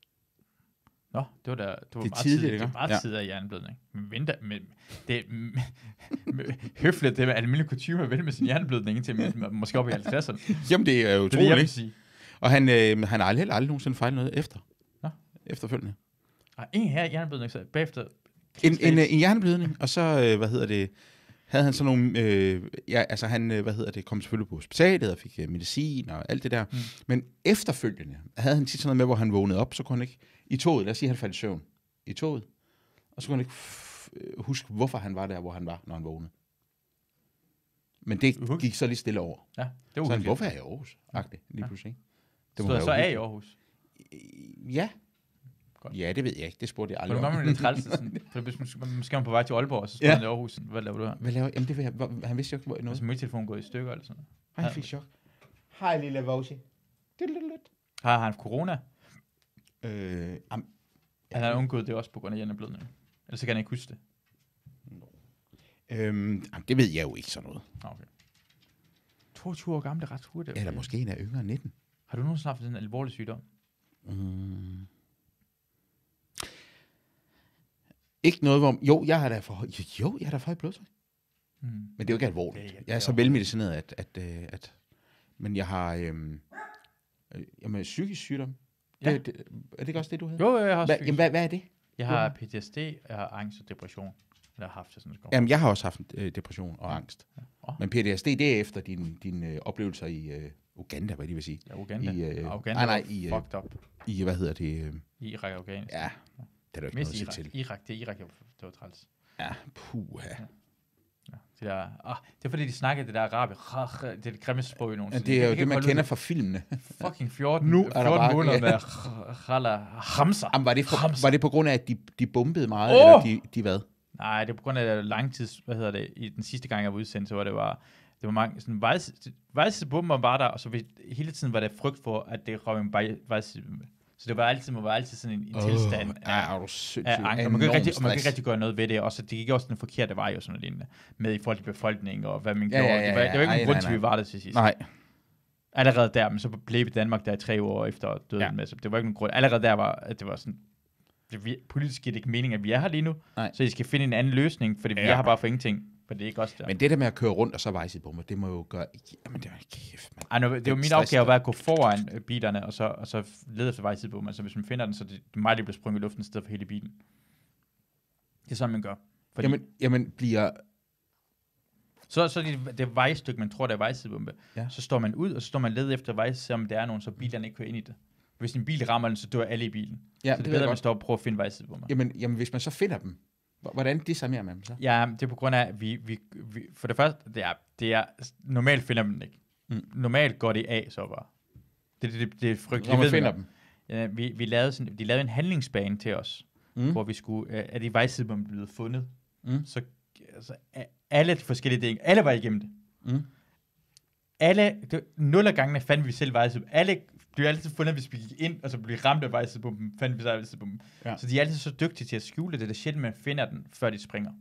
Speaker 2: Nå, det var da... Det, var
Speaker 3: Det er
Speaker 2: meget
Speaker 3: tidligt,
Speaker 2: tidligt,
Speaker 3: ikke?
Speaker 2: Det er meget
Speaker 3: Ja.
Speaker 2: tidligt af hjerneblødning. Men venter, men det er høfligt, det er almindelig kutume at vente med sin hjerneblødning til man- måske op i 50'erne.
Speaker 3: Jamen, det er
Speaker 2: Det er det, jeg
Speaker 3: utroligt,
Speaker 2: vil
Speaker 3: ikke?
Speaker 2: sige.
Speaker 3: Og han, øh, han har aldrig, heller aldrig nogensinde fejlet noget efter.
Speaker 2: Nå.
Speaker 3: Efterfølgende.
Speaker 2: Og en her hjerneblødning, så bagefter...
Speaker 3: En, en, øh, en hjerneblødning, og så, øh, hvad hedder det, havde han sådan nogle, øh, ja, altså han, øh, hvad hedder det, kom selvfølgelig på hospitalet og fik øh, medicin og alt det der. Mm. Men efterfølgende havde han tit sådan noget med, hvor han vågnede op, så kunne han ikke, i toget, lad os sige, han faldt i søvn i toget, og så kunne han ikke f- øh, huske, hvorfor han var der, hvor han var, når han vågnede. Men det
Speaker 2: Uhyggeligt.
Speaker 3: gik så lige stille over.
Speaker 2: Ja, det var
Speaker 3: Så han,
Speaker 2: uhyggeligt.
Speaker 3: hvorfor er jeg i Aarhus? Agtigt, lige
Speaker 2: Ja.
Speaker 3: pludselig. ikke?
Speaker 2: Det
Speaker 3: må
Speaker 2: Stod
Speaker 3: være
Speaker 2: jeg så af i
Speaker 3: uhyggeligt.
Speaker 2: Aarhus.
Speaker 3: Ja.
Speaker 2: Godt.
Speaker 3: Ja, det ved jeg ikke. Det spurgte jeg
Speaker 2: Og
Speaker 3: aldrig
Speaker 2: nu
Speaker 3: om.
Speaker 2: kommer man lidt træls, sådan, for hvis man, måske er man på vej til Aalborg, og så står
Speaker 3: Ja.
Speaker 2: man i Aarhus. sådan, Hvad laver du her?
Speaker 3: Hvad laver Jamen, det ved jeg. Hvor- Han vidste jo ikke, hvor noget.
Speaker 2: Altså, min telefon går i stykker eller sådan noget.
Speaker 3: Ej, han fik chok. Hej, lille Vossi.
Speaker 2: Har han haft corona?
Speaker 3: Øh, am,
Speaker 2: Han har undgået det også på grund af hjerneblødning. Ellers så kan han ikke huske det.
Speaker 3: øhm, am, det ved jeg jo ikke sådan noget.
Speaker 2: Nå, okay. 22 år gammel, det er ret hurtigt.
Speaker 3: Eller måske en er yngre end 19.
Speaker 2: Har du nogensinde haft sådan en alvorlig sygdom?
Speaker 3: Mm. Ikke noget, hvor... Jo, jeg har da for høj, jo, jeg har da for høj blodtryk.
Speaker 2: Mm.
Speaker 3: Men det er jo ikke
Speaker 2: Det er
Speaker 3: alvorligt.
Speaker 2: ikke-
Speaker 3: Jeg er så velmedicineret, at... at, øh, at men jeg har... Øhm, øh, jamen, psykisk sygdom.
Speaker 2: Ja.
Speaker 3: Ja. Det, det, er det ikke også det, du havde?
Speaker 2: Jo, jo, jeg har også
Speaker 3: Hva,
Speaker 2: psykisk-
Speaker 3: jamen, hvad, hvad er det?
Speaker 2: Jeg har PTSD, jeg har angst og depression. Eller har haft det sådan en
Speaker 3: Jamen, jeg har også haft øh, depression og angst.
Speaker 2: Åh.
Speaker 3: Men PTSD, det er efter dine din, øh, oplevelser i øh, Uganda, hvad de vil sige.
Speaker 2: Ja, Uganda.
Speaker 3: i, øh,
Speaker 2: Og Uganda
Speaker 3: nej, nej,
Speaker 2: var
Speaker 3: i, øh,
Speaker 2: fucked up.
Speaker 3: I, hvad hedder det? øh,
Speaker 2: I Irak og Afghanistan.
Speaker 3: Ja, det er der jo ikke
Speaker 2: Mest
Speaker 3: noget at sige
Speaker 2: Irak.
Speaker 3: til.
Speaker 2: Irak, det er Irak, jeg var- det var træls.
Speaker 3: Ja, puha.
Speaker 2: Det, der, ah, det er fordi, de snakkede det der arabisk. Rah, rah, Det er det grimmeste sprog i nogen.
Speaker 3: Men det er jo det, man kender fra filmene.
Speaker 2: Fucking 14,
Speaker 3: Nu
Speaker 2: nu
Speaker 3: er der
Speaker 2: 14
Speaker 3: bare-
Speaker 2: måneder
Speaker 3: ja.
Speaker 2: med rah, Khala Hamza.
Speaker 3: Jamen, var, det på,
Speaker 2: Hamza.
Speaker 3: var det på grund af, at de, de bombede meget,
Speaker 2: Åh!
Speaker 3: oh! eller de, de hvad?
Speaker 2: Nej, det er på grund af langtids, hvad hedder det, i den sidste gang, jeg var udsendt, så var det var, det var mange, sådan vejs- vejsidebomber var der, og så vi, hele tiden var der frygt for, at det røg en vej- vejsidebombe. Så det var altid, man var altid sådan en, en oh, tilstand
Speaker 3: Åh,
Speaker 2: af,
Speaker 3: ja, er du sindssyg.
Speaker 2: af angst, og man
Speaker 3: Enorm
Speaker 2: kan, ikke rigtig, og man kan
Speaker 3: stress.
Speaker 2: ikke rigtig gøre noget ved det, og så det gik også den forkerte vej, og sådan noget lignende, med i forhold til befolkningen, og hvad man
Speaker 3: Ja, ja,
Speaker 2: gjorde,
Speaker 3: ja,
Speaker 2: det var, det var
Speaker 3: ja,
Speaker 2: ikke
Speaker 3: ej,
Speaker 2: nogen grund
Speaker 3: nej,
Speaker 2: til, at vi var der til sidst.
Speaker 3: Nej,
Speaker 2: Allerede der, men så blev Danmark der i tre år efter døden
Speaker 3: Ja.
Speaker 2: ja. med, så det var ikke nogen grund. Allerede der var, at det var sådan, det, vi, politisk giver det ikke mening, at vi er her lige nu,
Speaker 3: Nej.
Speaker 2: så I skal finde en anden løsning, fordi ja. vi
Speaker 3: Ja.
Speaker 2: er her bare for ingenting, for det er ikke os der. Men,
Speaker 3: Men det der med at køre rundt og så vejse på mig, det må jo gøre... Jamen, det er kæft, man.
Speaker 2: Ej, nu, det er jo min
Speaker 3: stress
Speaker 2: opgave
Speaker 3: der.
Speaker 2: var at gå foran øh, bilerne, og så, og så lede efter vejsid på mig, så hvis man finder den, så det, det er meget lige bliver sprunget i luften i stedet for hele bilen. Det er sådan, man gør. Fordi
Speaker 3: Jamen, jamen, bliver...
Speaker 2: Så, så det, det vejstykke, man tror, der er vejsidebombe.
Speaker 3: Ja.
Speaker 2: Ja. Så står man ud, og så står man led efter vej, selvom der er nogen, så bilerne ikke kører ind i det. Hvis en bil rammer den, så dør alle i bilen.
Speaker 3: Ja,
Speaker 2: Ja, så det
Speaker 3: det ved jeg
Speaker 2: er bedre, at man
Speaker 3: godt.
Speaker 2: står og prøver at finde vejsidebomber. Ja.
Speaker 3: Jamen, jamen, hvis man så finder dem, h- hvordan desarmerer man dem så?
Speaker 2: ja, det er på grund af, at vi, vi, vi for det første, det er, det er, normalt finder man den ikke.
Speaker 3: Mm.
Speaker 2: Mm. Normalt går det af, så bare. Det, det, det, det er frygteligt.
Speaker 3: Når
Speaker 2: Det
Speaker 3: man
Speaker 2: ved
Speaker 3: finder
Speaker 2: godt.
Speaker 3: dem.
Speaker 2: Ja, vi, vi lavede sådan, de lavede en handlingsbane til os,
Speaker 3: Mm.
Speaker 2: mm. hvor vi skulle, øh, at i vejsidebomben blev fundet.
Speaker 3: Mm.
Speaker 2: Så altså, a- alle de forskellige ting, alle var igennem det.
Speaker 3: Mm.
Speaker 2: alle, det, nul af gangene fandt vi selv vejsidebomben. Alle blev altid fundet, hvis vi gik ind, og så blev vi ramt af vejsidebomben, fandt vi selv vejsidebomben.
Speaker 3: Ja.
Speaker 2: Ja. Så de er altid så dygtige til at skjule det, det er sjældent, man finder den, før de springer.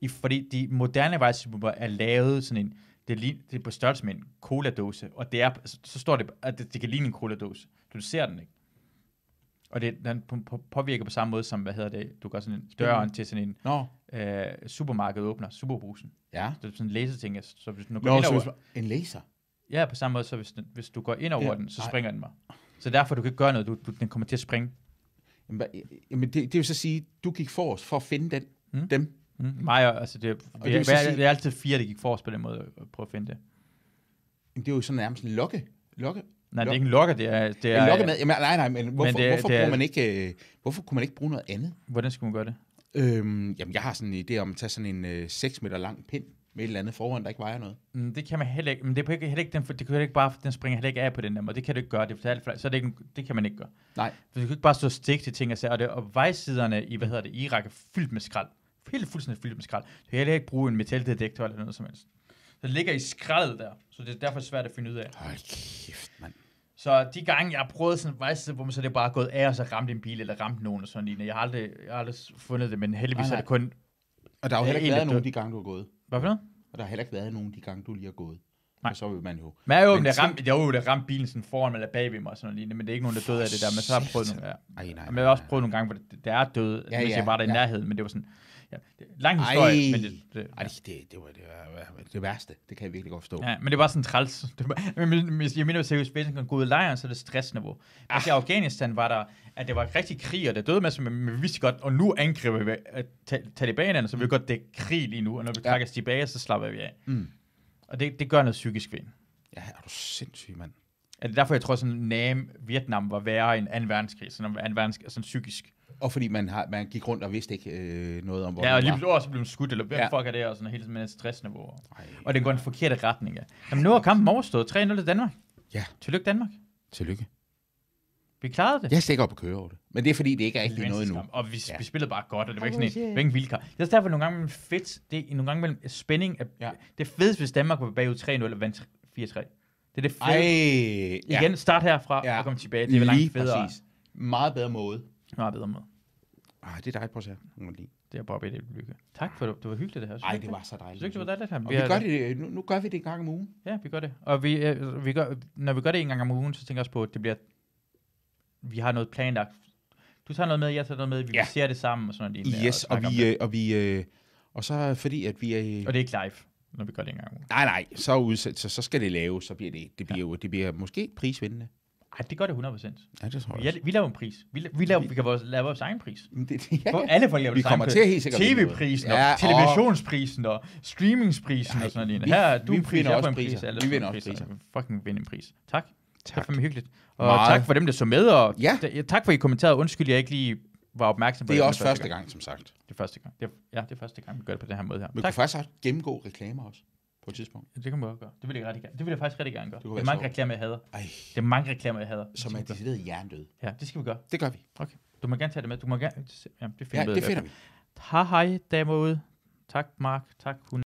Speaker 2: I, fordi de moderne vejsidebomber er lavet sådan en, det, lig, det er på størrelse med en cola-dåse, og det er, så, så står det, at det, det kan ligne en cola-dåse. Du ser den ikke. Og det, den på- på- påvirker på samme måde som, hvad hedder det, du gør sådan en døren til sådan en
Speaker 3: Nå,
Speaker 2: øh, supermarked åbner, superbrusen.
Speaker 3: ja.
Speaker 2: Det er sådan en laserting, så- så hvis du nu går
Speaker 3: Nå,
Speaker 2: ind
Speaker 3: så
Speaker 2: over,
Speaker 3: hvis man, en laser.
Speaker 2: Ja, på samme måde, så hvis, den, hvis du går ind over
Speaker 3: Ja,
Speaker 2: ja, den, så
Speaker 3: nej.
Speaker 2: springer den mig. Så derfor, du kan ikke gøre noget, du, du, den kommer til at springe.
Speaker 3: Jamen, hvad- jamen det, det vil så sige, du gik forrest for at finde den, mm.
Speaker 2: Mm.
Speaker 3: dem.
Speaker 2: Mm. Mig og, altså det, det, det,
Speaker 3: vil
Speaker 2: det,
Speaker 3: så sige-
Speaker 2: det, det, er altid fire, der gik forrest på den måde at øh, prøve at finde det.
Speaker 3: Jamen, det er jo sådan nærmest en lokke. lokke.
Speaker 2: Nej, det
Speaker 3: Lok-
Speaker 2: er ikke en lokker, det er... Det
Speaker 3: Ja,
Speaker 2: er
Speaker 3: en lokkemad. Jamen, nej, nej, men hvorfor, men det,
Speaker 2: det er-
Speaker 3: hvorfor,
Speaker 2: det er-
Speaker 3: bruger man ikke, øh, hvorfor kunne man ikke bruge noget andet?
Speaker 2: Hvordan skulle man gøre det?
Speaker 3: Øhm, jamen, jeg har sådan en idé om at tage sådan en øh, 6 meter lang pind med et eller andet foran, der ikke vejer noget.
Speaker 2: Mm, det kan man heller ikke, men det, er på ikke- heller ikke, den, for- det kan heller ikke bare, den springer heller ikke af på den der måde. Det kan du ikke gøre, det er for alt for, så er det, ikke, en- det kan man ikke gøre.
Speaker 3: Nej.
Speaker 2: For du kan ikke bare stå og stikke til ting og sager, og, det, og vejsiderne i, hvad hedder det, Irak er fyldt med skrald. Helt fuldstændig fyldt med skrald. Du kan heller ikke bruge en metaldetektor eller noget som helst. Så det ligger i skraldet der, så det er derfor svært at finde ud af.
Speaker 3: Hold kæft, mand.
Speaker 2: Så de gange, jeg har prøvet sådan en vejside, hvor man så det er bare gået af, og så ramte en bil, eller ramte nogen, og sådan lignende. Jeg har aldrig, jeg har aldrig fundet det, men heldigvis
Speaker 3: Nej,
Speaker 2: nej,
Speaker 3: nej.
Speaker 2: nej. er det kun...
Speaker 3: Og der har jo
Speaker 2: Det er
Speaker 3: heller ikke
Speaker 2: helt
Speaker 3: været nogen
Speaker 2: dødt.
Speaker 3: de gange, du har gået.
Speaker 2: Hvad for noget?
Speaker 3: Og der har heller ikke været nogen de gange, du lige har gået.
Speaker 2: Nej.
Speaker 3: Og så vil man jo...
Speaker 2: Men jeg er jo,
Speaker 3: Men
Speaker 2: men det
Speaker 3: tænk-
Speaker 2: ramte, jeg er jo, det ramte bilen sådan foran eller bagved mig, og sådan noget lignende, men det er ikke nogen, der døde af det der, men så har jeg prøvet nogle, ja.
Speaker 3: Ej, nej.
Speaker 2: Men jeg har også prøvet nogle gange, hvor det, der er døde,
Speaker 3: Ja,
Speaker 2: ja, mens
Speaker 3: ja,
Speaker 2: jeg var der i
Speaker 3: ja.
Speaker 2: nærheden, men det var sådan... Ja, det er en lang
Speaker 3: Ej.
Speaker 2: historie, men det, det,
Speaker 3: Ej, det, det, det, var, det, var, det værste. Det kan jeg virkelig godt forstå. Ja.
Speaker 2: Ja, men det var sådan træls. Det var, men- men, men jeg mener seriøst, hvis man kan gå ud i lejren, så er det stressniveau.
Speaker 3: Ah.
Speaker 2: Altså i Afghanistan var der, at det var rigtig krig, og der døde masser, men, men vi vidste godt, og nu angriber vi øh, ta- talibanerne, så vi ved godt, det er krig lige nu, og når vi
Speaker 3: Mm. Ja.
Speaker 2: trækker os tilbage, så slapper vi af.
Speaker 3: Mm.
Speaker 2: Og det, det gør noget psykisk ved en.
Speaker 3: ja, er du sindssyg, mand.
Speaker 2: Er det derfor, jeg tror, sådan Nam, Vietnam var værre end 2. verdenskrig, sådan, 2. verdenskrig, sådan psykisk.
Speaker 3: Og fordi man, har, man gik rundt og vidste ikke øh, noget om, hvor
Speaker 2: Ja, og
Speaker 3: man
Speaker 2: lige
Speaker 3: var.
Speaker 2: pludselig, åh, så blev man skudt, eller hvem
Speaker 3: Ja.
Speaker 2: ja. fuck er det, og sådan hele tiden med et stressniveau.
Speaker 3: Ej,
Speaker 2: Og det går i den forkerte retning, ja. Jamen, nu er kampen overstået. 3-0 til Danmark.
Speaker 3: Ja.
Speaker 2: Tillykke Danmark.
Speaker 3: tillykke.
Speaker 2: Vi klarede det.
Speaker 3: Jeg skal ikke op og køre over det. Men det er fordi, det ikke er rigtig noget endnu.
Speaker 2: Venstreskamp, Og vi,
Speaker 3: Ja.
Speaker 2: ja. vi spillede bare godt, og det var ikke sådan en, det var ikke en vildkamp. Det er også derfor, nogle gange mellem fedt, det er nogle gange mellem spænding. Af,
Speaker 3: Ja.
Speaker 2: ja. Det fedeste, hvis Danmark var bagud 3-0 og vandt 4-3. Det er det
Speaker 3: Ej,
Speaker 2: fede.
Speaker 3: ja.
Speaker 2: Igen, start herfra
Speaker 3: Ja.
Speaker 2: ja. og kom tilbage. Det er vel langt federe. Præcis.
Speaker 3: præcis. Meget bedre måde.
Speaker 2: Meget bedre måde.
Speaker 3: Ej, det er dejligt, prøv at se her. Nu må jeg lige-
Speaker 2: Det er bare bedre lykke. Tak for det. Det var hyggeligt det her. Synes
Speaker 3: Ej,
Speaker 2: du
Speaker 3: det
Speaker 2: ikke
Speaker 3: var så
Speaker 2: Synes
Speaker 3: dejligt.
Speaker 2: du ikke, det var dejligt her?
Speaker 3: og vi gør det, øh, nu, nu gør vi det en gang om ugen.
Speaker 2: Ja, vi gør det. Og vi, øh, vi gør, når vi gør det en gang om ugen, så tænker jeg også på, at det bliver, vi har noget planlagt. Du tager noget med, jeg tager noget med, vi
Speaker 3: Ja.
Speaker 2: ja. ser det sammen og sådan noget. lignende,
Speaker 3: Yes, og
Speaker 2: snakker om
Speaker 3: vi, øh, og vi, øh, og så fordi, at vi er...
Speaker 2: det. og det er ikke live, når vi gør det en gang om ugen.
Speaker 3: Nej, nej, så, er udsat, så, så skal det laves, så bliver det, det bliver jo, det bliver måske prisvindende.
Speaker 2: Ej, det gør det 100%.
Speaker 3: Ja, det tror
Speaker 2: Vi, er, vi laver en pris. Vi, la- vi, laver, vi kan vores, lave vores egen pris.
Speaker 3: Men Det, det, ja,
Speaker 2: For
Speaker 3: ja.
Speaker 2: alle folk laver
Speaker 3: Vi
Speaker 2: deres
Speaker 3: kommer
Speaker 2: egen
Speaker 3: til
Speaker 2: pris.
Speaker 3: at helt sikkert vinde noget.
Speaker 2: TV-prisen,
Speaker 3: Ja,
Speaker 2: og
Speaker 3: og-
Speaker 2: televisionsprisen, og streamingsprisen, og sådan noget.
Speaker 3: vi-
Speaker 2: Her er du
Speaker 3: vi
Speaker 2: en pris,
Speaker 3: vinder
Speaker 2: jeg
Speaker 3: også
Speaker 2: får en
Speaker 3: priser.
Speaker 2: pris. alle
Speaker 3: Vi
Speaker 2: får en
Speaker 3: vinder
Speaker 2: pris,
Speaker 3: også
Speaker 2: og Fucking vinde en pris. Tak. Det er
Speaker 3: Tak.
Speaker 2: fandme hyggeligt. Og
Speaker 3: Meget.
Speaker 2: tak for dem, der så med, og
Speaker 3: Ja.
Speaker 2: da- tak for, at I kommenterede. Undskyld, jeg ikke lige var opmærksom på
Speaker 3: Det er
Speaker 2: den
Speaker 3: også første gang, som sagt.
Speaker 2: Det er første gang. Det er, ja, det er første gang, vi gør det på den her måde her.
Speaker 3: Vi
Speaker 2: Tak.
Speaker 3: kunne faktisk også gennemgå reklamer også, på et tidspunkt.
Speaker 2: Det kan man godt gøre. Det vil jeg, rigtig gerne. Det vil jeg faktisk rigtig gerne gøre.
Speaker 3: kunne
Speaker 2: Det er
Speaker 3: være
Speaker 2: mange
Speaker 3: sjovt.
Speaker 2: reklamer, jeg hader.
Speaker 3: Ej,
Speaker 2: Det er mange reklamer, jeg hader.
Speaker 3: som er
Speaker 2: det skal vi
Speaker 3: decideret hjernedød.
Speaker 2: gøre. Ja, det skal vi gøre.
Speaker 3: Det gør vi.
Speaker 2: Okay. Du må gerne tage det med. Du må gerne... Ja, det
Speaker 3: Ja,
Speaker 2: finder vi ud af i hvert
Speaker 3: det
Speaker 2: fald.
Speaker 3: finder vi.
Speaker 2: Hej hej, damer ude. Tak Mark, tak hun.